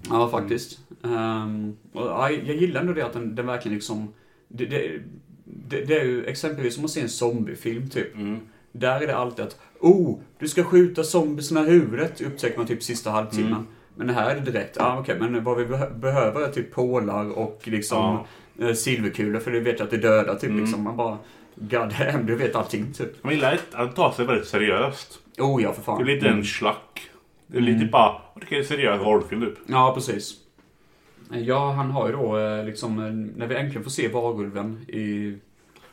S1: Ja, faktiskt. Ehm, och, ja, jag gillar ändå det att den, den verkligen liksom... Det, det, det, det är ju exempelvis som att se en zombiefilm typ.
S2: Mm.
S1: Där är det alltid att oh, du ska skjuta zombiesna i huvudet, upptäcker man typ sista halvtimmen.
S2: Mm.
S1: Men här är det direkt, ja ah, okej, men vad vi beh- behöver är typ pålar och liksom eh, silverkulor för du vet att det dödar typ
S2: Mm.
S1: liksom. Man bara, god damn, du vet allting typ.
S2: Man gillar att han tar sig väldigt seriöst.
S1: Oh ja, för fan.
S2: Det är lite
S1: Mm.
S2: en slack. Det är lite bara, det är en seriös rollfilm typ.
S1: Ja, precis. Ja, han har ju då eh, liksom, eh, när vi äntligen får se varulven i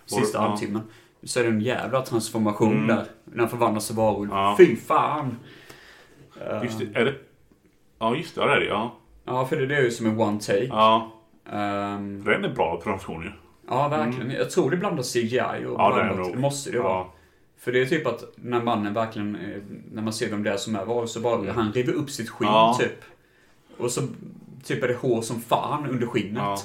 S1: sista
S2: ja.
S1: halvtimmen. Så är det en jävla transformation
S2: Mm.
S1: där. När han förvandlas till varulv.
S2: Ja.
S1: Fy fan!
S2: Just det, är det? Ja, just det. Ja, det är det. Ja.
S1: Ja, för det, det är ju som en one take.
S2: Ja.
S1: Ehm,
S2: Den är bra produktion ju.
S1: ja, verkligen. Jag tror det blandar CGI och
S2: Mm. Ja, det är
S1: blandat.
S2: nog.
S1: Det måste det ju
S2: Ja.
S1: vara. För det är typ att när mannen verkligen, eh, när man ser vem det är som är varulv så bara, han river upp sitt skinn
S2: Mm. Ja.
S1: typ. Och så typ är det hår som fan under skinnet.
S2: Ja.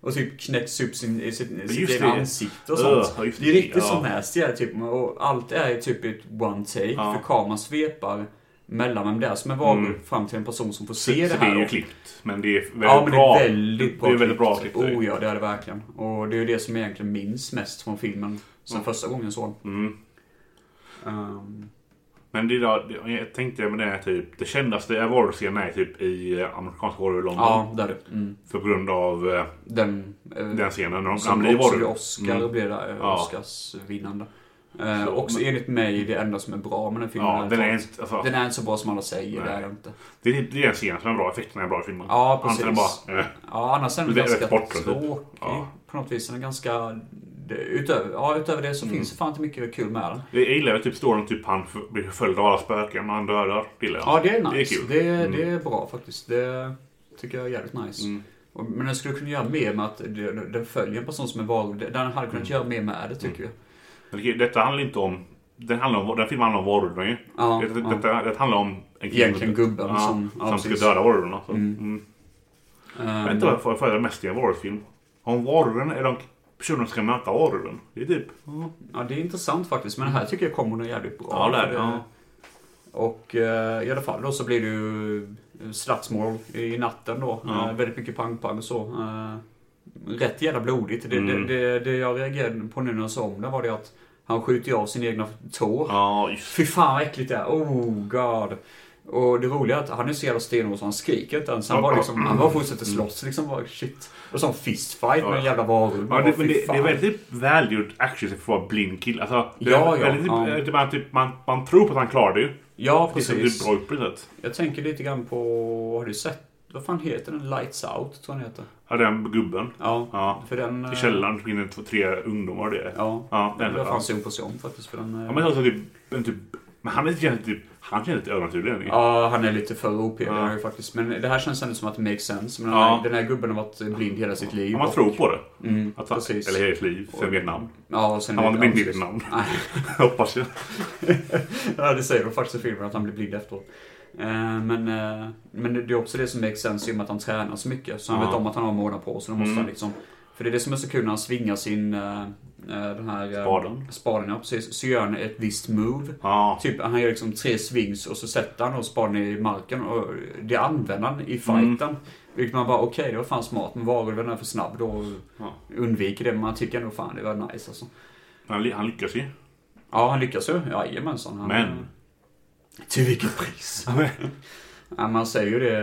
S1: Och typ knäcks upp sin, i sitt, i
S2: Just
S1: sitt
S2: det.
S1: egna ansikte och
S2: Öh,
S1: sånt.
S2: just det,
S1: det är riktigt
S2: ja.
S1: som nasty är det typ. Och allt är ju typ ett one take.
S2: Ja.
S1: För kameran svepar mellan vem det är som är varulv
S2: Mm.
S1: fram till en person som får
S2: Så,
S1: se
S2: det, så
S1: det här.
S2: det är ju
S1: då.
S2: klippt. Men det är väldigt
S1: Ja, men
S2: bra.
S1: det är väldigt bra
S2: Det är väldigt bra typ.
S1: klippt.
S2: klippt.
S1: Oh ja, det är det verkligen. Och det är ju det som jag egentligen minns mest från filmen. Sen första gången jag såg den.
S2: Mm.
S1: Ehm,
S2: Men det är då, det- jag tänkte med det är typ, det kändaste varuserien är typ i eh, amerikansk horror i London.
S1: ja, det är det. Mm.
S2: För på grund av eh,
S1: Den, eh,
S2: den scenen. När de, han
S1: Som
S2: blir
S1: också
S2: varulv.
S1: blev Oscar
S2: Mm.
S1: och blev där, eh,
S2: Ja.
S1: Oscarsvinnande. Eh,
S2: Så,
S1: också
S2: men-
S1: enligt mig det enda som är bra med den filmen.
S2: Ja, den är
S1: att-
S2: inte- alltså-
S1: den är inte så bra som alla säger. Det
S2: Nej.
S1: är den inte.
S2: Det är, typ- det är en scen som är bra, effekterna är bra i filmen.
S1: Ja, precis.
S2: Annars är den bara... eh.
S1: ja, annars är den
S2: Det är
S1: ganska
S2: rätt bortglömd, typ.
S1: tråkig.
S2: Ja.
S1: På något vis. Den är ganska... det- Utöver, ja, utöver det så
S2: Mm.
S1: finns det fan inte mycket kul med den.
S2: Jag gillar ju typ storyn typ han f- blir förföljd av alla spöken men han dödar. Det gillar jag.
S1: Ja, det är nice.
S2: kul.
S1: Det är,
S2: Mm.
S1: det är bra faktiskt. Det tycker jag är jävligt nice. Och- Men den skulle kunna göra mer med att det- den följer en person som är varulv. Den hade kunnat
S2: Mm.
S1: göra mer med det tycker jag.
S2: Men det- Detta handlar inte om... Den, handlar om, den filmen handlar om varulven ju.
S1: Ja,
S2: det,
S1: ja.
S2: Detta, det handlar om... En
S1: Egentligen gubben
S2: ja,
S1: som- ja,
S2: som ska
S1: precis.
S2: döda varulven. Alltså.
S1: Mm.
S2: Mm. Jag
S1: Ehm,
S2: vet inte varför jag föredrar mest i en varulvsfilm. Om varulven är de personerna som ska möta varulven. Det är typ... ja.
S1: Ja, det är intressant faktiskt. Men det här tycker jag kommer nog jävligt bra. Eh,
S2: Ja, det är det, ja.
S1: Och eh, i alla fall då så blir det ju eh, slagsmål i natten då.
S2: Ja.
S1: Eh, väldigt mycket pang-pang och så. Eh, rätt jävla blodigt. Det,
S2: Mm.
S1: det, det, det jag reagerade på nu när jag såg om det var det att han skjuter ju av sin egna tå.
S2: Ja, just
S1: Fy fan vad äckligt det är. Oh god. Och det roliga är att han är så jävla stenhård så han skriker inte ens. Han bara, liksom, han bara fortsätter slåss liksom. Bara, shit. Och som fistfight med en jävla varulv.
S2: Ja,
S1: Bara,
S2: det, men
S1: fy
S2: det, det är
S1: fan.
S2: väldigt välgjord action för att vara blind kill. Alltså, det
S1: Ja,
S2: är
S1: ja,
S2: väldigt,
S1: ja.
S2: eh, Typ, man, typ, man, man tror på att han klarar det ju.
S1: Ja,
S2: Det är så- det
S1: precis.
S2: är bra gjort på det sättet.
S1: Jag tänker lite grann på, har du sett Vad fan heter den? Lights Out, tror jag den heter.
S2: Ja, den gubben.
S1: Ja, för den... eh,
S2: I källaren försvinner två, tre ungdomar det.
S1: Ja,
S2: ja
S1: den var
S2: ja.
S1: fan synd på Sean faktiskt. För den, eh,
S2: Ja, men alltså typ... En typ men han är lite, typ, han känns lite övernaturlig.
S1: Ja, han är lite för OP där ju faktiskt. Men det här känns ändå som att det makes sense. Men den, här,
S2: Ja.
S1: den här gubben har varit blind hela sitt liv.
S2: Ja, man
S1: och-
S2: tror på det.
S1: Mm,
S2: Att han,
S1: precis.
S2: Eller hela sitt liv. Sen
S1: Och-
S2: Vietnam.
S1: Ja, och sen
S2: han var
S1: Vietnam,
S2: inte blind i
S1: precis.
S2: Vietnam.
S1: Nej.
S2: Hoppas jag.
S1: ja, det säger de faktiskt i filmen, att han blir blind efteråt. Eh, Men, eh, men det är också det som makes sense i och med att han tränar så mycket. Så han
S2: Ja.
S1: vet om att han har en månad på sig. Då måste
S2: Mm.
S1: han liksom, för det är det som är så kul när han svingar sin... eh, eh, Den här, eh,
S2: Spaden.
S1: Spaden, ja precis. Så gör han ett visst move.
S2: Ja.
S1: Typ, han gör liksom tre swings och så sätter han och spaden i marken. Och det använder han i
S2: Mm.
S1: fighten. Vilket man bara, okej det var fan smart. Men var den är för snabb då. Och
S2: Ja.
S1: Undviker det. Men man tycker ändå fan det var nice alltså.
S2: Han, ly- han lyckas ju.
S1: Mm. Ja, han lyckas ju. Jajamensan. Han,
S2: Men.
S1: Till vilket pris? ja, man säger ju det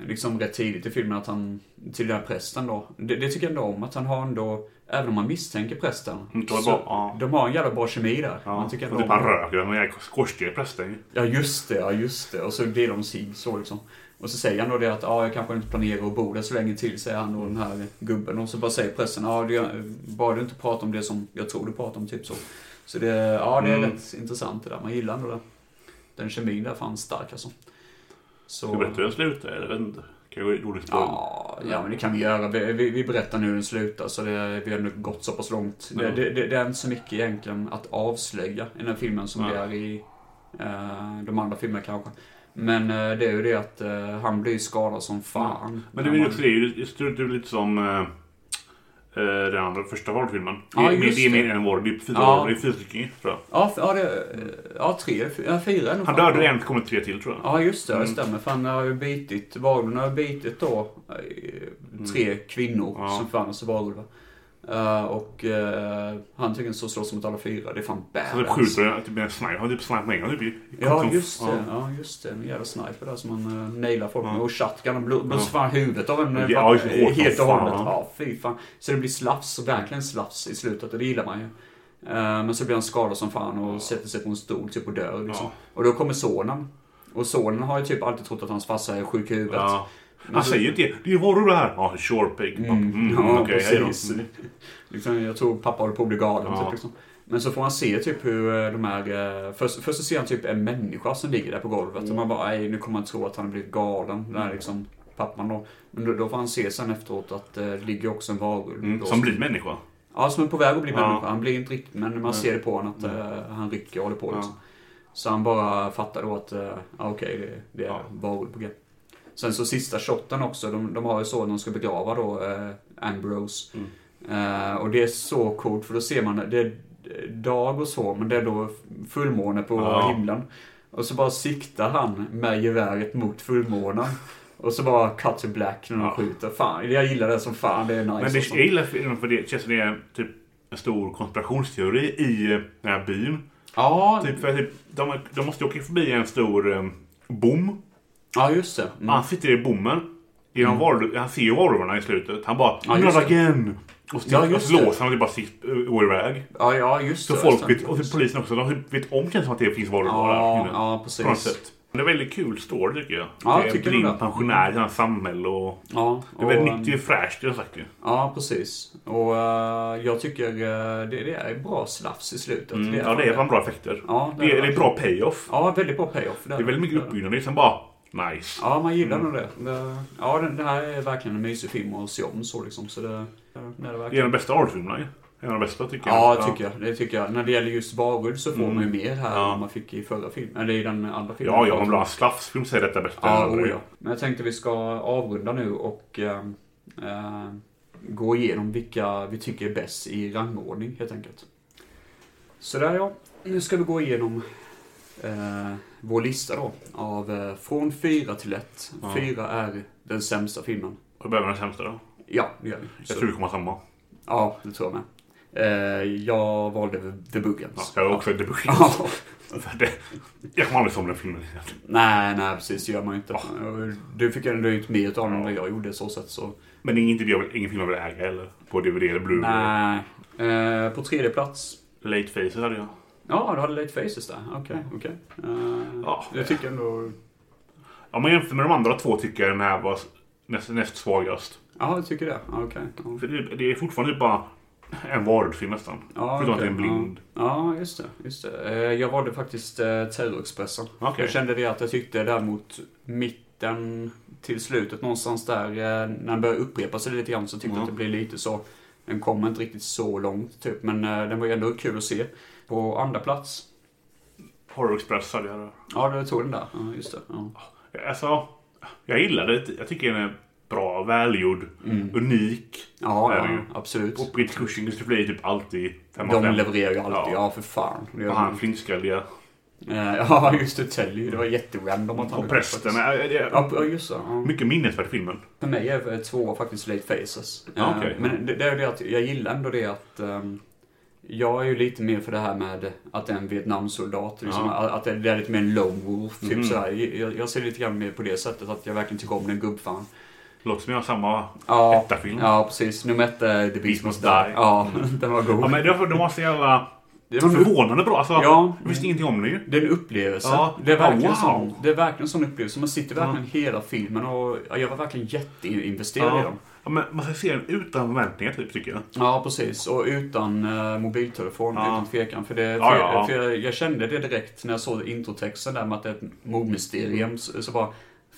S1: eh, liksom rätt tidigt i filmen att han, till den här prästen då. Det, det tycker jag ändå om, att han har ändå, även om man misstänker prästen.
S2: Mm, det var
S1: så
S2: bra, ja.
S1: De har en jävla bra kemi där.
S2: Ja.
S1: Man tycker
S2: och
S1: ändå
S2: typ
S1: om
S2: han
S1: det.
S2: röker. Han är skorstenprästen
S1: Ja just det, ja just det. Och så blir de sig så liksom. Och så säger han då det att ah, jag kanske inte planerar att bo där så länge till, säger han då den här gubben. Och så bara säger pressen, ah, det, bara du inte pratar om det som jag tror du pratar om, typ så. Så det, ja, det är
S2: Mm.
S1: rätt intressant det där. Man gillar ändå det. Den kemin där är fan stark alltså. Så...
S2: Ska vi berätta hur den slutar? Jag vet inte. Kan jag gå i dåligt spår?
S1: Ja, ja, men det kan vi göra. Vi, vi, vi berättar nu hur den slutar, så det, vi har nu gått så pass långt. Det,
S2: Ja.
S1: det, det, det är inte så mycket egentligen att avslöja i den här filmen som
S2: Nej.
S1: det är i eh, de andra filmerna kanske. Men eh, det är ju det att eh, han blir ju skadad som fan.
S2: Men det
S1: När
S2: är ju
S1: man-
S2: också det. det. är ju- Det är ju lite som eh, eh, den andra första Hard-filmen.
S1: Ja,
S2: det, är-
S1: just
S2: det är mer
S1: det.
S2: än en vår. Det är fyra
S1: Ja.
S2: år. Det är fyra stycken tror jag.
S1: Ja, f- ja, det, ja tre, fy- ja, fyra är nog
S2: Han
S1: fan.
S2: dödade en, kommer tre till tror jag.
S1: Ja, just det. Det
S2: Mm.
S1: stämmer. För han har ju bitit, varulven har ju bitit då eh, tre kvinnor
S2: Mm. Ja.
S1: som fanns i varulven. Eh, och eh, han tycker så slåss mot alla fyra. Det är fan
S2: Så typ
S1: badass.
S2: skjuter han typ en sniper. Han typ sniper med en gång. Typ, i-
S1: Ja
S2: som-
S1: just det, ja just det. En jävla sniper där som man uh, nailar folk med.
S2: Ja.
S1: Och shotgun, han bl-
S2: Ja.
S1: blåser fan huvudet av en eh,
S2: Ja,
S1: va-
S2: just det. Hårt som
S1: helt och
S2: fan,
S1: hållet.
S2: ja.
S1: Ja, fy fan. Så det blir slafs, verkligen slafs i slutet och det gillar man ju. Eh, Men så blir han skadad som fan och sätter sig på en stol typ och dör liksom.
S2: Ja.
S1: Och då kommer sonen. Och sonen har ju typ alltid trott att hans farsa är sjuk i huvudet.
S2: Ja.
S1: Men
S2: Han
S1: så-
S2: säger ju inte det. Det är ju varor det här. Ja, sure pig. Mm.
S1: ja,
S2: okej, hej då. Mm.
S1: precis. Liksom, jag tror pappa håller på att bli galen.
S2: Ja.
S1: Typ, liksom. Men så får man se typ hur eh, de här... eh, Först, först så ser han typ en människa som ligger där på golvet.
S2: Mm.
S1: Och man bara, nej nu kommer han tro att han har blivit galen. Den här liksom pappan då. Men då, då får han se sen efteråt att eh, det ligger också en varulv.
S2: Mm.
S1: då
S2: Som blir människa.
S1: Ja, som är på väg att bli
S2: Ja.
S1: människa. Han blir inte riktigt, men man ser det på honom att eh, han rycker och håller på liksom. Så han bara fattar då att, eh, ja okej, det, det är varulv på G. Sen så sista shotten också, de, de har ju så när de ska begrava då eh, Ambrose.
S2: Mm.
S1: Eh, och det är så coolt för då ser man, det är dag och så, men det är då fullmåne på
S2: Ja.
S1: himlen. Och så bara siktar han med geväret mot fullmånen. Och så bara cut to black när de
S2: Ja.
S1: skjuter. Fan, jag gillar det som fan. Det är nice. alltså.
S2: Men
S1: och
S2: det,
S1: sånt.
S2: jag gillar filmen för det känns som det är typ en stor konspirationsteori i eh, den här byn.
S1: Ja.
S2: Typ, för typ, de, de måste ju åka förbi en stor um, bom.
S1: Ja, just det. Mm.
S2: Han sitter i bommen. Genom
S1: Mm.
S2: varul- han ser ju varulvarna i slutet. Han bara
S1: Ja, just
S2: “Not
S1: det.
S2: again!” Och så,
S1: Ja,
S2: och
S1: just
S2: så
S1: det.
S2: låser han och typ bara sitt, går iväg.
S1: Ja, ja just
S2: Så
S1: det.
S2: folk
S1: sant.
S2: vet, och typ polisen också, de vet om känns det som att det finns varulvar
S1: Ja,
S2: där inne.
S1: ja, precis.
S2: På något sätt. Men det är en väldigt kul story tycker jag.
S1: Ja,
S2: det är
S1: tycker
S2: en
S1: du
S2: blind
S1: det?
S2: pensionär i hans samhälle och...
S1: Ja,
S2: Det är väldigt
S1: och,
S2: nytt, det är fräscht, det har jag sagt ju.
S1: Ja, precis. Och eh, jag tycker eh, det, det är bra slafs i slutet.
S2: Mm, ja, det är fan bra effekter.
S1: Ja,
S2: det, är, det är
S1: verkligen.
S2: bra payoff.
S1: Ja, väldigt bra payoff.
S2: Det är väldigt mycket Mm. uppbyggnad, det är sen bara nice.
S1: Ja, man gillar nog det. det. Ja, det, det här är verkligen en mysig film att se om så liksom. Så det, det är det
S2: Det är en av
S1: verkligen.
S2: de bästa Art-filmerna ju. En av de bästa tycker
S1: Ja,
S2: jag.
S1: det tycker jag. Det tycker jag. När det gäller just varulv så får
S2: Mm.
S1: man ju mer här
S2: Ja.
S1: än man fick i förra filmen. Eller i den andra filmen.
S2: Ja, ja, om du har en slafsfilm så är detta bättre än
S1: Ja,
S2: andra.
S1: oh ja. Men jag tänkte vi ska avrunda nu och eh, eh, gå igenom vilka vi tycker är bäst i rangordning helt enkelt. Så där ja, nu ska vi gå igenom eh, vår lista då. Av, eh, från 4 till 1.
S2: Ja.
S1: 4 är den sämsta filmen.
S2: Då börjar vi med den sämsta då.
S1: Ja, det gör vi. Så-
S2: Jag tror det kommer samma.
S1: Ja, det tror jag med. Eh, jag valde The Buggans.
S2: Ja, jag har också The Buggans.
S1: Ja.
S2: För det- Jag kommer aldrig somna i filmen igen.
S1: nej, nej precis. Det gör man ju inte. Du fick ändå ut mer av den än vad jag gjorde så sätt. Så.
S2: Men det är inget jag vill- ingen film jag vill äga heller. På DVD eller Blu-ray.
S1: Nej. Eh, på tredje plats.
S2: Late Faces hade jag.
S1: Ja, du hade Late Faces där. Okej, okej. Eh,
S2: Ja.
S1: Jag tycker ändå...
S2: Om man jämför med de andra två tycker jag den här var näst, näst svagast.
S1: Ja, du tycker det? Ja, Okej. Ja.
S2: För det, det är fortfarande typ bara en varulvsfilm nästan.
S1: Ja,
S2: Förutom att det är
S1: okej.
S2: en blind.
S1: Ja, ja, just det. Just det. Eh, Jag valde faktiskt eh, Terrorexpressen.
S2: Okej.
S1: Jag kände det att jag tyckte däremot mitten till slutet någonstans där, eh, när den började upprepa sig lite grann så tyckte jag att det blev lite så. Den kom inte riktigt så långt typ, men eh, den var ju ändå kul att se. På andra plats.
S2: Horror Express hade jag där.
S1: Ja, du tog den där. Ja, just det. Ja.
S2: Alltså, jag gillar det. Jag tycker den är bra, välgjord,
S1: Mm.
S2: unik.
S1: Ja,
S2: Är den
S1: ja,
S2: ju.
S1: absolut.
S2: Och Britt Cushing blir typ alltid fem av
S1: De
S2: fem.
S1: levererar ju alltid, ja, för fan. Det gör
S2: Och
S1: de.
S2: han flintskalliga.
S1: Eh, Ja, just det. Telly. Det var jätterandom att han
S2: Och prästen.
S1: faktiskt.
S2: är- är-
S1: Ja, p- ja, just det. Ja.
S2: Mycket minnesvärd filmen.
S1: För mig är eh, två faktiskt late faces.
S2: Ja,
S1: Eh,
S2: okej.
S1: Men det, det är det att jag gillar ändå det att ehm, jag är ju lite mer för det här med att det är en Vietnamsoldat. Liksom,
S2: Ja.
S1: Att det det är lite mer en lone wolf. Typ
S2: Mhm.
S1: sådär. Jag, jag ser lite grann mer på det sättet att jag verkligen tycker om den gubbfan.
S2: Låter som jag har samma
S1: Ja.
S2: etta-film.
S1: Ja, precis. Nummer ett är The Beast Must Die.
S2: Die.
S1: Ja, den var god.
S2: Ja, men det var, det var så jävla
S1: Det var-
S2: förvånande bra. Alltså,
S1: Ja.
S2: Jag visste ingenting om det ju.
S1: Det är en upplevelse.
S2: Ja.
S1: Det, är verkligen
S2: Ja, wow.
S1: sån, det är verkligen en sån upplevelse. Man sitter verkligen hela filmen och ja, jag var verkligen jätteinvesterad i
S2: Ja.
S1: dem.
S2: Ja, men man ska se den utan förväntningar typ, tycker jag.
S1: Ja, precis. Och utan eh, mobiltelefon,
S2: Ja.
S1: utan tvekan. För, det, för,
S2: Ja, ja, ja.
S1: för jag, jag kände det direkt när jag såg introtexten där med att det är ett mordmysterium. Så, så bara,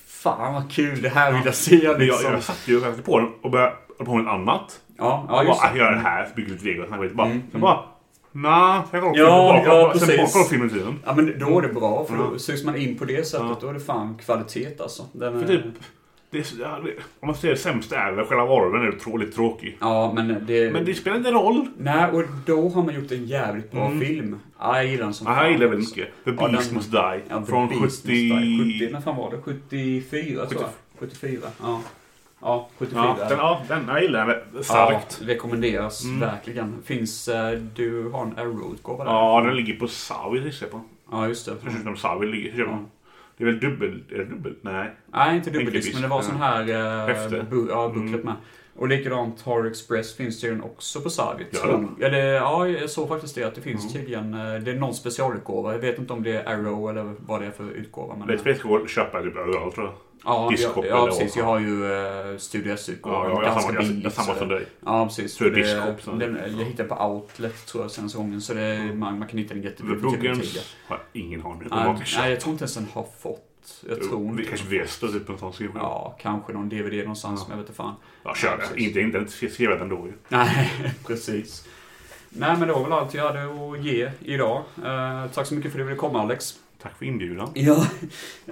S1: fan vad kul, det här vill jag se liksom.
S2: Men jag, jag satt ju faktiskt på den och började hålla på med något annat.
S1: Ja, ja,
S2: jag
S1: just
S2: bara,
S1: det. Mm,
S2: "Ah, gör det här, bygger lite Lego och snackar lite. Bara, Sen bara, nja, sen kollar
S1: Ja, ja,
S2: sen bara
S1: precis.
S2: kollar filmen tiden.
S1: Ja, men då är det bra. För
S2: Ja.
S1: då sugs man in på det sättet. Då är det fan kvalitet alltså. Den
S2: För
S1: är-
S2: typ, det är, så- ja, det, om man säger det sämsta är väl själva varulven är ju lite tråkig.
S1: Ja, men det...
S2: Men det spelar inte roll.
S1: Nej, och då har man gjort en jävligt bra
S2: Mm.
S1: film. Ja, jag gillar den som
S2: Ja, jag gillar väldigt
S1: alltså.
S2: mycket. The
S1: Ja,
S2: Beast
S1: den-
S2: Must Die.
S1: Ja, The
S2: från
S1: Beast
S2: 70...
S1: Must Die. 70... När fan var det? 74 tror jag. 74. Ja. Ja, 74.
S2: Ja, den, ja, den, jag gillar den väldigt starkt.
S1: Ja, rekommenderas
S2: Mm.
S1: verkligen. Finns... eh, Du har en Arrow-utgåva där?
S2: Ja, Mm. den ligger på Savi gissar jag på.
S1: Ja, just det.
S2: Jag tror inte om Savi ligger. köper
S1: Mm.
S2: den. Det är väl dubbel... Är det dubbel? Nej.
S1: Nej, inte dubbeldisk,
S2: Enkeldisk.
S1: men det var sån här...
S2: Häfte. Mm.
S1: Eh, bu- ja, bucklet med. Och likadant Tar Express finns det ju också på Savit.
S2: Gör
S1: tror jag. Eller, ja, jag såg faktiskt det att det
S2: Mm.
S1: finns tydligen... eh, Det är någon specialutgåva. Jag vet inte om det är Arrow eller vad det är för utgåva. Men, eh,
S2: Let's Face Gold köper jag typ överallt tror jag.
S1: Ja,
S2: Discshop
S1: jag, ja precis. Jag har ju eh, Studio S-utgåvan.
S2: Ja, ja, jag har samma- jag- jag har samma
S1: så-
S2: som dig.
S1: Ja, precis.
S2: För
S1: Så det-
S2: Discshop, så- Mm.
S1: den, jag hittade på Outlet tror jag senaste gången. Så det, man, man kan hitta den
S2: The
S1: jättebilligt.
S2: Buggans har jag ingen aning om.
S1: Nej,
S2: vad jag
S1: nej,
S2: köper.
S1: jag tror inte ens den har fått. Jag
S2: Jo,
S1: tror inte.
S2: vi Kanske Vesta typ en sån skriver.
S1: Ja, kanske någon DVD någonstans, men jag vet inte fan.
S2: Ja, kör
S1: Ja,
S2: det.
S1: precis.
S2: Inte, inte, inte skriva den då ju.
S1: Nej, precis. Nej, men det var väl allt jag hade att ge idag. Eh, tack så mycket för att du ville komma, Alex.
S2: Tack för inbjudan.
S1: Ja,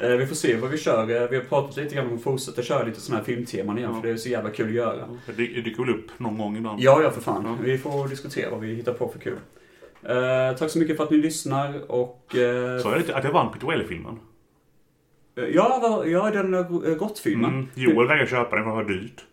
S1: eh, vi får se vad vi kör. Eh, Vi har pratat lite grann om att fortsätta köra lite sådana här filmteman igen,
S2: Ja.
S1: för det är så jävla kul att göra.
S2: Det det dyker väl upp någon gång ibland.
S1: Ja, ja för fan. Vi får diskutera vad vi hittar på för kul. Eh, tack så mycket för att ni lyssnar och... eh,
S2: Sa jag lite att jag vann Peter Welle-filmen?
S1: ja, vad- ja, den eh, råttfilmen.
S2: Mm. Joel vägrade köpa den för det var dyrt.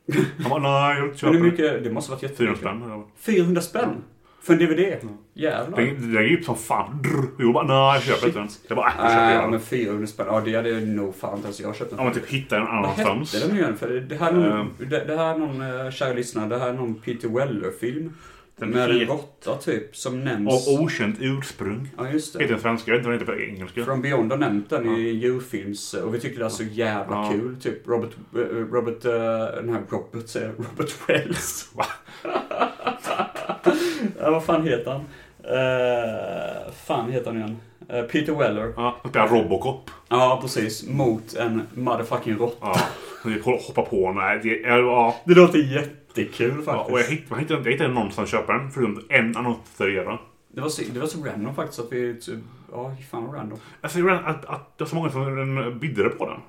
S2: Han bara, nej jag vill inte köpa
S1: Men hur
S2: den.
S1: mycket? Det måste ha varit jättemycket.
S2: 400 spänn. eller vad?
S1: 400 spänn? För en DVD? Jävlar.
S2: Den den gick upp typ som fan. Drr. Joel bara, nej jag köper inte den. Jag bara, äh, jag köper
S1: Nej,
S2: den.
S1: men 400 spänn. Ja, det hade jag nog fan inte ens jag köpt.
S2: Om man typ hittar den
S1: Vad
S2: annanstans.
S1: hette den nu igen? För det här är någon,
S2: Ehm.
S1: det, det här är någon eh, kära lyssnare, det här är någon Peter Weller-film.
S2: Den
S1: med en
S2: het-
S1: råtta typ, som nämns...
S2: Av okänt ursprung.
S1: Ja, just
S2: Heter
S1: det.
S2: den svenska, jag vet inte vad den heter på engelska.
S1: From Beyond har nämnt den i djurfilms... Och vi tyckte det var så jävla
S2: Ja.
S1: kul. Typ Robert... eh, Robert... eh, Den här Robert säger jag, Robert Wells. ja, vad fan heter han? Uh, fan heter han igen? Eh, Peter Weller.
S2: Ja, han spelar Robocop.
S1: Ja, precis. Mot en motherfucking råtta.
S2: Ja. Vi hoppar på den. Nej, det- Ja,
S1: Det låter jättekul faktiskt.
S2: Ja, och jag hittade, jag hittade, jag hittade någon som köper den, förutom en annons där jag
S1: det, var så, det var så random faktiskt att vi... typ- Ja, fan vad random.
S2: Alltså, det var att, att det var så många som eh, bidde på den.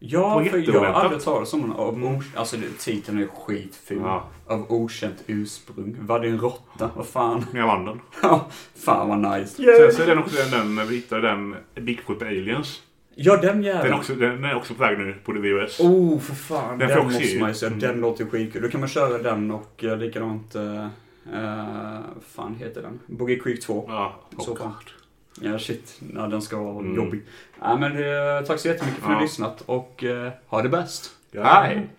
S1: Ja,
S2: Det
S1: för
S2: var
S1: jag har
S2: jätteoväntat.
S1: aldrig talat om den. Av o- Alltså det- titeln är ju skitful.
S2: Ja.
S1: Av okänt ursprung. Vad det är en råtta? Vad fan?
S2: Men jag vann den.
S1: Ja, fan vad nice.
S2: Sen så är den också den, den när vi hittade den Bigfoot med Aliens.
S1: Ja, den
S2: Den är,
S1: jäveln.
S2: också, den är också på väg nu på VHS.
S1: Oh, för fan. Den,
S2: Den får jag också
S1: måste
S2: se.
S1: man ju se. Den
S2: Mm.
S1: låter ju skitkul. Då kan man köra den och eh, likadant... Eh, eh, fan heter den? Boogie Creek 2.
S2: Ja,
S1: Så
S2: och,
S1: fan. Ja, shit. Ja, den ska vara jobbig. Mm. Ja, men, eh, tack så jättemycket för att ni har
S2: Ja.
S1: lyssnat och eh, ha det bäst.
S2: Ja.
S1: Hej!